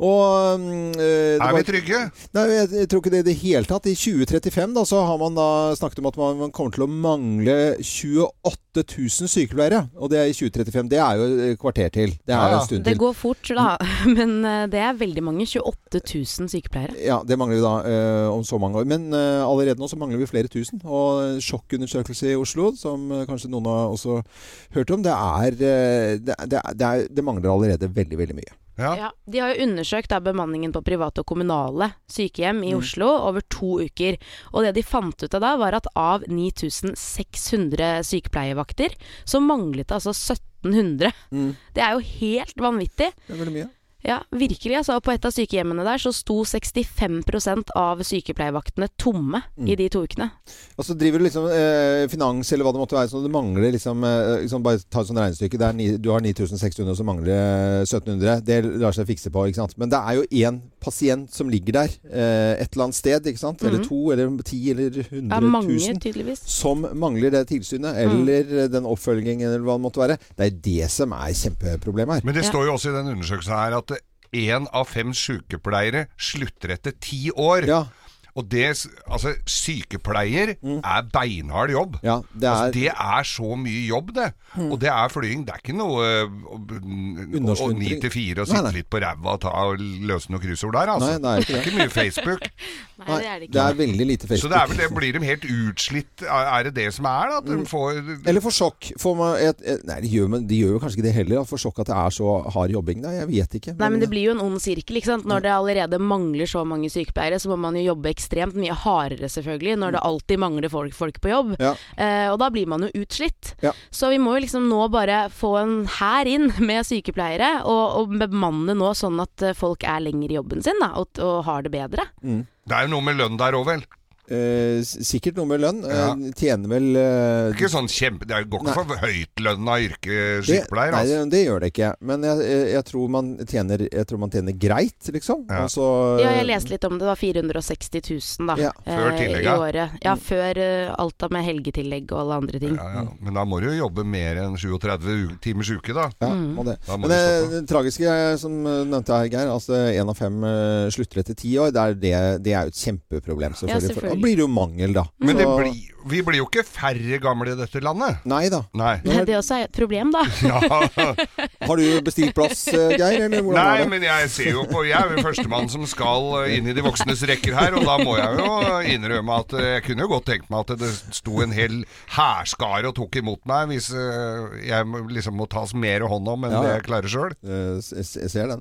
Speaker 1: Og, mm, eh, det
Speaker 2: Er vi
Speaker 1: var-
Speaker 2: trygge?
Speaker 1: Nei, jeg, jeg tror ikke det i det hele tatt. I 2035 da, så har man da snakket om at man, man kommer til å mangle 28 000 sykepleiere. Og det er i 2035. Det er jo et kvarter til. Det er jo en stund
Speaker 4: Det
Speaker 1: til.
Speaker 4: går fort, da. [LAUGHS] Men eh, det er veldig mange. 28 000 sykepleiere.
Speaker 1: Ja, det mangler vi da eh, om så mange år. Men eh, allerede nå så mangler vi flere tusen. Og sjokkundersøkelse i Oslo, som eh, kanskje noen har også hørt om, det er, eh, det, det, er- det, er, det mangler allerede veldig, veldig mye.
Speaker 4: Ja, de har jo undersøkt da, bemanningen på private og kommunale sykehjem i
Speaker 1: Mm.
Speaker 4: Oslo over to uker. Og det de fant ut av da, var at av 9600 sykepleievakter, så manglet det altså 17
Speaker 3: 1800.
Speaker 1: Mm.
Speaker 3: Det er jo helt vanvittig.
Speaker 1: Det er veldig mye.
Speaker 3: Ja, virkelig. Altså, på et av sykehjemmene der så sto 65 av sykepleiervaktene tomme
Speaker 1: Mm.
Speaker 3: i de to ukene.
Speaker 1: Og så driver du liksom eh, finans eller hva det måtte være, så det mangler liksom, eh, liksom Bare ta et sånt regnestykke. Det er ni, du har 9600, og så mangler det 1700. Det lar seg fikse på, ikke sant. Men det er jo én pasient som ligger der eh, et eller annet sted, ikke sant. Eller
Speaker 3: Mhm.
Speaker 1: to, eller ti, eller 100
Speaker 3: Ja, mange,
Speaker 1: 000.
Speaker 3: Mm. tydeligvis.
Speaker 1: Som mangler det tilsynet, eller den oppfølgingen, eller hva det måtte være. Det er det som er kjempeproblemet her.
Speaker 2: Men det står jo også i den undersøkelsen her at én av fem sykepleiere slutter etter ti år. Og det, s- altså, sykepleier er beinhard jobb.
Speaker 1: Mm. det, er... Mm.
Speaker 2: Altså, det er så mye jobb, det. Og det er flying. Det er ikke noe eh, å- å- å- å ni
Speaker 1: Undersluntring.
Speaker 2: til fire og
Speaker 1: Nei,
Speaker 2: sitte
Speaker 1: nei.
Speaker 2: litt på ræva og, ta- og løse noen kryssord der, altså.
Speaker 1: Nei, det er ikke
Speaker 2: det er
Speaker 1: det.
Speaker 2: ikke mye
Speaker 1: [LAUGHS]
Speaker 2: Facebook.
Speaker 1: Nei, det er det ikke. Det er veldig lite Facebook.
Speaker 2: Så det er vel, det blir de helt utslitt. Er er det det som er, da? At
Speaker 1: Mm.
Speaker 2: de får
Speaker 1: Eller for sjokk. Får man et, et, nei, de gjør, men de gjør jo kanskje ikke det heller. da, For sjokk at det er så hard jobbing. Nei, jeg vet ikke.
Speaker 3: Nei, men Det blir jo en ond sirkel. ikke sant? Når det allerede mangler så mange sykepleiere, så må man jo jobbe ekstremt mye hardere, selvfølgelig, når det alltid mangler folk, folk på jobb.
Speaker 1: Ja.
Speaker 3: Eh, og da blir man jo utslitt.
Speaker 1: Ja.
Speaker 3: Så vi må jo liksom nå bare få en hær inn [LAUGHS] med sykepleiere, og, og bemanne nå sånn at eh, folk er lenger i jobben sin da, og, og har det bedre.
Speaker 2: Det er jo noe med lønn der òg, vel?
Speaker 1: Eh, s- sikkert noe med lønn. Eh, tjener vel eh,
Speaker 2: Ikke sånn kjempe, det går ikke for høytlønna yrke
Speaker 1: det-
Speaker 2: sykepleier,
Speaker 1: Nei,
Speaker 2: altså.
Speaker 1: det, det gjør det ikke. Men jeg, jeg, jeg, tror, man tjener, jeg tror man tjener greit, liksom. Og så-
Speaker 3: Ja, jeg leste litt om det. Det var 460 000 da,
Speaker 1: Ja. Før
Speaker 3: eh,
Speaker 2: tillegget.
Speaker 3: i året. Ja, før eh, alt da med helgetillegg og alle andre ting.
Speaker 2: Ja, men da må du jo jobbe mer enn 37 u- timers uke, da.
Speaker 1: Ja,
Speaker 3: Mm.
Speaker 1: må det.
Speaker 2: Da må
Speaker 1: Men
Speaker 2: du
Speaker 1: det,
Speaker 2: stoppe.
Speaker 1: det tragiske eh, som eh, nevnte her, Geir, altså én av fem eh, slutter etter ti år. Det er, det, det er jo et kjempeproblem, selvfølgelig. For,
Speaker 2: selvfølgelig.
Speaker 1: da blir det jo mangel, da.
Speaker 3: Mm.
Speaker 2: Men det
Speaker 1: Så-
Speaker 2: blir, vi blir jo ikke færre gamle i dette landet.
Speaker 1: Nei da. [LAUGHS]
Speaker 2: Nei.
Speaker 3: [LAUGHS] Det også er et problem, da.
Speaker 1: Har du bestilt plass, eh, Geir? Eller hvordan
Speaker 2: Nei,
Speaker 1: er det?
Speaker 2: men jeg ser jo på Jeg er jo førstemann som skal eh, inn i de voksnes rekker her, og da må jeg jo innrømme at eh, jeg kunne jo godt tenkt meg at det sto en hel hærskare og tok imot meg, hvis eh, jeg må- liksom må tas mer hånd om enn
Speaker 1: Ja,
Speaker 2: det
Speaker 1: ja.
Speaker 2: jeg klarer sjøl.
Speaker 1: Eh, Jeg ser den.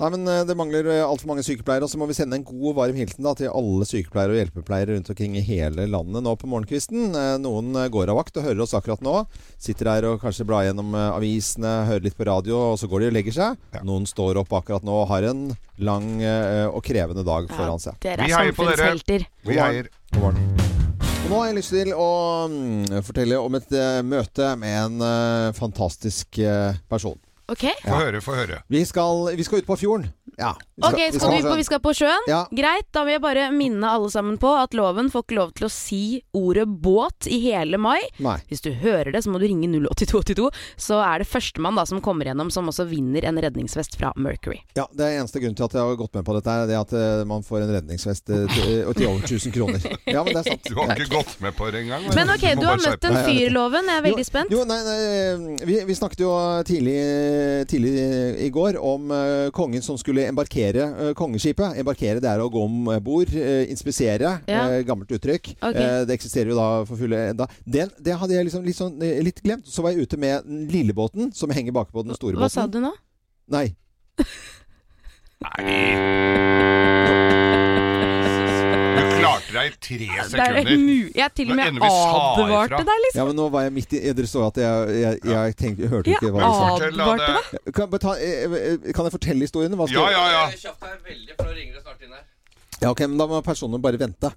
Speaker 1: Nei, men eh, det mangler eh, altfor mange sykepleiere. Og så må vi sende en god og varm hilsen da, til alle sykepleiere og hjelpepleiere rundt omkring i hele landet nå på morgenkvisten. Eh, Noen eh, går av vakt og hører oss akkurat nå. Sitter der og kanskje blar gjennom eh, avisene, hører litt på radio, og så går de og legger seg. Noen står opp akkurat nå og har en lang eh, og krevende dag foran seg.
Speaker 3: dere er Vi heier på dere. samfunnshelter. Vi
Speaker 1: God morgen.
Speaker 2: heier.
Speaker 1: God morgen. Og nå har jeg lyst til å mm, fortelle om et eh, møte med en eh, fantastisk eh, person.
Speaker 3: Ok?
Speaker 2: Få høre, få høre.
Speaker 1: Vi skal, vi skal ut på fjorden. Ja. Vi
Speaker 3: Ok, skal vi, på, vi skal på sjøen?
Speaker 1: Ja.
Speaker 3: Greit, da vil jeg bare minne alle sammen på at loven får ikke lov til å si ordet båt i hele mai.
Speaker 1: Nei.
Speaker 3: Hvis du hører det, så må du ringe 08282, så er det førstemann da som kommer gjennom som også vinner en redningsvest fra Mercury.
Speaker 1: Ja, det er eneste grunnen til at jeg har gått med på dette, her, det er at eh, man får en redningsvest eh, til, eh, til over 1000 kroner. Ja, men det er
Speaker 2: [LAUGHS]
Speaker 1: sant.
Speaker 2: Du har ikke gått med på det engang.
Speaker 3: Men ok,
Speaker 2: må
Speaker 3: du har
Speaker 2: bare
Speaker 3: møtt [LAUGHS]
Speaker 2: skjerpe
Speaker 3: en
Speaker 2: deg.
Speaker 3: fyr, Loven. Jeg er veldig spent.
Speaker 1: Jo, nei, nei, vi, vi snakket jo eh, tidlig, tidlig i går om eh, kongen som skulle embarkere eh, kongeskipet. Embarkere det er å gå om bord, eh, inspisere.
Speaker 10: Ja.
Speaker 1: eh, gammelt uttrykk.
Speaker 10: Ok.
Speaker 1: Eh, det eksisterer jo da for fulle enda. Den, det hadde jeg liksom litt, sånn, eh, litt glemt. Så var jeg ute med den lille båten, som henger bakpå den store båten.
Speaker 3: Hva sa du nå?
Speaker 1: Nei.
Speaker 2: Du klarte deg i tre
Speaker 3: Det er
Speaker 2: sekunder.
Speaker 3: mu- Jeg til
Speaker 2: Nå
Speaker 3: og med
Speaker 2: ender vi sa
Speaker 3: advarte
Speaker 2: ifra.
Speaker 3: deg, liksom.
Speaker 1: Ja, men nå var jeg midt i eh, Dere så at jeg, jeg, jeg tenkte, jeg hørte
Speaker 3: Ja, Ah,
Speaker 1: ikke hva jeg sa.
Speaker 3: advarte Advarte
Speaker 1: Kan, jeg bare ta- eh, eh, kan jeg fortelle historien? Hva skal-
Speaker 2: Ja, ja, ja.
Speaker 1: Ja, ok, men Da må personene bare vente.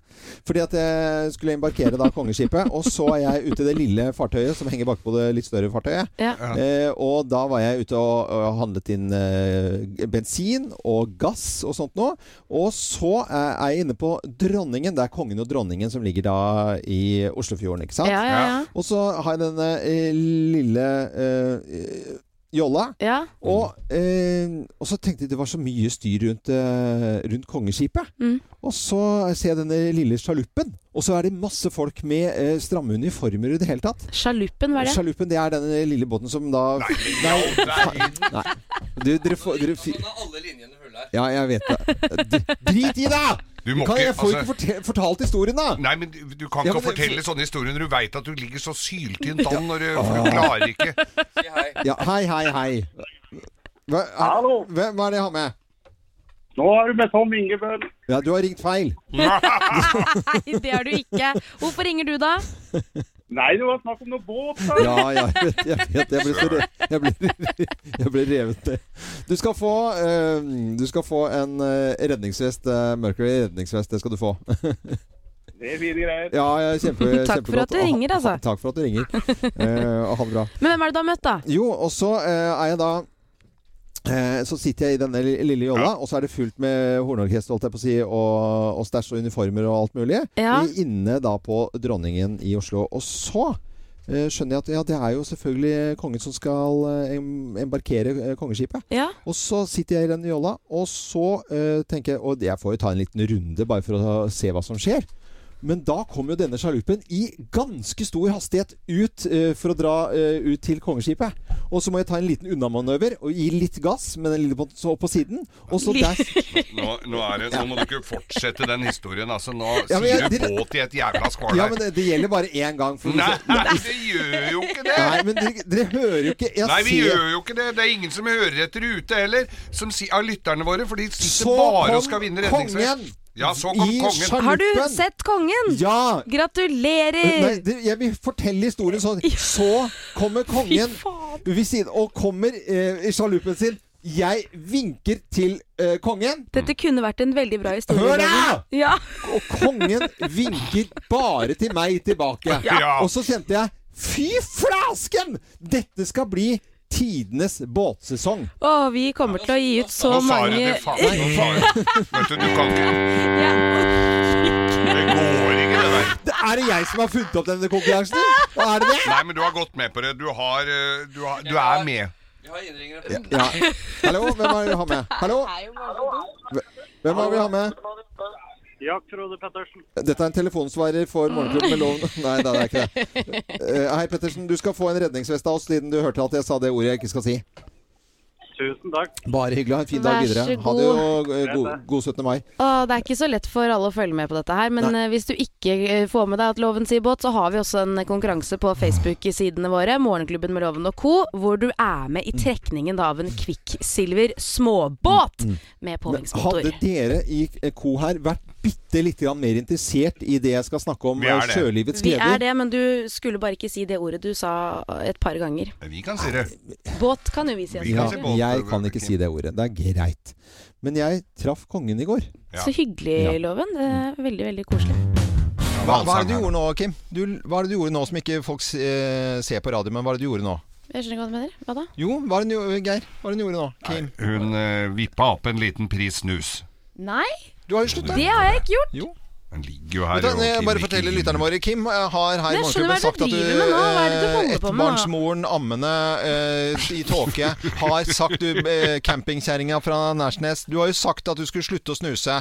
Speaker 1: Fordi at jeg skulle embarkere da kongeskipet, og så er jeg ute i det lille fartøyet som henger bakpå det litt større fartøyet.
Speaker 3: Ja.
Speaker 1: Eh, og da var jeg ute og, og handlet inn eh, bensin og gass og sånt noe. Og så eh, er jeg inne på Dronningen. Det er kongen og dronningen som ligger da i Oslofjorden, ikke sant?
Speaker 10: Ja, ja, ja.
Speaker 1: Og så har jeg denne eh, lille eh, jolla. Og, eh, og så tenkte jeg det var så mye styr rundt, eh, rundt kongeskipet.
Speaker 3: Mm.
Speaker 1: Og så ser jeg denne lille sjaluppen, og så er det masse folk med eh, stramme uniformer i det hele tatt.
Speaker 3: Sjaluppen, hva er det?
Speaker 1: Sjaluppen, det er denne lille båten som da Nei, faen, nei. Du, dere får dere,
Speaker 2: Sånn
Speaker 1: fi- Ja, jeg vet det. D- Drit i det!
Speaker 2: Du må
Speaker 1: kan,
Speaker 2: ikke-
Speaker 1: jeg får
Speaker 2: altså-
Speaker 1: ikke forte- fortalt historien, da!
Speaker 2: Nei, men du- du kan
Speaker 1: Ja,
Speaker 2: ikke
Speaker 1: men det-
Speaker 2: fortelle sånne historier når du veit at du ligger så
Speaker 1: [LAUGHS]
Speaker 2: syltynt
Speaker 1: Ja.
Speaker 2: an når du, for du klarer ikke
Speaker 1: Ja, hei, hei, hei. Hva, Hallo! Hva, hva er det jeg har med?
Speaker 12: Nå er du med Tom Ingebøl.
Speaker 1: Ja, du har ringt feil.
Speaker 3: Nei, det er du ikke. Hvorfor ringer du da?
Speaker 11: Nei, det var snakk om noe båt. da.
Speaker 1: Ja, jeg vet, jeg vet jeg ble, så re jeg ble, [LAUGHS] jeg ble revet ned. Du skal få, eh, du skal få en eh, redningsvest. eh, Mercury redningsvest, det skal
Speaker 11: [LAUGHS]
Speaker 1: du få.
Speaker 11: Det er fine greier.
Speaker 1: Ja, ja kjempe,
Speaker 11: Takk for
Speaker 1: kjempegodt.
Speaker 11: at du
Speaker 1: Og ha-
Speaker 11: ringer, altså.
Speaker 1: ha- Takk for at du ringer. Eh, og ha det bra.
Speaker 3: Men hvem er det du har møtt, da?
Speaker 1: Jo, og så eh, er jeg da eh, så sitter jeg i denne li- lille jolla, og så er det fullt med hornorkester holdt jeg på å si, og, og stæsj og uniformer og alt mulig.
Speaker 3: Ja.
Speaker 1: I- Inne da på Dronningen i Oslo. Og så eh, skjønner jeg at ja, det er jo selvfølgelig kongen som skal eh, em- embarkere eh, kongeskipet. Og så sitter jeg i den jolla, og så eh, tenker jeg Og jeg får jo ta en liten runde bare for å se hva som skjer. Men da kom jo denne sjalupen i ganske stor hastighet ut eh, for å dra eh, ut til kongeskipet. Og så må jeg ta en liten unnamanøver og gi litt gass med den lille båten så opp på siden. Og så der
Speaker 2: [LAUGHS] Nå, nå, er det, nå må du ikke fortsette den historien. Altså, nå
Speaker 1: Ja, men
Speaker 2: sier
Speaker 1: jeg-
Speaker 2: du båt i et jævla skval
Speaker 1: [LAUGHS] Ja,
Speaker 2: her.
Speaker 1: men det, det gjelder bare én gang.
Speaker 2: [LAUGHS]
Speaker 1: For
Speaker 2: Nei, det gjør jo ikke det!
Speaker 1: sånn. Nei, men dere, dere hører jo ikke jeg
Speaker 2: Nei, vi
Speaker 1: ser-
Speaker 2: gjør jo ikke det. Det er ingen som hører etter ute heller, som si, av lytterne våre, for de sitter
Speaker 1: Så
Speaker 2: bare
Speaker 1: kom
Speaker 2: og skal vinne redningsvest.
Speaker 1: kongen
Speaker 2: Ja, så kom
Speaker 1: i
Speaker 2: kongen.
Speaker 1: sjalupen.
Speaker 3: Har du sett kongen?
Speaker 1: Ja!
Speaker 3: Gratulerer!
Speaker 1: Nei, det, jeg vil fortelle historien sånn. Så kommer kongen ved siden, og kommer eh, i sjalupen sin. Jeg vinker til eh, kongen.
Speaker 3: Dette kunne vært en veldig bra historie.
Speaker 1: Hør da!
Speaker 3: Loven. Ja.
Speaker 1: Og kongen vinker bare til meg tilbake.
Speaker 3: Ja.
Speaker 1: Og så kjente jeg Fy flasken! Dette skal bli tidenes båtsesong.
Speaker 3: Å, vi kommer til å gi ut så
Speaker 1: Nå sa du
Speaker 3: mange
Speaker 1: det, faen. Nå sa du
Speaker 2: Vet du, du kan ikke Det går ikke, det der.
Speaker 1: Det er det jeg som har funnet opp denne konkurransen? Er det det?
Speaker 2: Nei, men du har gått med på det. Du har eh, Du, har, du er med.
Speaker 1: Ja, ja. Hallo, hvem er det vi har med? Hallo? Hvem er det vi har med?
Speaker 11: Jack Frode Pettersen.
Speaker 1: Dette er en telefonsvarer for Morgenklubben med loven [LAUGHS] Nei, det er ikke det. Eh, hei, Pettersen. Du skal få en redningsvest av oss siden du hørte at jeg sa det ordet jeg ikke skal si.
Speaker 11: Tusen takk.
Speaker 1: Bare hyggelig. Ha en fin dag
Speaker 3: Vær
Speaker 1: videre.
Speaker 3: så
Speaker 1: Ha det
Speaker 3: god.
Speaker 1: og eh, god, god 17. mai.
Speaker 3: Å, det er ikke så lett for alle å følge med på dette her, men
Speaker 1: Nei.
Speaker 3: eh, hvis du ikke eh, får med deg at loven sier båt, så har vi også en konkurranse på Facebook-sidene våre, Morgenklubben med loven og co., hvor du er med i
Speaker 1: Mm.
Speaker 3: trekningen da av en Kvikksilver småbåt med
Speaker 1: Mm.
Speaker 3: påhengsmotor.
Speaker 1: Hadde dere i Co her vært bitte litt grann mer interessert i det jeg skal snakke om,
Speaker 2: Vi er
Speaker 1: eh,
Speaker 2: det.
Speaker 1: sjølivets
Speaker 3: Vi er
Speaker 1: gleder?
Speaker 3: det, men du skulle bare ikke si det ordet du sa et par ganger.
Speaker 2: Vi kan si det.
Speaker 3: Båt kan jo vi si.
Speaker 1: Ja,
Speaker 3: selvfølgelig.
Speaker 1: jeg kan ikke si det ordet. Det er greit. Men jeg traff kongen i går.
Speaker 3: Så hyggelig,
Speaker 1: Ja.
Speaker 3: Loven. Det er veldig, veldig koselig.
Speaker 1: Hva, hva er det du gjorde nå, Kim? Du, hva er det du gjorde nå som ikke folk eh, ser på radio, men hva er det du gjorde nå?
Speaker 3: Jeg skjønner ikke hva du mener. Hva da?
Speaker 1: Jo, hva er det du gjorde, Geir? Hva er det du gjorde nå, Kim?
Speaker 2: Hun uh, vippa opp en liten pris snus.
Speaker 3: Nei!
Speaker 1: Du har jo slutta.
Speaker 3: Det har jeg ikke gjort.
Speaker 2: Den ligger jo her.
Speaker 1: Vet du,
Speaker 2: og
Speaker 1: jeg
Speaker 2: Kim
Speaker 1: bare
Speaker 2: ikke
Speaker 1: forteller
Speaker 2: gir.
Speaker 1: lytterne våre Kim eh, har her i
Speaker 3: Jeg skjønner
Speaker 1: Morgenklubben
Speaker 3: hva
Speaker 1: sagt
Speaker 3: du
Speaker 1: at du
Speaker 3: driver med nå. Hva er det du
Speaker 1: eh,
Speaker 3: holder på med nå?
Speaker 1: ettbarnsmoren, ammende, eh, i tåke Har sagt du eh, campingkjerringa fra Nærsnes Du har jo sagt at du skulle slutte å snuse.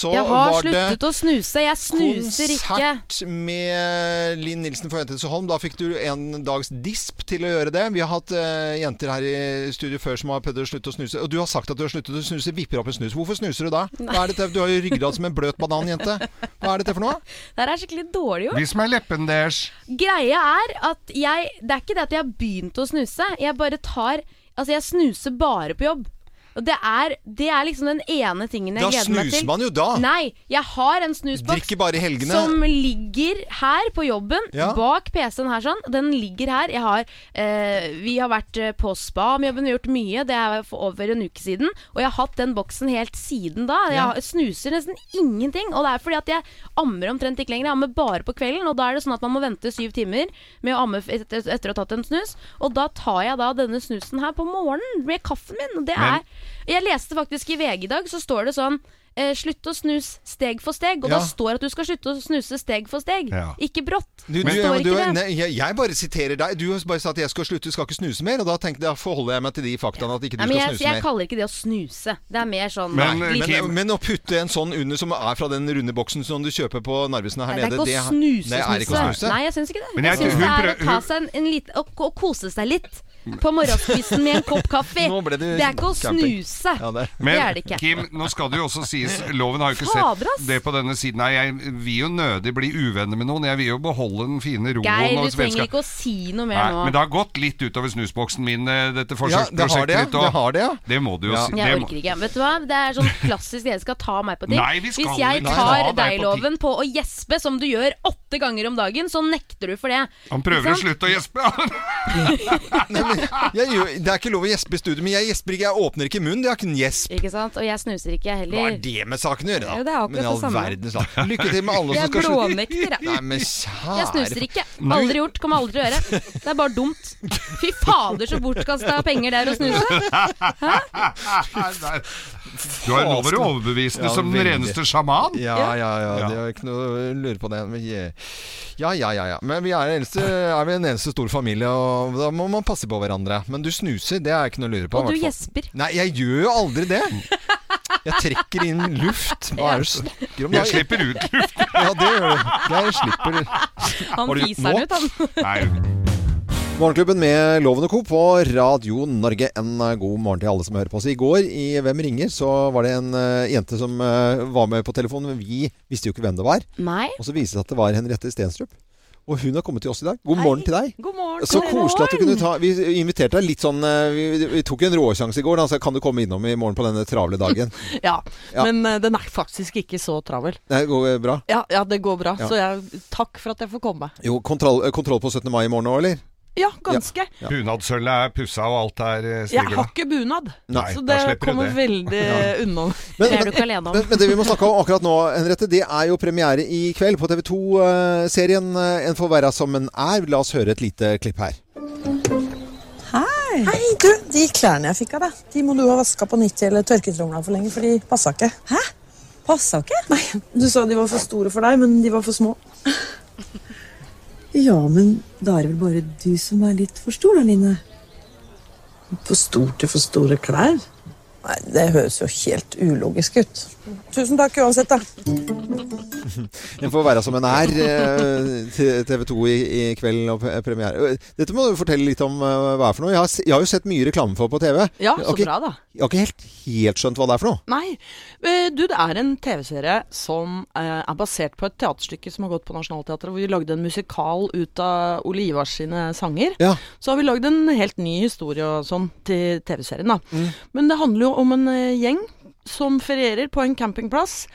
Speaker 1: Så
Speaker 3: Jeg har
Speaker 1: var det
Speaker 3: sluttet å snuse. Jeg snuser ikke.
Speaker 1: konsert med Linn Nilsen fra Jenter til Holm. Da fikk du en dags disp til å gjøre det. Vi har hatt eh, jenter her i studio før som har prøvd å slutte å snuse. Og du har sagt at du har sluttet å snuse. Vipper opp en snus. Hvorfor snuser du da? Hva er dette? Du har jo ryggrad som en bløt banan, jente. Hva er dette for noe?
Speaker 3: Det her er skikkelig dårlig gjort.
Speaker 2: Vis meg leppen deres.
Speaker 3: Greia er at jeg Det er ikke det at jeg har begynt å snuse. Jeg bare tar Altså, jeg snuser bare på jobb. Og det er, det er liksom den ene tingen jeg
Speaker 1: Da
Speaker 3: gleder meg til.
Speaker 1: snuser man jo da.
Speaker 3: Nei. Jeg har en snusboks
Speaker 1: Drikker bare i helgene.
Speaker 3: som ligger her på jobben,
Speaker 1: Ja.
Speaker 3: bak PC-en her sånn. Den ligger her. Jeg har, eh, vi har vært eh, på spa med jobben, vi har gjort mye. Det er for over en uke siden. Og jeg har hatt den boksen helt siden da. Jeg
Speaker 13: Ja.
Speaker 3: har- snuser nesten ingenting. Og det er fordi at jeg ammer omtrent ikke lenger. Jeg ammer bare på kvelden, og da er det sånn at man må vente syv timer med å amme f- etter, etter å ha tatt en snus. Og da tar jeg da denne snusen her på morgenen med kaffen min. Og det
Speaker 13: Men-
Speaker 3: er Jeg leste faktisk i VG i dag, så står det sånn eh, Slutt å snus steg for steg. Og
Speaker 1: Ja.
Speaker 3: da står at du skal slutte å snuse steg for steg.
Speaker 1: Ja.
Speaker 3: Ikke brått.
Speaker 1: Du, du,
Speaker 3: det står
Speaker 1: du,
Speaker 3: ikke det.
Speaker 1: nei, jeg, jeg bare siterer deg. Du har bare sa at jeg skal slutte, skal ikke snuse mer. Og da tenkte jeg, da forholder jeg meg til de faktaene at ikke du
Speaker 3: Nei, men
Speaker 1: skal
Speaker 3: jeg,
Speaker 1: snuse
Speaker 3: jeg
Speaker 1: mer.
Speaker 3: kaller ikke det å snuse. Det er mer sånn
Speaker 1: Men,
Speaker 3: litt-
Speaker 1: men, men å putte en sånn under som er fra den runde boksen som du kjøper på Narvesen her
Speaker 3: Nei, det
Speaker 1: nede
Speaker 3: er ikke å
Speaker 1: har-
Speaker 3: snuse,
Speaker 1: Nei, det er ikke å snuse.
Speaker 3: Nei, jeg syns ikke det.
Speaker 1: Men
Speaker 3: jeg
Speaker 1: jeg-
Speaker 3: syns
Speaker 1: hun
Speaker 3: det er å
Speaker 1: prøv-
Speaker 3: ta
Speaker 1: hun-
Speaker 3: seg en, en liten å, å kose seg litt.
Speaker 4: på morgenskvisten med en kopp kaffe.
Speaker 2: Nå ble
Speaker 4: det,
Speaker 2: det
Speaker 4: er ikke å
Speaker 2: camping.
Speaker 4: snuse. det.
Speaker 2: Men
Speaker 4: er det ikke.
Speaker 2: Kim, nå skal det jo også
Speaker 4: [LAUGHS]
Speaker 2: sies Loven har jo ikke
Speaker 4: Fader,
Speaker 2: sett det på denne siden. Nei, jeg vil jo nødig bli uvenner med noen. Jeg vil jo beholde den fine roen
Speaker 4: Geir,
Speaker 2: og
Speaker 4: du trenger
Speaker 2: vennskap.
Speaker 4: ikke å si noe mer
Speaker 2: Nei,
Speaker 4: nå.
Speaker 2: men det har gått litt utover snusboksen min, eh, dette
Speaker 1: Ja, det har
Speaker 2: forsøksprosjektet
Speaker 1: det, ja.
Speaker 2: ditt. og-
Speaker 1: Det har det, ja.
Speaker 2: det må du jo
Speaker 1: Ja.
Speaker 2: si.
Speaker 4: Jeg
Speaker 2: det må-
Speaker 4: orker ikke. Vet du hva? Det er sånn klassisk dere skal ta meg på ting.
Speaker 2: Nei, vi skal
Speaker 4: Hvis jeg
Speaker 2: ikke
Speaker 4: tar
Speaker 2: ta deg på
Speaker 4: deg-loven på å gjespe, som du gjør åtte ganger om dagen, så nekter du for det.
Speaker 2: Han prøver å slutte å gjespe. [LAUGHS]
Speaker 14: Jeg gjør, det er ikke lov å gjespe i studio, men jeg gjesper ikke. Jeg åpner ikke munnen. Det er ikke en gjesp.
Speaker 4: Ikke sant? Og jeg snuser ikke,
Speaker 14: Hva
Speaker 4: jeg
Speaker 14: er
Speaker 4: heller.
Speaker 14: det med saken å gjøre, da?
Speaker 4: Ja, det er akkurat
Speaker 14: men i all
Speaker 4: det samme.
Speaker 14: verdens land. Lykke til med alle som
Speaker 4: Jeg er
Speaker 14: skal [LAUGHS]
Speaker 4: blånekter, jeg.
Speaker 14: Nei, men kjære
Speaker 4: Jeg snuser ikke.
Speaker 14: Du-
Speaker 4: Aldri gjort, kommer aldri til å gjøre. Det er bare dumt. Fy fader, så bortkasta penger det er å snuse.
Speaker 2: Du har jo nå vært overbevisende som den
Speaker 14: veldig.
Speaker 2: reneste sjaman.
Speaker 14: Ja, ja, ja. Det er ikke noe å lure på det. Men jeg- Ja, ja, ja. ja. Men vi er, den eneste, er vi en eneste stor familie, og da må man passe på hverandre. Men du snuser, det er ikke noe å lure på.
Speaker 4: Og
Speaker 14: i
Speaker 4: du
Speaker 14: hvert fall.
Speaker 4: gjesper.
Speaker 14: Nei, jeg gjør jo aldri det. Jeg trekker inn luft. Hva er det du snakker om?
Speaker 2: Jeg slipper ut [LAUGHS] luft.
Speaker 14: Ja, det gjør du. Jeg slipper
Speaker 4: Han
Speaker 14: Har du gjort
Speaker 4: fiser den
Speaker 14: nå?
Speaker 4: ut, han.
Speaker 1: Morgenklubben med Loven og Co. på Radio Norge. En eh, god morgen til alle som hører på oss. I går i Hvem ringer så var det en eh, jente som eh, var med på telefonen, men vi visste jo ikke hvem det var.
Speaker 4: Nei.
Speaker 1: Og så viste det seg at det var Henriette Stenstrup. Og hun har kommet til oss i dag. God morgen til deg.
Speaker 4: God morgen.
Speaker 1: Så koselig at du kunne ta Vi inviterte deg litt sånn eh, Vi, vi tok en råsjanse i går. Da, så kan du komme innom i morgen på denne travle dagen?
Speaker 15: Ja,
Speaker 1: Ja.
Speaker 15: men eh, den er faktisk ikke så travel.
Speaker 1: Det går eh, bra?
Speaker 15: Ja, ja det går bra.
Speaker 1: Ja.
Speaker 15: Så jeg, takk for at jeg får komme.
Speaker 1: Jo, kontroll, eh, kontroll på 17. mai i morgen òg, eller?
Speaker 15: Ja, ganske.
Speaker 2: Bunadsølvet er pussa, og alt er eh,
Speaker 15: Jeg har
Speaker 2: strigla.
Speaker 15: ikke bunad,
Speaker 2: Nei,
Speaker 15: så
Speaker 2: da
Speaker 15: det
Speaker 2: slipper du
Speaker 15: kommer
Speaker 2: det.
Speaker 15: veldig
Speaker 2: Ja.
Speaker 15: unna.
Speaker 1: Men- Det er du ikke
Speaker 4: alene
Speaker 1: Men, men det vi må snakke om akkurat nå, Henriette, det er jo premiere i kveld på TV 2-serien eh, En forverra som en er. La oss høre et lite klipp her.
Speaker 16: Hei. du, De klærne jeg fikk av deg, de må du ha vaska på nytt eller tørketromla for lenge, for de passa ikke. Hæ? Passa ikke? Nei, Du sa de var for store for deg, men de var for små.
Speaker 17: Ja, men da er det vel bare du som er litt for stor, da, Line.
Speaker 16: For stort til for store klær? Nei, Det høres jo helt ulogisk ut. Tusen takk uansett, da.
Speaker 1: En forverra som en er. eh, til TV 2 i, i kveld og pre- premiere. Eh, Dette må du fortelle litt om eh, hva er for noe. Jeg har, se- jeg har jo sett mye reklame for på TV.
Speaker 15: Ja,
Speaker 1: Jeg
Speaker 15: så
Speaker 1: har ikke-
Speaker 15: bra, da.
Speaker 1: Jeg har ikke helt, helt skjønt hva det er for noe.
Speaker 15: Nei. eh, Du, det er en TV-serie som eh, er basert på et teaterstykke som har gått på Nationaltheatret, hvor vi lagde en musikal ut av Ole Ivars sine sanger. Så har vi lagd en helt ny historie og sånn til TV-serien, da. Men det handler jo om en eh, gjeng som ferierer på en campingplass.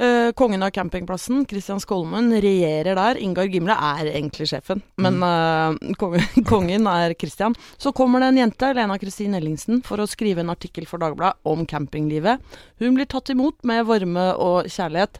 Speaker 15: Eh, kongen av campingplassen, Christian Skolmen, regjerer der. Ingar Gimle er egentlig sjefen, men eh, kongen, [LAUGHS] kongen er Christian. Så kommer det en jente, Lena Kristin Ellingsen, for å skrive en artikkel for Dagbladet om campinglivet. Hun blir tatt imot med varme og kjærlighet,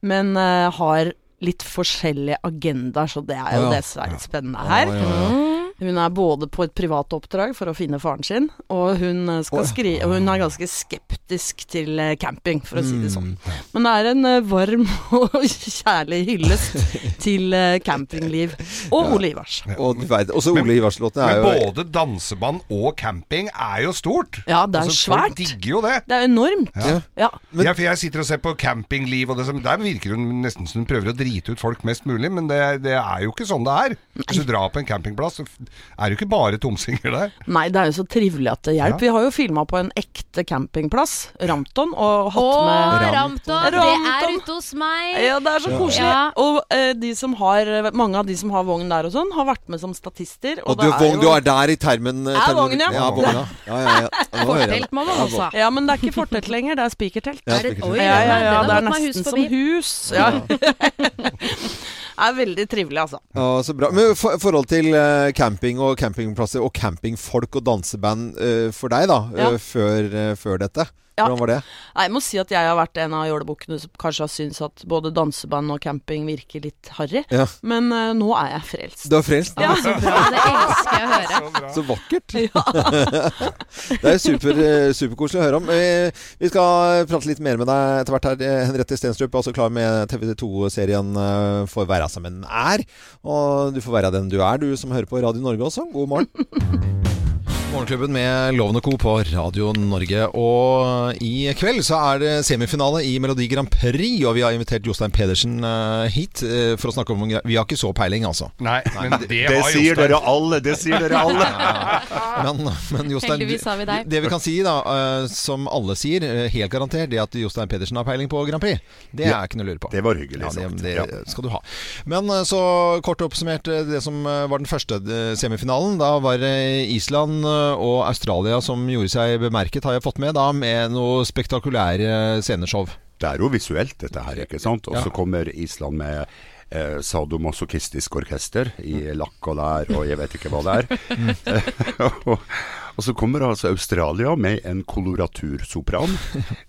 Speaker 15: men eh, har litt forskjellige agendaer, så det er jo
Speaker 18: Ja.
Speaker 15: det som er litt spennende her. Hun er både på et privat oppdrag for å finne faren sin, og hun, eh, skal skri og hun er ganske skeptisk til eh, camping, for å si det sånn. Men det er en eh, varm [LAUGHS] og kjærlig hyllest til eh, campingliv. Og Ole Ivars.
Speaker 1: Og du vet, også Ole Ivars-låten er
Speaker 2: Men
Speaker 1: jo
Speaker 2: både danseband og camping er jo stort.
Speaker 15: Ja, det er
Speaker 2: Altså,
Speaker 15: svært.
Speaker 2: Folk digger jo det.
Speaker 15: Det er enormt.
Speaker 2: Ja.
Speaker 15: Ja.
Speaker 2: ja, for jeg sitter og ser på campingliv, og det som, der virker hun nesten som hun prøver å drite ut folk mest mulig, men det, det er jo ikke sånn det er. Hvis du drar på en campingplass, så f- er det jo ikke bare tomsinger der.
Speaker 15: Nei, det er jo så trivelig at det hjelper.
Speaker 2: Ja.
Speaker 15: Vi har jo filma på en ekte campingplass, Ramton, og hatt
Speaker 4: Å,
Speaker 15: med
Speaker 4: Ramton, det er
Speaker 15: Ramton.
Speaker 4: ute hos meg.
Speaker 15: Ja, det er så koselig.
Speaker 4: Ja.
Speaker 15: Og eh, de som har, mange av de som har vogn der og sånn, har vært med som statister.
Speaker 1: Og du,
Speaker 15: det
Speaker 1: vogn, du
Speaker 15: jo-
Speaker 1: er der i termen eh,
Speaker 15: Jeg er
Speaker 1: termen-
Speaker 15: vogn, ja.
Speaker 1: Ja, vogn, ja. ja, ja, ja. Nå hører jeg det. Ja,
Speaker 3: altså.
Speaker 1: vogn.
Speaker 15: Ja, men det er ikke fortelt lenger, det er spikertelt.
Speaker 1: Ja, Er det- spikertelt. Oi,
Speaker 15: Ja, ja, ja,
Speaker 1: den har gått
Speaker 15: det er
Speaker 1: meg
Speaker 15: nesten
Speaker 1: hus
Speaker 15: som
Speaker 1: forbi.
Speaker 9: [LAUGHS]
Speaker 15: hus. Ja. [LAUGHS] det er veldig trivelig, altså.
Speaker 1: Ja, så bra. Men for, forhold til eh, camping og campingplasser og campingfolk og danseband eh, for deg, da,
Speaker 15: Ja.
Speaker 1: eh, før, eh, før dette.
Speaker 15: Ja.
Speaker 1: Hvordan var det?
Speaker 15: Nei, Jeg må si at jeg har vært en av jålebukkene som kanskje har syntes at både danseband og camping virker litt harry,
Speaker 1: Ja.
Speaker 15: men eh, nå er jeg frelst.
Speaker 1: Du er frelst?
Speaker 15: Ja.
Speaker 1: Så
Speaker 4: bra, det elsker jeg å høre.
Speaker 1: Så vakkert.
Speaker 15: Ja.
Speaker 1: [LAUGHS] det er super, eh, superkoselig å høre om. Eh, Vi skal prate litt mer med deg etter hvert her. Eh, Henriette Stenstrup, altså klar med TV2-serien eh, 'Får være som en er'. Og du får være den du er, du som hører på Radio Norge også. God morgen. [LAUGHS] Morgenklubben med Lovende Co. på Radio Norge. Og i kveld så er det semifinale i Melodi Grand Prix, og vi har invitert Jostein Pedersen eh, hit eh, for å snakke om Vi har ikke så peiling, altså.
Speaker 2: Nei, men det,
Speaker 1: Det
Speaker 2: har
Speaker 1: sier
Speaker 2: Jostein.
Speaker 1: dere alle, det sier dere alle. Men, men Jostein,
Speaker 11: Heldigvis har vi deg.
Speaker 1: det vi kan si, da, eh, som alle sier, eh, helt garantert, det at Jostein Pedersen har peiling på Grand Prix. Det
Speaker 18: Ja,
Speaker 1: er ikke noe å lure på.
Speaker 18: det var hyggelig
Speaker 1: Ja,
Speaker 18: sagt.
Speaker 1: det, det
Speaker 18: Ja.
Speaker 1: skal du ha. Men eh, så kort oppsummert eh, det som eh, var den første eh, semifinalen. Da var det Island eh, og Australia som gjorde seg bemerket, har jeg fått med, da, med noe spektakulære sceneshow.
Speaker 18: Det er jo visuelt, dette her, ikke sant? Og så kommer Island med eh, sadomasochistisk orkester i
Speaker 1: Mm.
Speaker 18: lakk og lær og jeg vet ikke hva det er.
Speaker 1: [LAUGHS]
Speaker 18: [LAUGHS] og, og så kommer altså Australia med en koloratursopran.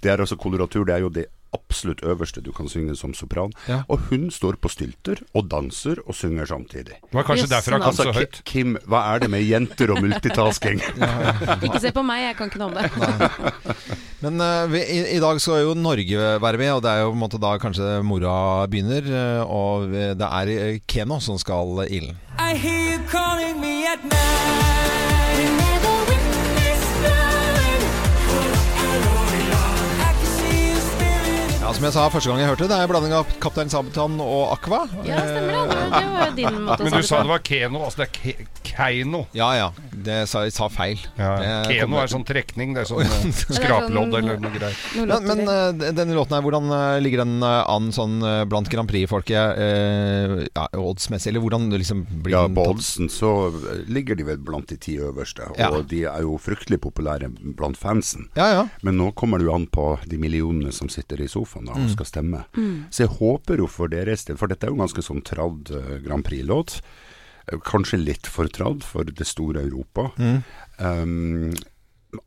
Speaker 18: Det er altså koloratur, det er jo det absolutt øverste du kan synge som sopran.
Speaker 1: Ja.
Speaker 18: Og hun står på stylter og danser og synger samtidig.
Speaker 2: Det var kanskje Yes, derfor han kom
Speaker 18: altså,
Speaker 2: så høyt.
Speaker 18: Ki- Kim, hva er det med jenter og multitasking?
Speaker 11: Ikke se på meg, jeg kan ikke noe om det.
Speaker 1: Men eh, vi, i, i dag skal jo Norge være med, og det er jo på en måte da kanskje mora begynner. eh, og eh, det er eh, Keno som skal eh, ilden.
Speaker 5: I hear you calling me at night. You never win this night. I can see you staring.
Speaker 1: Ja, Som jeg sa første gang jeg hørte det, det er en blanding av Kaptein Sabeltann og Aqua.
Speaker 11: Ja, stemmer det. Det det var jo din måte å
Speaker 2: Men du sa
Speaker 11: si
Speaker 2: det var Keno, altså det er ke Keino.
Speaker 1: Ja ja, det sa, jeg sa feil. Det
Speaker 2: Keno
Speaker 1: kommer-
Speaker 2: er sånn trekning, det er sånn eh, skraplodd eller noe greier.
Speaker 1: Men, men eh, denne låten her, hvordan eh, ligger den eh, an sånn eh, blant Grand Prix-folket? eh, ja, oddsmessig, eller hvordan det liksom [LAUGHS] blir
Speaker 18: Ja,
Speaker 1: den
Speaker 18: på
Speaker 1: tatt?
Speaker 18: oddsen så ligger de vel blant de ti øverste, og
Speaker 1: Ja.
Speaker 18: de er jo fryktelig populære blant fansen.
Speaker 1: Ja, ja.
Speaker 18: Men nå kommer det jo an på de millionene som sitter i sofaen da, og
Speaker 1: Mm.
Speaker 18: skal stemme.
Speaker 1: Mm.
Speaker 18: Så jeg håper jo for deres del, for dette er jo en ganske sånn tradd eh, Grand Prix-låt. Eh, Kanskje litt for tradd for det store Europa.
Speaker 1: Mm.
Speaker 18: Um,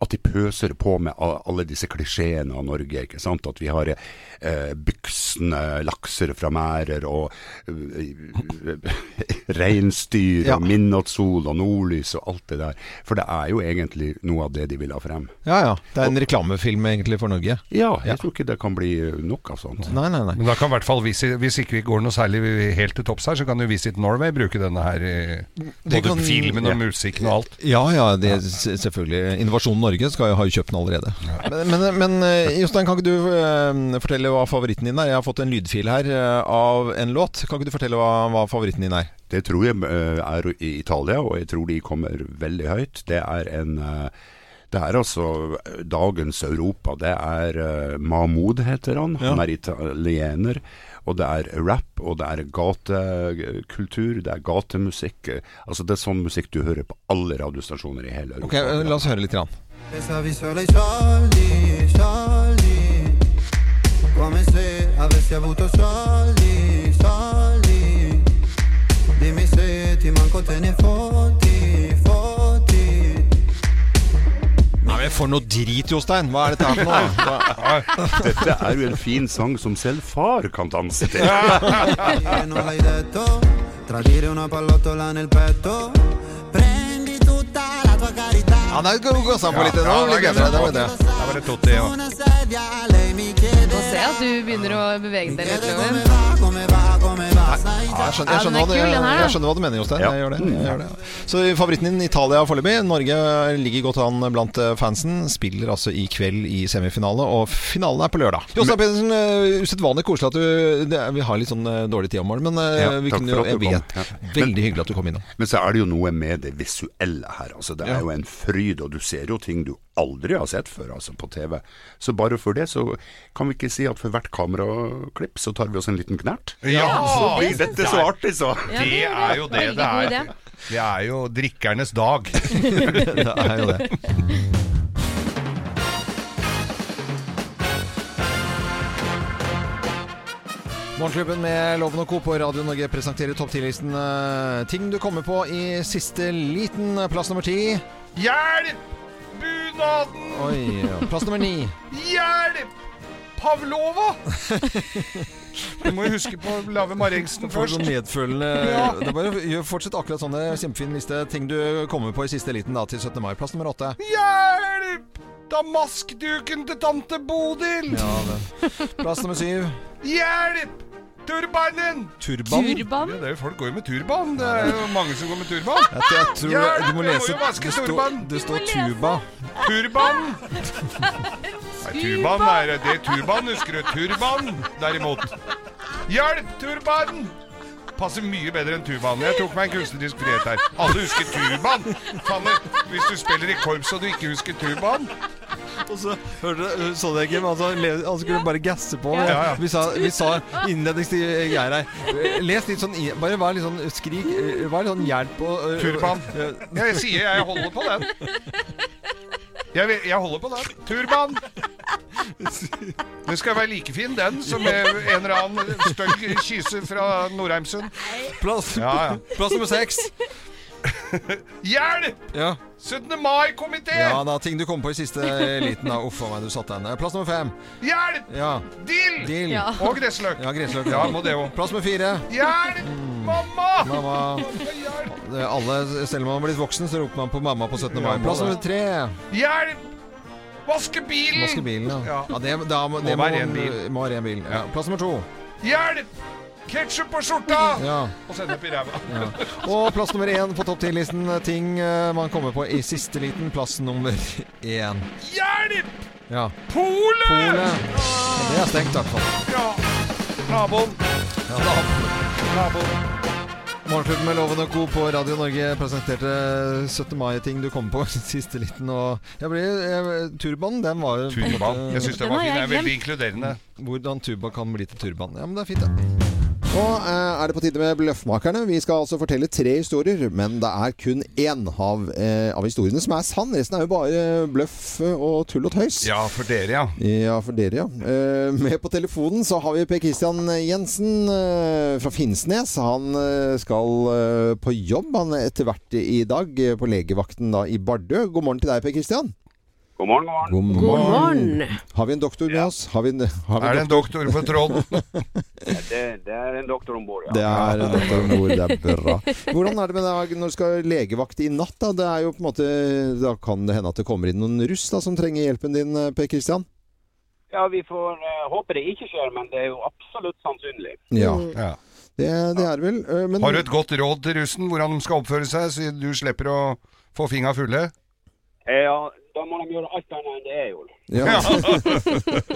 Speaker 18: at de pøser på med a- alle disse klisjeene av Norge. ikke sant? At vi har eh, buksene, lakser fra mærer og eh, [LAUGHS] reinsdyr og midnattssol og nordlys og alt det der. For det er jo egentlig noe av det de vil ha frem.
Speaker 1: Ja ja, det er en reklamefilm egentlig for Norge.
Speaker 18: Ja, jeg tror ikke det kan bli eh, nok av sånt.
Speaker 1: Nei, nei, nei.
Speaker 2: Men da kan i hvert fall Visit, hvis ikke vi går noe særlig helt til topps her, så kan jo Visit Norway bruke denne her i
Speaker 1: Det
Speaker 2: både
Speaker 1: kan-
Speaker 2: filmen og
Speaker 1: ja.
Speaker 2: musikken og alt.
Speaker 1: Ja ja, det s- selvfølgelig. Innovasjon Norge skal jo ha kjøpt den allerede. Men, men, men eh, Jostein, kan ikke du eh, fortelle hva favoritten din er? Jeg har fått en lydfil her eh, av en låt. Kan ikke du fortelle hva, hva favoritten din er?
Speaker 18: Det tror jeg eh, er i Italia, og jeg tror de kommer veldig høyt. Det er en eh, det er altså eh, dagens Europa. Det er eh, Mahmoud heter han. Han er italiener. Og det er rap, og det er gatekultur, det er gatemusikk. eh, Altså det er sånn musikk du hører på alle radiostasjoner i hele Europa.
Speaker 1: Ok, eh, La oss høre litt. Grann.
Speaker 19: E stavi solo i soldi, soldi Come se avessi avuto soldi, soldi Dimmi se ti manco te ne fotti, fotti
Speaker 1: Nei, men For noe drit, Jostein! Hva er dette her for [LAUGHS] noe?
Speaker 18: Dette er jo en fin sang som selv far kan danse til.
Speaker 19: Che Eh, non l'hai detto Tradire una pallottola nel petto Prendi tutta la tua carità
Speaker 1: Ja, det er jo gassa på litt.
Speaker 2: Ja,
Speaker 1: Det var
Speaker 2: ja,
Speaker 1: litt
Speaker 2: det er
Speaker 1: bedre. Det var
Speaker 2: gøy.
Speaker 1: det.
Speaker 2: Da var det Totti, ja.
Speaker 19: Una sedia, lei mi chiede
Speaker 11: Få se at du begynner å bevege deg litt. Loven.
Speaker 1: Ja, jeg, skjønner,
Speaker 11: Ja,
Speaker 1: jeg, skjønner hva
Speaker 11: den er
Speaker 1: du,
Speaker 11: kul, den her, da.
Speaker 1: jeg skjønner hva du mener, Jostein. Jeg gjør det. Jeg gjør det. Så favoritten din Italia foreløpig. Norge ligger godt an blant eh, fansen. Spiller altså i kveld i semifinale, og finalen er på lørdag. Jostein Pedersen, eh, usedvanlig koselig at du det, er- Vi har litt sånn eh, dårlig tid om morgenen, men eh,
Speaker 18: Ja,
Speaker 1: vi
Speaker 18: takk
Speaker 1: kunne
Speaker 18: for
Speaker 1: jo
Speaker 18: at
Speaker 1: jeg
Speaker 18: du kom.
Speaker 1: vet,
Speaker 18: Ja.
Speaker 1: Veldig hyggelig at du kom innom.
Speaker 18: Men så er det jo noe med det visuelle her. Altså, det er
Speaker 1: Ja.
Speaker 18: jo en fryd, og du ser jo ting du aldri har sett før altså, på TV. Så bare for det så kan vi ikke si at for hvert kameraklipp så tar vi oss en liten knert. Så blir dette så artig, så.
Speaker 2: Ja, det er jo det
Speaker 11: Veldig
Speaker 2: det
Speaker 11: god
Speaker 2: er.
Speaker 11: idé.
Speaker 2: Det er jo drikkernes dag.
Speaker 1: det er jo det. Morgenklubben med Loven og Co. på Radio Norge presenterer topp 10-listen eh, ting du kommer på i siste liten. eh, Plass nummer ti.
Speaker 2: Hjelp! Bunaden!
Speaker 1: Oi, ja. Plass nummer ni.
Speaker 2: Hjelp! Pavlova! Du må jo huske på å lage Marengsen
Speaker 1: [LAUGHS] Får
Speaker 2: først.
Speaker 1: sånn nedfølende
Speaker 2: Ja.
Speaker 1: Det er bare gjør- Fortsett akkurat sånn. Det er en Kjempefin liste. Ting du kommer på i siste liten da, til 17. mai. Plass nummer åtte.
Speaker 2: Hjelp! Damaskduken til tante Bodil!
Speaker 1: Ja, det. Plass nummer syv.
Speaker 2: Hjelp! Turbanen!
Speaker 14: Turbanen?
Speaker 2: Turban? Ja, det er jo folk går jo med turban. Det er jo mange som går med turban.
Speaker 14: Jeg tror- jeg tror-
Speaker 2: Hjelp,
Speaker 14: du må lese-
Speaker 2: jo vaske
Speaker 14: det står-
Speaker 2: turban.
Speaker 14: det står tuba.
Speaker 2: Turban! Nei, turban er det er turban, husker du. Turban, derimot. Hjelp, turban! Passer mye bedre enn turban. Jeg tok meg en kunstnerisk frihet her. Alle husker turban! Fanne, hvis du spiller i korps og du ikke husker turban
Speaker 14: Og så hørte du, så dere ikke, men altså, le- han skulle bare gasse på.
Speaker 2: Ja, ja.
Speaker 14: Vi sa, vi sa innledningsvis til Geir her eh, Les litt sånn i- Bare vær litt sånn eh, skrik eh, Vær litt sånn hjelp og eh,
Speaker 2: Turban.
Speaker 14: eh,
Speaker 2: Ja, jeg sier jeg holder på den. Jeg, vet- jeg holder på den. Turban! Den skal være like fin, den, som eh, en eller annen stygg kyse fra Norheimsund.
Speaker 14: Plass,
Speaker 2: Ja, ja.
Speaker 14: plass nummer seks.
Speaker 2: Hjelp!
Speaker 14: Ja.
Speaker 2: 17. mai-komité!
Speaker 14: ja da, ting du kom på i siste eh, liten da. Uff a meg, du satte deg ned. Plass nummer fem.
Speaker 2: Hjelp!
Speaker 14: Ja.
Speaker 2: Dill!
Speaker 14: Dill.
Speaker 2: Ja. Og gressløk.
Speaker 14: Ja, gressløk.
Speaker 2: Ja, må det også.
Speaker 14: Plass nummer fire.
Speaker 2: Hjelp! Mamma!
Speaker 14: Mamma. Det er Alle, selv om man har blitt voksen, så roper man på mamma på 17. mai.
Speaker 2: må
Speaker 14: Plass
Speaker 2: det.
Speaker 14: nummer tre.
Speaker 2: Hjelp! Vaske bilen!
Speaker 14: Vaske bilen, ja. ja det, da, må- det
Speaker 2: Må
Speaker 14: må, øh,
Speaker 2: være en
Speaker 14: må,
Speaker 2: bil.
Speaker 14: være en bil. Ja. Plass nummer to.
Speaker 2: Hjelp! Ketsjup på skjorta!
Speaker 14: Ja.
Speaker 2: Og sennep i ræva.
Speaker 14: Ja. Og plass nummer én på topp 10-listen. Ting eh, man kommer på i siste liten. Plass nummer én.
Speaker 2: Hjelp!
Speaker 14: Ja.
Speaker 2: Polet!
Speaker 14: Polet. Det er stengt, i hvert fall.
Speaker 2: Ja. Naboen. Naboen.
Speaker 14: Morgenklubben med Loven og Co. på Radio Norge presenterte 17. mai-ting du kom på i [LAUGHS] siste liten. Og jeg ble, jeg, turban, den var jo på en
Speaker 2: Turban.
Speaker 14: måte-
Speaker 2: Jeg syns den var fin. Den er veldig inkluderende.
Speaker 14: Hvordan tuba kan bli til turban. Ja, men det er fint, det.
Speaker 1: Nå eh, er det på tide med Bløffmakerne. Vi skal altså fortelle tre historier, men det er kun én av, eh, av historiene som er sann. Resten er jo bare bløff og tull og tøys.
Speaker 2: Ja, for dere, ja.
Speaker 1: Ja, for dere, ja. Eh, Med på telefonen så har vi Per Christian Jensen eh, fra Finnsnes. Han eh, skal eh, på jobb han er etter hvert i dag eh, på legevakten da i Bardø. God morgen til deg, Per Christian.
Speaker 6: God morgen, god morgen.
Speaker 1: Har vi en doktor med oss? Har vi en, har vi
Speaker 2: Er det en doktor på tråden?
Speaker 6: Ja, det, det er en doktor om bord, ja.
Speaker 1: Det er en doktor om bord, det er bra. Hvordan er det med deg når du skal legevakt i natt? Da Det er jo på en måte, da kan det hende at det kommer inn noen russ da, som trenger hjelpen din, eh, Per Christian.
Speaker 6: Ja, vi får eh, håpe det ikke skjer, men det er jo absolutt sannsynlig.
Speaker 1: Ja.
Speaker 2: Ja.
Speaker 1: Det, Mm. det er det vel. eh, Men,
Speaker 2: Har du et godt råd til russen hvordan de skal oppføre seg, så du slipper å få fingra fulle?
Speaker 6: Eh, Ja, da må de gjøre alt annet enn det er, Jol.
Speaker 1: Ja. [LAUGHS]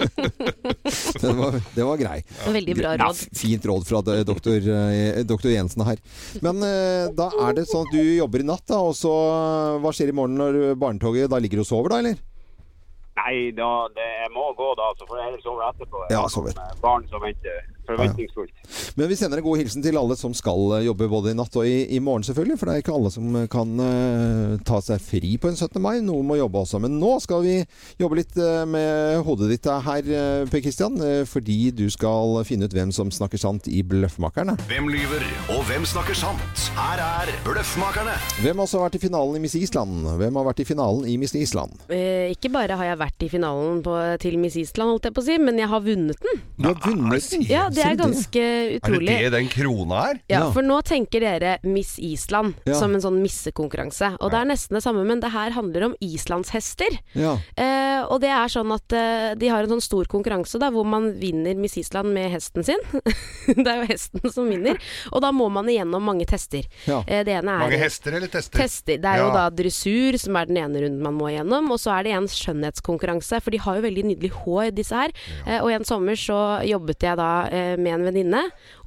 Speaker 1: den, var, den var grei.
Speaker 3: Veldig bra
Speaker 1: Ja,
Speaker 3: råd.
Speaker 1: f- Fint råd fra eh, doktor, eh, doktor Jensen her. Men eh, da er det sånn at du jobber i natt, da, og så eh, hva skjer i morgen når barnetoget Da ligger du og sover, da, eller?
Speaker 6: Nei, da, det jeg må gå da, så får jeg heller sove etterpå. Jeg
Speaker 1: Ja,
Speaker 6: har
Speaker 1: sover.
Speaker 6: noen, eh, Barn som venter forventningsfullt.
Speaker 1: Men vi sender en god hilsen til alle som skal eh, jobbe både i natt og i, i morgen, selvfølgelig. For det er ikke alle som eh, kan eh, ta seg fri på en 17. mai. Noen må jobbe også. Men nå skal vi jobbe litt eh, med hodet ditt her, eh, Per Kristian. eh, Fordi du skal finne ut hvem som snakker sant i Bløffmakerne.
Speaker 8: Hvem lyver, og hvem snakker sant? Her er Bløffmakerne.
Speaker 1: Hvem har også vært i finalen i Miss Island? Hvem har vært i finalen i Miss Island?
Speaker 3: Eh, ikke bare har jeg vært i finalen på, til Miss Island, holdt jeg på å si, men jeg har vunnet den.
Speaker 1: Du har vunnet den.
Speaker 3: Ja, det er ganske
Speaker 2: Er det
Speaker 3: utrolig.
Speaker 2: det den krona er?
Speaker 3: Ja, for nå tenker dere Miss Island
Speaker 2: Ja.
Speaker 3: som en sånn missekonkurranse. Og det er nesten det samme, men det her handler om islandshester.
Speaker 1: Ja.
Speaker 3: Eh, og det er sånn at eh, de har en sånn stor konkurranse da, hvor man vinner Miss Island med hesten sin. [LAUGHS] det er jo hesten som vinner. Og da må man igjennom mange tester.
Speaker 2: Ja.
Speaker 3: Eh, det ene er
Speaker 2: Mange hester eller tester?
Speaker 3: Tester. Det er jo
Speaker 2: Ja.
Speaker 3: da dressur, som er den ene runden man må igjennom. Og så er det en skjønnhetskonkurranse, for de har jo veldig nydelig hår, disse her. Eh, og en sommer så jobbet jeg da eh, med en venninne,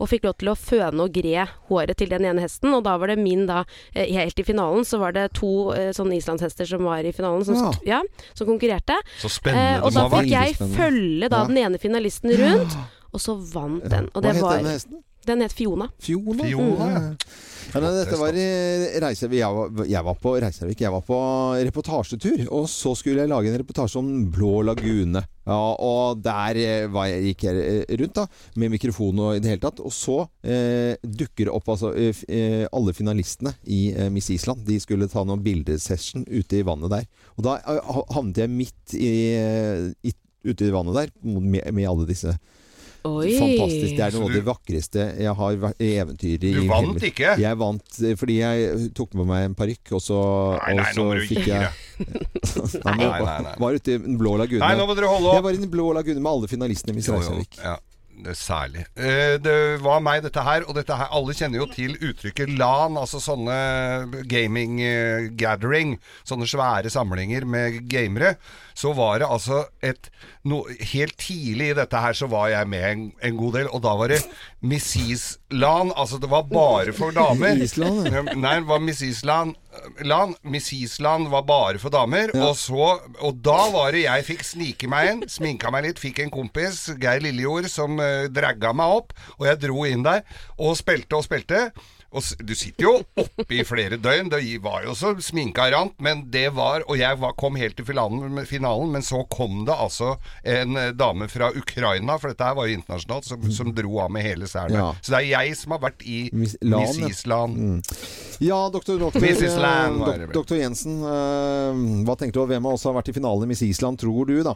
Speaker 3: og fikk lov til å føne og gre håret til den ene hesten. Og da var det min, da, eh, helt i finalen, så var det to eh, sånne islandshester som var i finalen, som,
Speaker 2: Ja.
Speaker 3: sk- ja, som konkurrerte.
Speaker 2: Så spennende
Speaker 3: Eh, og
Speaker 2: det
Speaker 3: da
Speaker 2: må ha vært.
Speaker 3: fikk jeg
Speaker 2: Veldig spennende.
Speaker 3: følge da
Speaker 2: Ja.
Speaker 3: den ene finalisten rundt, og så vant den. Og
Speaker 1: Hva
Speaker 3: det
Speaker 1: het
Speaker 3: var
Speaker 1: denne hesten?
Speaker 3: Den het Fiona.
Speaker 1: Fiona?
Speaker 3: Fiona,
Speaker 1: ja. Ja, nei, dette var i Reisevik. Jeg var, jeg var på Reisevik. Jeg var på reportasjetur, og så skulle jeg lage en reportasje om Sånn Blå lagune. Ja, og der eh, var jeg, gikk jeg eh, rundt da, med mikrofon og i det hele tatt. Og så eh, dukker det opp altså, eh, f- eh, alle finalistene i eh, Miss Island. De skulle ta noen bildesession ute i vannet der. Og da eh, ha- havnet jeg midt i, eh, i, ute i vannet der med, med alle disse.
Speaker 3: Oi.
Speaker 1: Fantastisk. Det er
Speaker 2: Så
Speaker 1: noe av
Speaker 2: du-
Speaker 1: det vakreste jeg har vært i eventyret. i
Speaker 2: Du vant
Speaker 1: hele mitt-
Speaker 2: ikke?
Speaker 1: Jeg vant eh, fordi jeg tok med meg en parykk, og så,
Speaker 2: Nei, nei,
Speaker 1: og så
Speaker 2: nå må du
Speaker 1: fikk
Speaker 2: gi
Speaker 1: jeg
Speaker 2: deg.
Speaker 1: [LAUGHS] Nei,
Speaker 2: Nei,
Speaker 1: nei,
Speaker 2: nei, nei.
Speaker 1: Var ute i Den blå lagune.
Speaker 2: Nei, nå må dere holde opp.
Speaker 1: Jeg var i Den blå lagune med alle finalistene i Miss
Speaker 2: Jo, jo,
Speaker 1: Reisavik.
Speaker 2: ja. det er Særlig. Eh, Det var meg, dette her. Og dette her, alle kjenner jo til uttrykket LAN, altså sånne gaming eh, gathering. Sånne svære samlinger med gamere. Så var det altså et no, Helt tidlig i dette her så var jeg med en, en god del, og da var det Missis LAN. Altså det var bare for damer.
Speaker 1: Island, ja.
Speaker 2: Nei, det var Miss Island Land, Miss Island var bare for damer, og så Og da var det jeg fikk snike meg inn, sminka meg litt, fikk en kompis, Geir Lillejord, som uh, dragga meg opp, og jeg dro inn der, og spilte og spilte. Og s- du sitter jo oppe i flere døgn, det var jo så sminka rant, men det var Og jeg var, kom helt til finalen, finalen, men så kom det altså en eh, dame fra Ukraina, for dette her var jo internasjonalt, som, som dro av med hele selen.
Speaker 1: Ja.
Speaker 2: Så det er jeg som har vært i
Speaker 1: Miss
Speaker 2: Miss,
Speaker 1: Lan, ja. Mm.
Speaker 2: Island.
Speaker 1: Ja, doktor, doktor,
Speaker 2: Miss
Speaker 1: eh,
Speaker 2: Island var
Speaker 1: dok-
Speaker 2: det vel.
Speaker 1: doktor Jensen. eh, hva tenkte du, og hvem av oss har vært i finalen i Miss Island, tror du, da?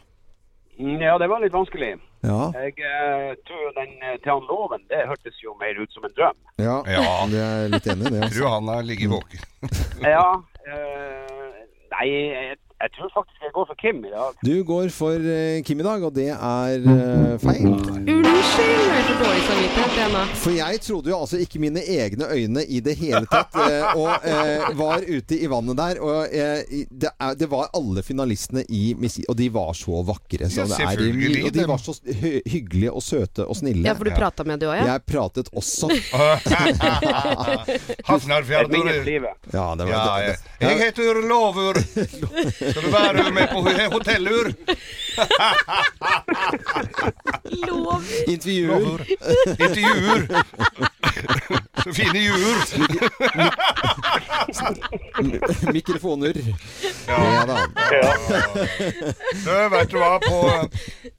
Speaker 6: Mm, Ja, det var litt vanskelig.
Speaker 1: Ja.
Speaker 6: Jeg eh, tror den eh, til han loven, det hørtes jo mer ut som en drøm.
Speaker 1: Ja,
Speaker 2: Ja.
Speaker 1: det er jeg litt enig i det. altså.
Speaker 2: Tror han har ligget våken.
Speaker 6: Ja, eh, nei, jeg, jeg tror faktisk jeg går for Kim i dag.
Speaker 1: Du går for eh, Kim i dag, og det er eh, feil.
Speaker 3: Unnskyld, jeg får dårlig samvittighet jeg nå.
Speaker 1: For jeg trodde jo altså ikke mine egne øyne i det hele tatt, eh, og eh, var ute i vannet der. Og eh, i- det, er, det var alle finalistene i Miss I- og de var så vakre. Så
Speaker 3: Ja,
Speaker 1: det er,
Speaker 3: selvfølgelig,
Speaker 1: og de var så hy hyggelige og søte og snille.
Speaker 3: Ja, for du pratet med du også, ja?
Speaker 1: Jeg pratet også.
Speaker 2: Hafnarfjell
Speaker 1: Jeg minnes livet. Ja, det var
Speaker 2: Ja,
Speaker 1: det.
Speaker 2: jeg, jeg heter Lovur. Skal du være med på ho- hotellur?
Speaker 1: Intervjuer.
Speaker 2: Intervjuer. Så fine juer.
Speaker 1: Mikrofoner.
Speaker 2: Ja.
Speaker 1: da.
Speaker 2: Du, vet du hva, på,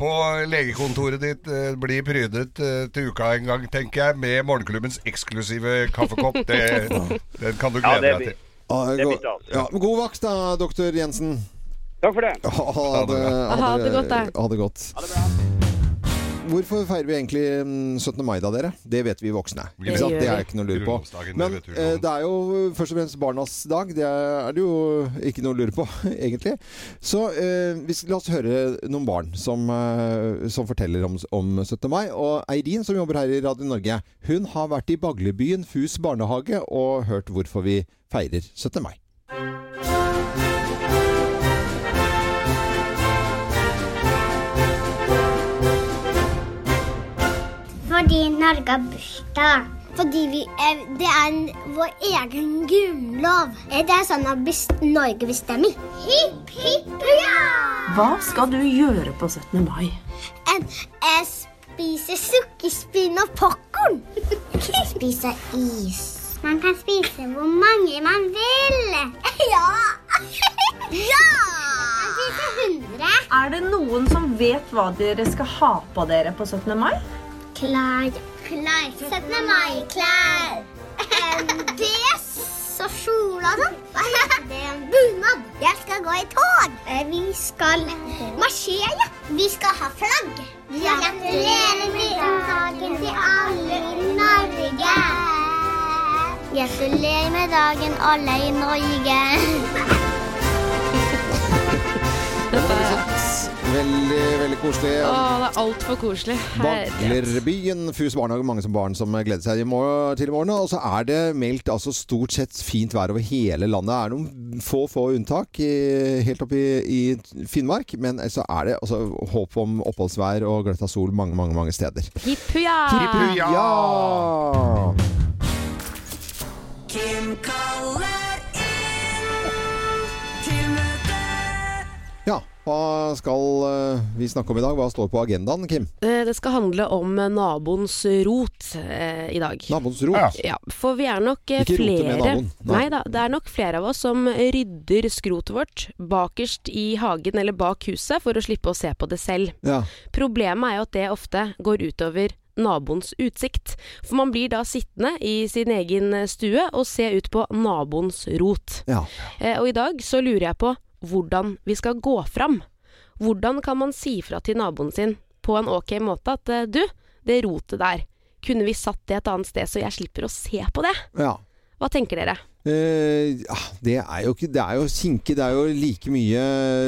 Speaker 2: på legekontoret ditt eh, blir prydet eh, til uka en gang, tenker jeg, med morgenklubbens eksklusive kaffekopp. Det, den kan du glede
Speaker 1: Ja, det
Speaker 2: deg
Speaker 1: blir-
Speaker 2: til.
Speaker 1: Ah, god- ja, men god vakt da, doktor Jensen.
Speaker 6: Takk for det.
Speaker 1: Ha det,
Speaker 3: Ha det godt, da.
Speaker 1: Ha det godt. Hvorfor feirer vi egentlig mm, 17. mai da, dere? Det vet vi voksne.
Speaker 14: Det
Speaker 1: Ikke sant?
Speaker 14: gjør
Speaker 1: Det
Speaker 14: vi.
Speaker 1: er ikke noe å lure på.
Speaker 14: Grunnlovsdagen,
Speaker 1: Men
Speaker 14: det vet vi
Speaker 1: eh, det er jo eh, først og fremst barnas dag. Det er det jo ikke noe å lure på, [LAUGHS] egentlig. Så eh, vi skal, la oss høre noen barn som, eh, som forteller om, om 17. mai. Og Eirin, som jobber her i Radio Norge, hun har vært i Baglebyen Fus barnehage og hørt hvorfor vi feirer 17. mai.
Speaker 20: Fordi Norge har bursdag. Fordi vi, eh, det er en- vår egen grunnlov. Eh, Det er sånn at bes- Norge bestemmer. Hipp, hipp hurra!
Speaker 21: Hva skal du gjøre på 17. mai?
Speaker 20: En, jeg spiser sukkerspinn og popkorn. Spise is. Man kan spise hvor mange man vil. [LAUGHS] Ja! ja! Man spiser 100.
Speaker 21: Er det noen som vet hva dere skal ha på dere på 17. mai?
Speaker 20: Klær. Klær. 17. mai-klær. En dress og kjole og sånn. Hva heter det? En bunad. Jeg skal gå i tog. Vi skal marsjere. Vi skal ha flagg. Ja, gratulerer med dagen til alle i Norge. Gratulerer med dagen, alle i Norge.
Speaker 1: Veldig, veldig koselig.
Speaker 3: Å, det er altfor koselig. Eh, Her.
Speaker 1: Baglerbyen Fus barnehage. Mange som barn som gleder seg i mor- til i morgen. Og så er det meldt altså stort sett fint vær over hele landet. Det er noen få få unntak i, helt oppe i, i Finnmark. Men så er det altså, håp om oppholdsvær og gløtt av sol mange, mange, mange steder.
Speaker 3: Hipp hurra!
Speaker 1: Ja!
Speaker 7: Kim kaller inn til møte.
Speaker 1: ja. Hva skal eh, vi snakke om i dag? Hva står på agendaen, Kim?
Speaker 3: Eh, Det skal handle om eh, naboens rot eh, i dag.
Speaker 1: Naboens rot?
Speaker 3: Ja, for vi er nok eh,
Speaker 1: Ikke rote med
Speaker 3: flere
Speaker 1: naboen, nei.
Speaker 3: Nei da, det er nok flere av oss som rydder skrotet vårt bakerst i hagen eller bak huset for å slippe å se på det selv.
Speaker 1: Ja.
Speaker 3: Problemet er jo at det ofte går utover naboens utsikt. For man blir da sittende i sin egen eh, stue og se ut på naboens rot.
Speaker 1: Ja.
Speaker 3: Eh, Og i dag så lurer jeg på hvordan vi skal gå fram. Hvordan kan man si fra til naboen sin på en ok måte at eh, du, det rotet der, kunne vi satt det et annet sted så jeg slipper å se på det?
Speaker 1: ja.
Speaker 3: Hva tenker dere?
Speaker 1: Eh, Eh, ja, det er jo ikke Det er jo sinke. Det er jo like mye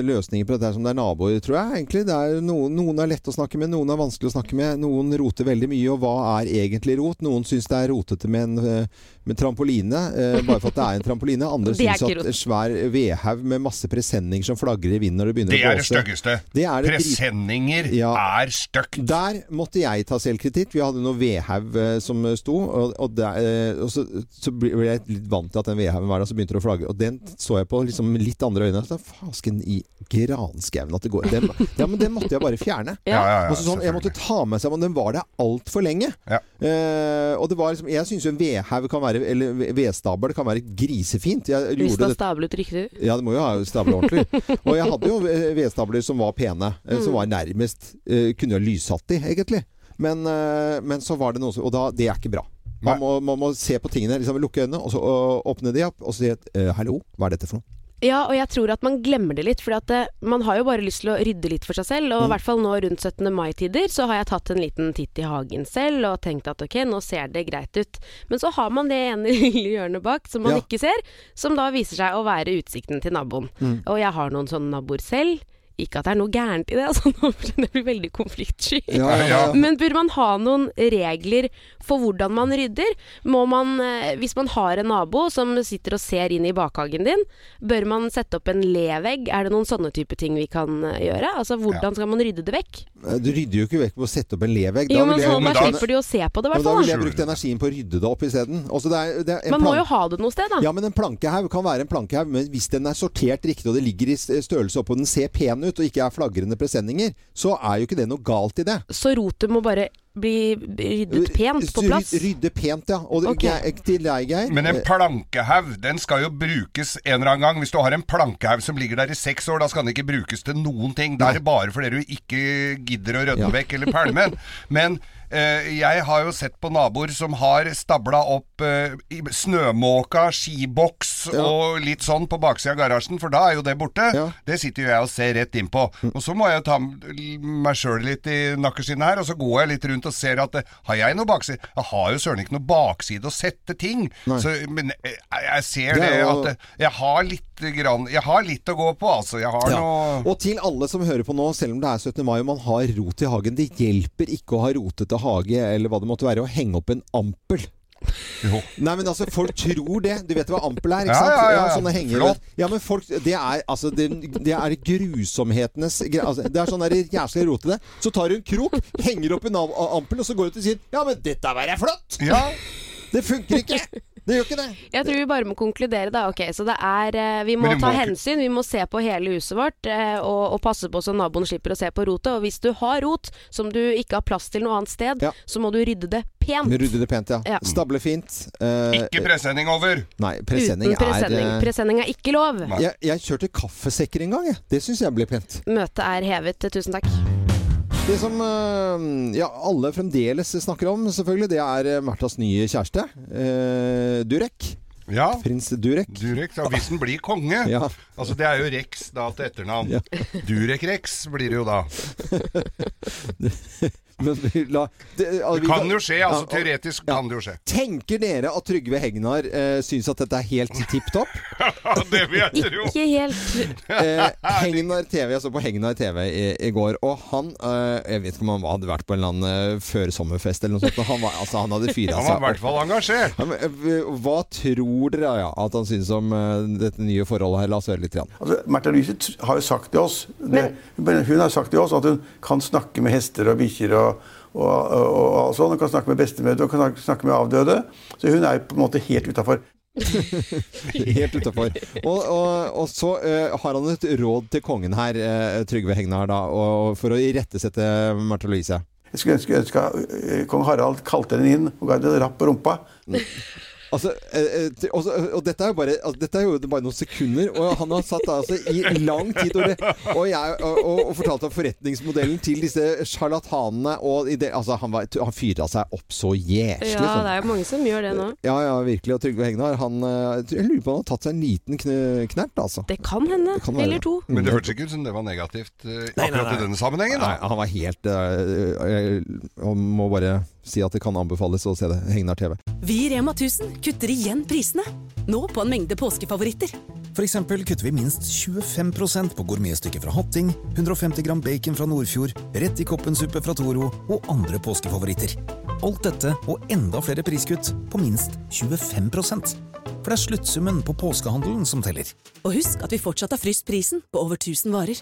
Speaker 1: løsninger på dette her som det er naboer, tror jeg. egentlig. Det er jo noen, noen er lette å snakke med, noen er vanskelig å snakke med. Noen roter veldig mye, og hva er egentlig rot? Noen syns det er rotete med en eh, med trampoline, eh, bare for at det er en
Speaker 2: [LAUGHS]
Speaker 1: trampoline. Andre
Speaker 2: Det er
Speaker 1: syns
Speaker 2: ikke
Speaker 1: at
Speaker 2: rot.
Speaker 1: en svær vedhaug med masse presenninger som flagrer i vinden når det begynner
Speaker 2: Det
Speaker 1: å
Speaker 2: er det
Speaker 1: blåse
Speaker 2: styggeste.
Speaker 1: Det er det drit-
Speaker 2: Presenninger er stygt.
Speaker 1: Der måtte jeg ta selvkritikk. Vi hadde noe vedhaug eh, som sto, og, og, der, eh, og så, så ble ble jeg litt vant til at den vedhaugen var der, så begynte det å flagre. Og den så jeg på liksom litt andre øyne. Så fasken i granskauen at det går. Den, ja, men den måtte jeg bare fjerne.
Speaker 2: Ja, ja, ja,
Speaker 1: og så sånn, jeg måtte ta med seg, men den var der altfor lenge. Eh, og det var liksom, jeg syns jo en vedhaug kan være, eller vedstabel kan være grisefint. Jeg
Speaker 3: Hvis det
Speaker 1: gjorde
Speaker 3: er
Speaker 1: det
Speaker 3: stablet riktig.
Speaker 1: ja, det må jo ha stabler ordentlig. Og jeg hadde jo eh, vedstabler som var pene, eh,
Speaker 3: Mm.
Speaker 1: som var nærmest eh, Kunne jo lyshatt i, egentlig. Men, eh, men så var det noe som Og da, det er ikke bra. Man må, man må se på tingene, liksom lukke øynene, og så og åpne de opp, og så si at eh, 'hallo, hva er dette for noe?'
Speaker 3: Ja, og jeg tror at man glemmer det litt, for at eh, man har jo bare lyst til å rydde litt for seg selv. Og i
Speaker 1: Mm.
Speaker 3: hvert fall nå rundt 17. mai-tider så har jeg tatt en liten titt i hagen selv og tenkt at ok, nå ser det greit ut. Men så har man det ene [LAUGHS] lille hjørnet bak som man
Speaker 22: Ja.
Speaker 3: ikke ser, som da viser seg å være utsikten til naboen.
Speaker 22: Mm.
Speaker 3: Og jeg har noen sånne naboer selv. Ikke at det er noe gærent i det, [LAUGHS] altså, nå skjønner jeg jeg blir veldig konfliktsky.
Speaker 22: Ja, ja, ja.
Speaker 3: Men burde man ha noen regler for hvordan man rydder? Må man, eh, hvis man har en nabo som sitter og ser inn i bakhagen din, bør man sette opp en levegg? Er det noen sånne type ting vi kan eh, gjøre? Altså, hvordan skal man rydde det vekk?
Speaker 1: Eh, Du rydder jo ikke vekk på å sette opp en levegg.
Speaker 3: Jo, men sånn
Speaker 1: ville jeg-
Speaker 3: så da slipper de å se på det, i
Speaker 1: Ja, men
Speaker 3: hvert
Speaker 1: Da
Speaker 3: fall.
Speaker 1: ville jeg
Speaker 3: da.
Speaker 1: brukt energien på å rydde det opp isteden. Altså, det er- det er en
Speaker 3: Man må
Speaker 1: plan-
Speaker 3: jo ha det noe sted, da.
Speaker 1: Ja, men en plankehaug kan være en plankehaug, men hvis den er sortert riktig, og det ligger i s- størrelse opp, og den ser pen ut, og ikke er flagrende presenninger, så er jo ikke det noe galt i det.
Speaker 3: Så rotet må bare bli ryddet pent på
Speaker 1: Ryd-
Speaker 3: plass.
Speaker 1: Rydde pent, ja. Og det,
Speaker 3: Ok.
Speaker 1: jeg, til deg, Geir
Speaker 2: Men en plankehaug, den skal jo brukes en eller annen gang. Hvis du har en plankehaug som ligger der i seks år, da skal den ikke brukes til noen ting. Da er det bare fordi du ikke gidder å rydde
Speaker 18: Ja.
Speaker 2: vekk eller pælme den. Men eh, jeg har jo sett på naboer som har stabla opp eh, i- snømåka, skiboks og litt sånn på baksida av garasjen, for da er jo det borte. Det sitter jo jeg og ser rett innpå.
Speaker 1: Mm.
Speaker 2: Og så må jeg jo ta m- meg sjøl litt i nakkeskinnet her, og så går jeg litt rundt og ser at eh, har jeg noe bakside? Jeg har jo søren ikke noe bakside å sette ting.
Speaker 18: Nei.
Speaker 2: Så, men eh, jeg, jeg ser
Speaker 1: Det
Speaker 2: det,
Speaker 1: er jo-
Speaker 2: at eh, jeg har litt grann Jeg har litt å gå på, altså. Jeg har
Speaker 1: Ja.
Speaker 2: noe
Speaker 1: Og til alle som hører på nå, selv om det er 17. mai og man har rot i hagen, det hjelper ikke å ha rotete hage eller hva det måtte være, å henge opp en ampel. Nei, men altså, folk tror det. Du vet hva ampel er, ikke
Speaker 2: Ja,
Speaker 1: sant?
Speaker 2: ja, ja, ja.
Speaker 1: sånne henger.
Speaker 2: Flott.
Speaker 1: Ja, men folk Det er altså Det, det er grusomhetenes gre- altså, Det er sånn der jævlig rotete. Så tar du en krok, henger opp en am- ampel, og så går du ut og sier Ja, men dette var jeg flott! Det funker ikke! Det gjør ikke det.
Speaker 3: Jeg tror vi bare må konkludere, da. Ok, så det er eh, Vi må
Speaker 1: Men du
Speaker 3: ta
Speaker 1: må ikke-
Speaker 3: hensyn. Vi må se på hele huset vårt eh, og, og passe på så naboen slipper å se på rotet. Og hvis du har rot som du ikke har plass til noe annet sted, så må du rydde det pent.
Speaker 1: Rydde det pent, ja.
Speaker 3: Ja.
Speaker 1: Stable fint. Eh,
Speaker 2: Ikke presenning over!
Speaker 1: Nei, presenning
Speaker 3: Uten presenning.
Speaker 1: er eh,
Speaker 3: Presenning er ikke lov.
Speaker 1: jeg, jeg kjørte kaffesekker en gang, jeg. Det syns jeg ble pent.
Speaker 3: Møtet er hevet. Tusen takk.
Speaker 1: Det som eh, ja, alle fremdeles snakker om, selvfølgelig, det er eh, Märthas nye kjæreste. eh, Durek. Prins Durek.
Speaker 2: Durek, da, hvis den blir konge
Speaker 1: Ja.
Speaker 2: Altså Det er jo Rex da til etternavn. Durek-Rex blir det jo da.
Speaker 1: Men vi la, det, altså,
Speaker 2: Det
Speaker 1: vi
Speaker 2: kan jo skje, altså.
Speaker 1: Ja, og-
Speaker 2: Teoretisk kan det jo skje. [LAUGHS]
Speaker 1: Tenker dere at Trygve Hegnar uh, syns at dette er helt tipp
Speaker 2: [LAUGHS]
Speaker 1: topp?
Speaker 2: det vil jeg tro.
Speaker 3: Ikke helt
Speaker 1: Eh, Hegnar TV, jeg så på Hegnar TV i, i går, og han eh, Jeg vet ikke om han hadde vært på en eller annen eh, førsommerfest eller noe sånt, men han, var, altså, han hadde fyra
Speaker 2: Han
Speaker 1: seg
Speaker 2: var i hvert fall engasjert.
Speaker 1: Ja, men, eh, Hva tror dere ja, at han synes om eh, dette nye forholdet her? La oss høre litt. Igjen.
Speaker 23: Altså, Märtha Louise t- har jo sagt til oss det, men Hun har sagt til oss at hun kan snakke med hester og bikkjer og, og, og, og, og sånn. Hun kan snakke med bestemødre og kan snakke med avdøde. Så hun er jo på en måte helt utafor.
Speaker 1: Helt utafor. Og, og, og så eh, har han et råd til kongen her, eh, Trygve Hegnar, da, og, for å irettesette Märtha Louise.
Speaker 23: Jeg skulle ønske, ønske eh, kong Harald kalte henne inn og ga henne en rapp på rumpa.
Speaker 1: Altså, eh, eh, til- og, så- og dette er jo bare, altså, dette er jo bare noen sekunder, og han har satt altså, i lang tid og, det, og, jeg, og, og, og fortalt om forretningsmodellen til disse sjarlatanene. Og i det, altså, han, var- han fyrte seg opp så jæslig.
Speaker 3: Ja,
Speaker 1: sånn.
Speaker 3: det er jo mange som gjør det nå.
Speaker 1: ja, ja, virkelig. Og Trygve Hegnar, han, eh, jeg tror- jeg lurer på om han har tatt seg en liten kn- knert, altså.
Speaker 3: Det kan hende.
Speaker 1: Det kan være
Speaker 3: Eller
Speaker 1: det.
Speaker 3: to.
Speaker 2: Men det hørtes ikke ut som det var negativt eh, akkurat i denne sammenhengen.
Speaker 1: Nei,
Speaker 2: da
Speaker 1: han var helt eh, eh, Jeg må bare si at det kan anbefales å se det. Hegnar TV.
Speaker 10: Vi i Rema 1000
Speaker 22: kutter igjen prisene. Nå på en mengde påskefavoritter.
Speaker 10: For eksempel kutter vi minst 25 på gourmetstykket fra Hatting, 150 gram bacon fra Nordfjord, rett i koppensuppe fra Toro og andre påskefavoritter. Alt dette og enda flere priskutt på minst 25 For det er sluttsummen på påskehandelen som teller.
Speaker 22: Og husk at vi fortsatt har fryst prisen på over 1000 varer.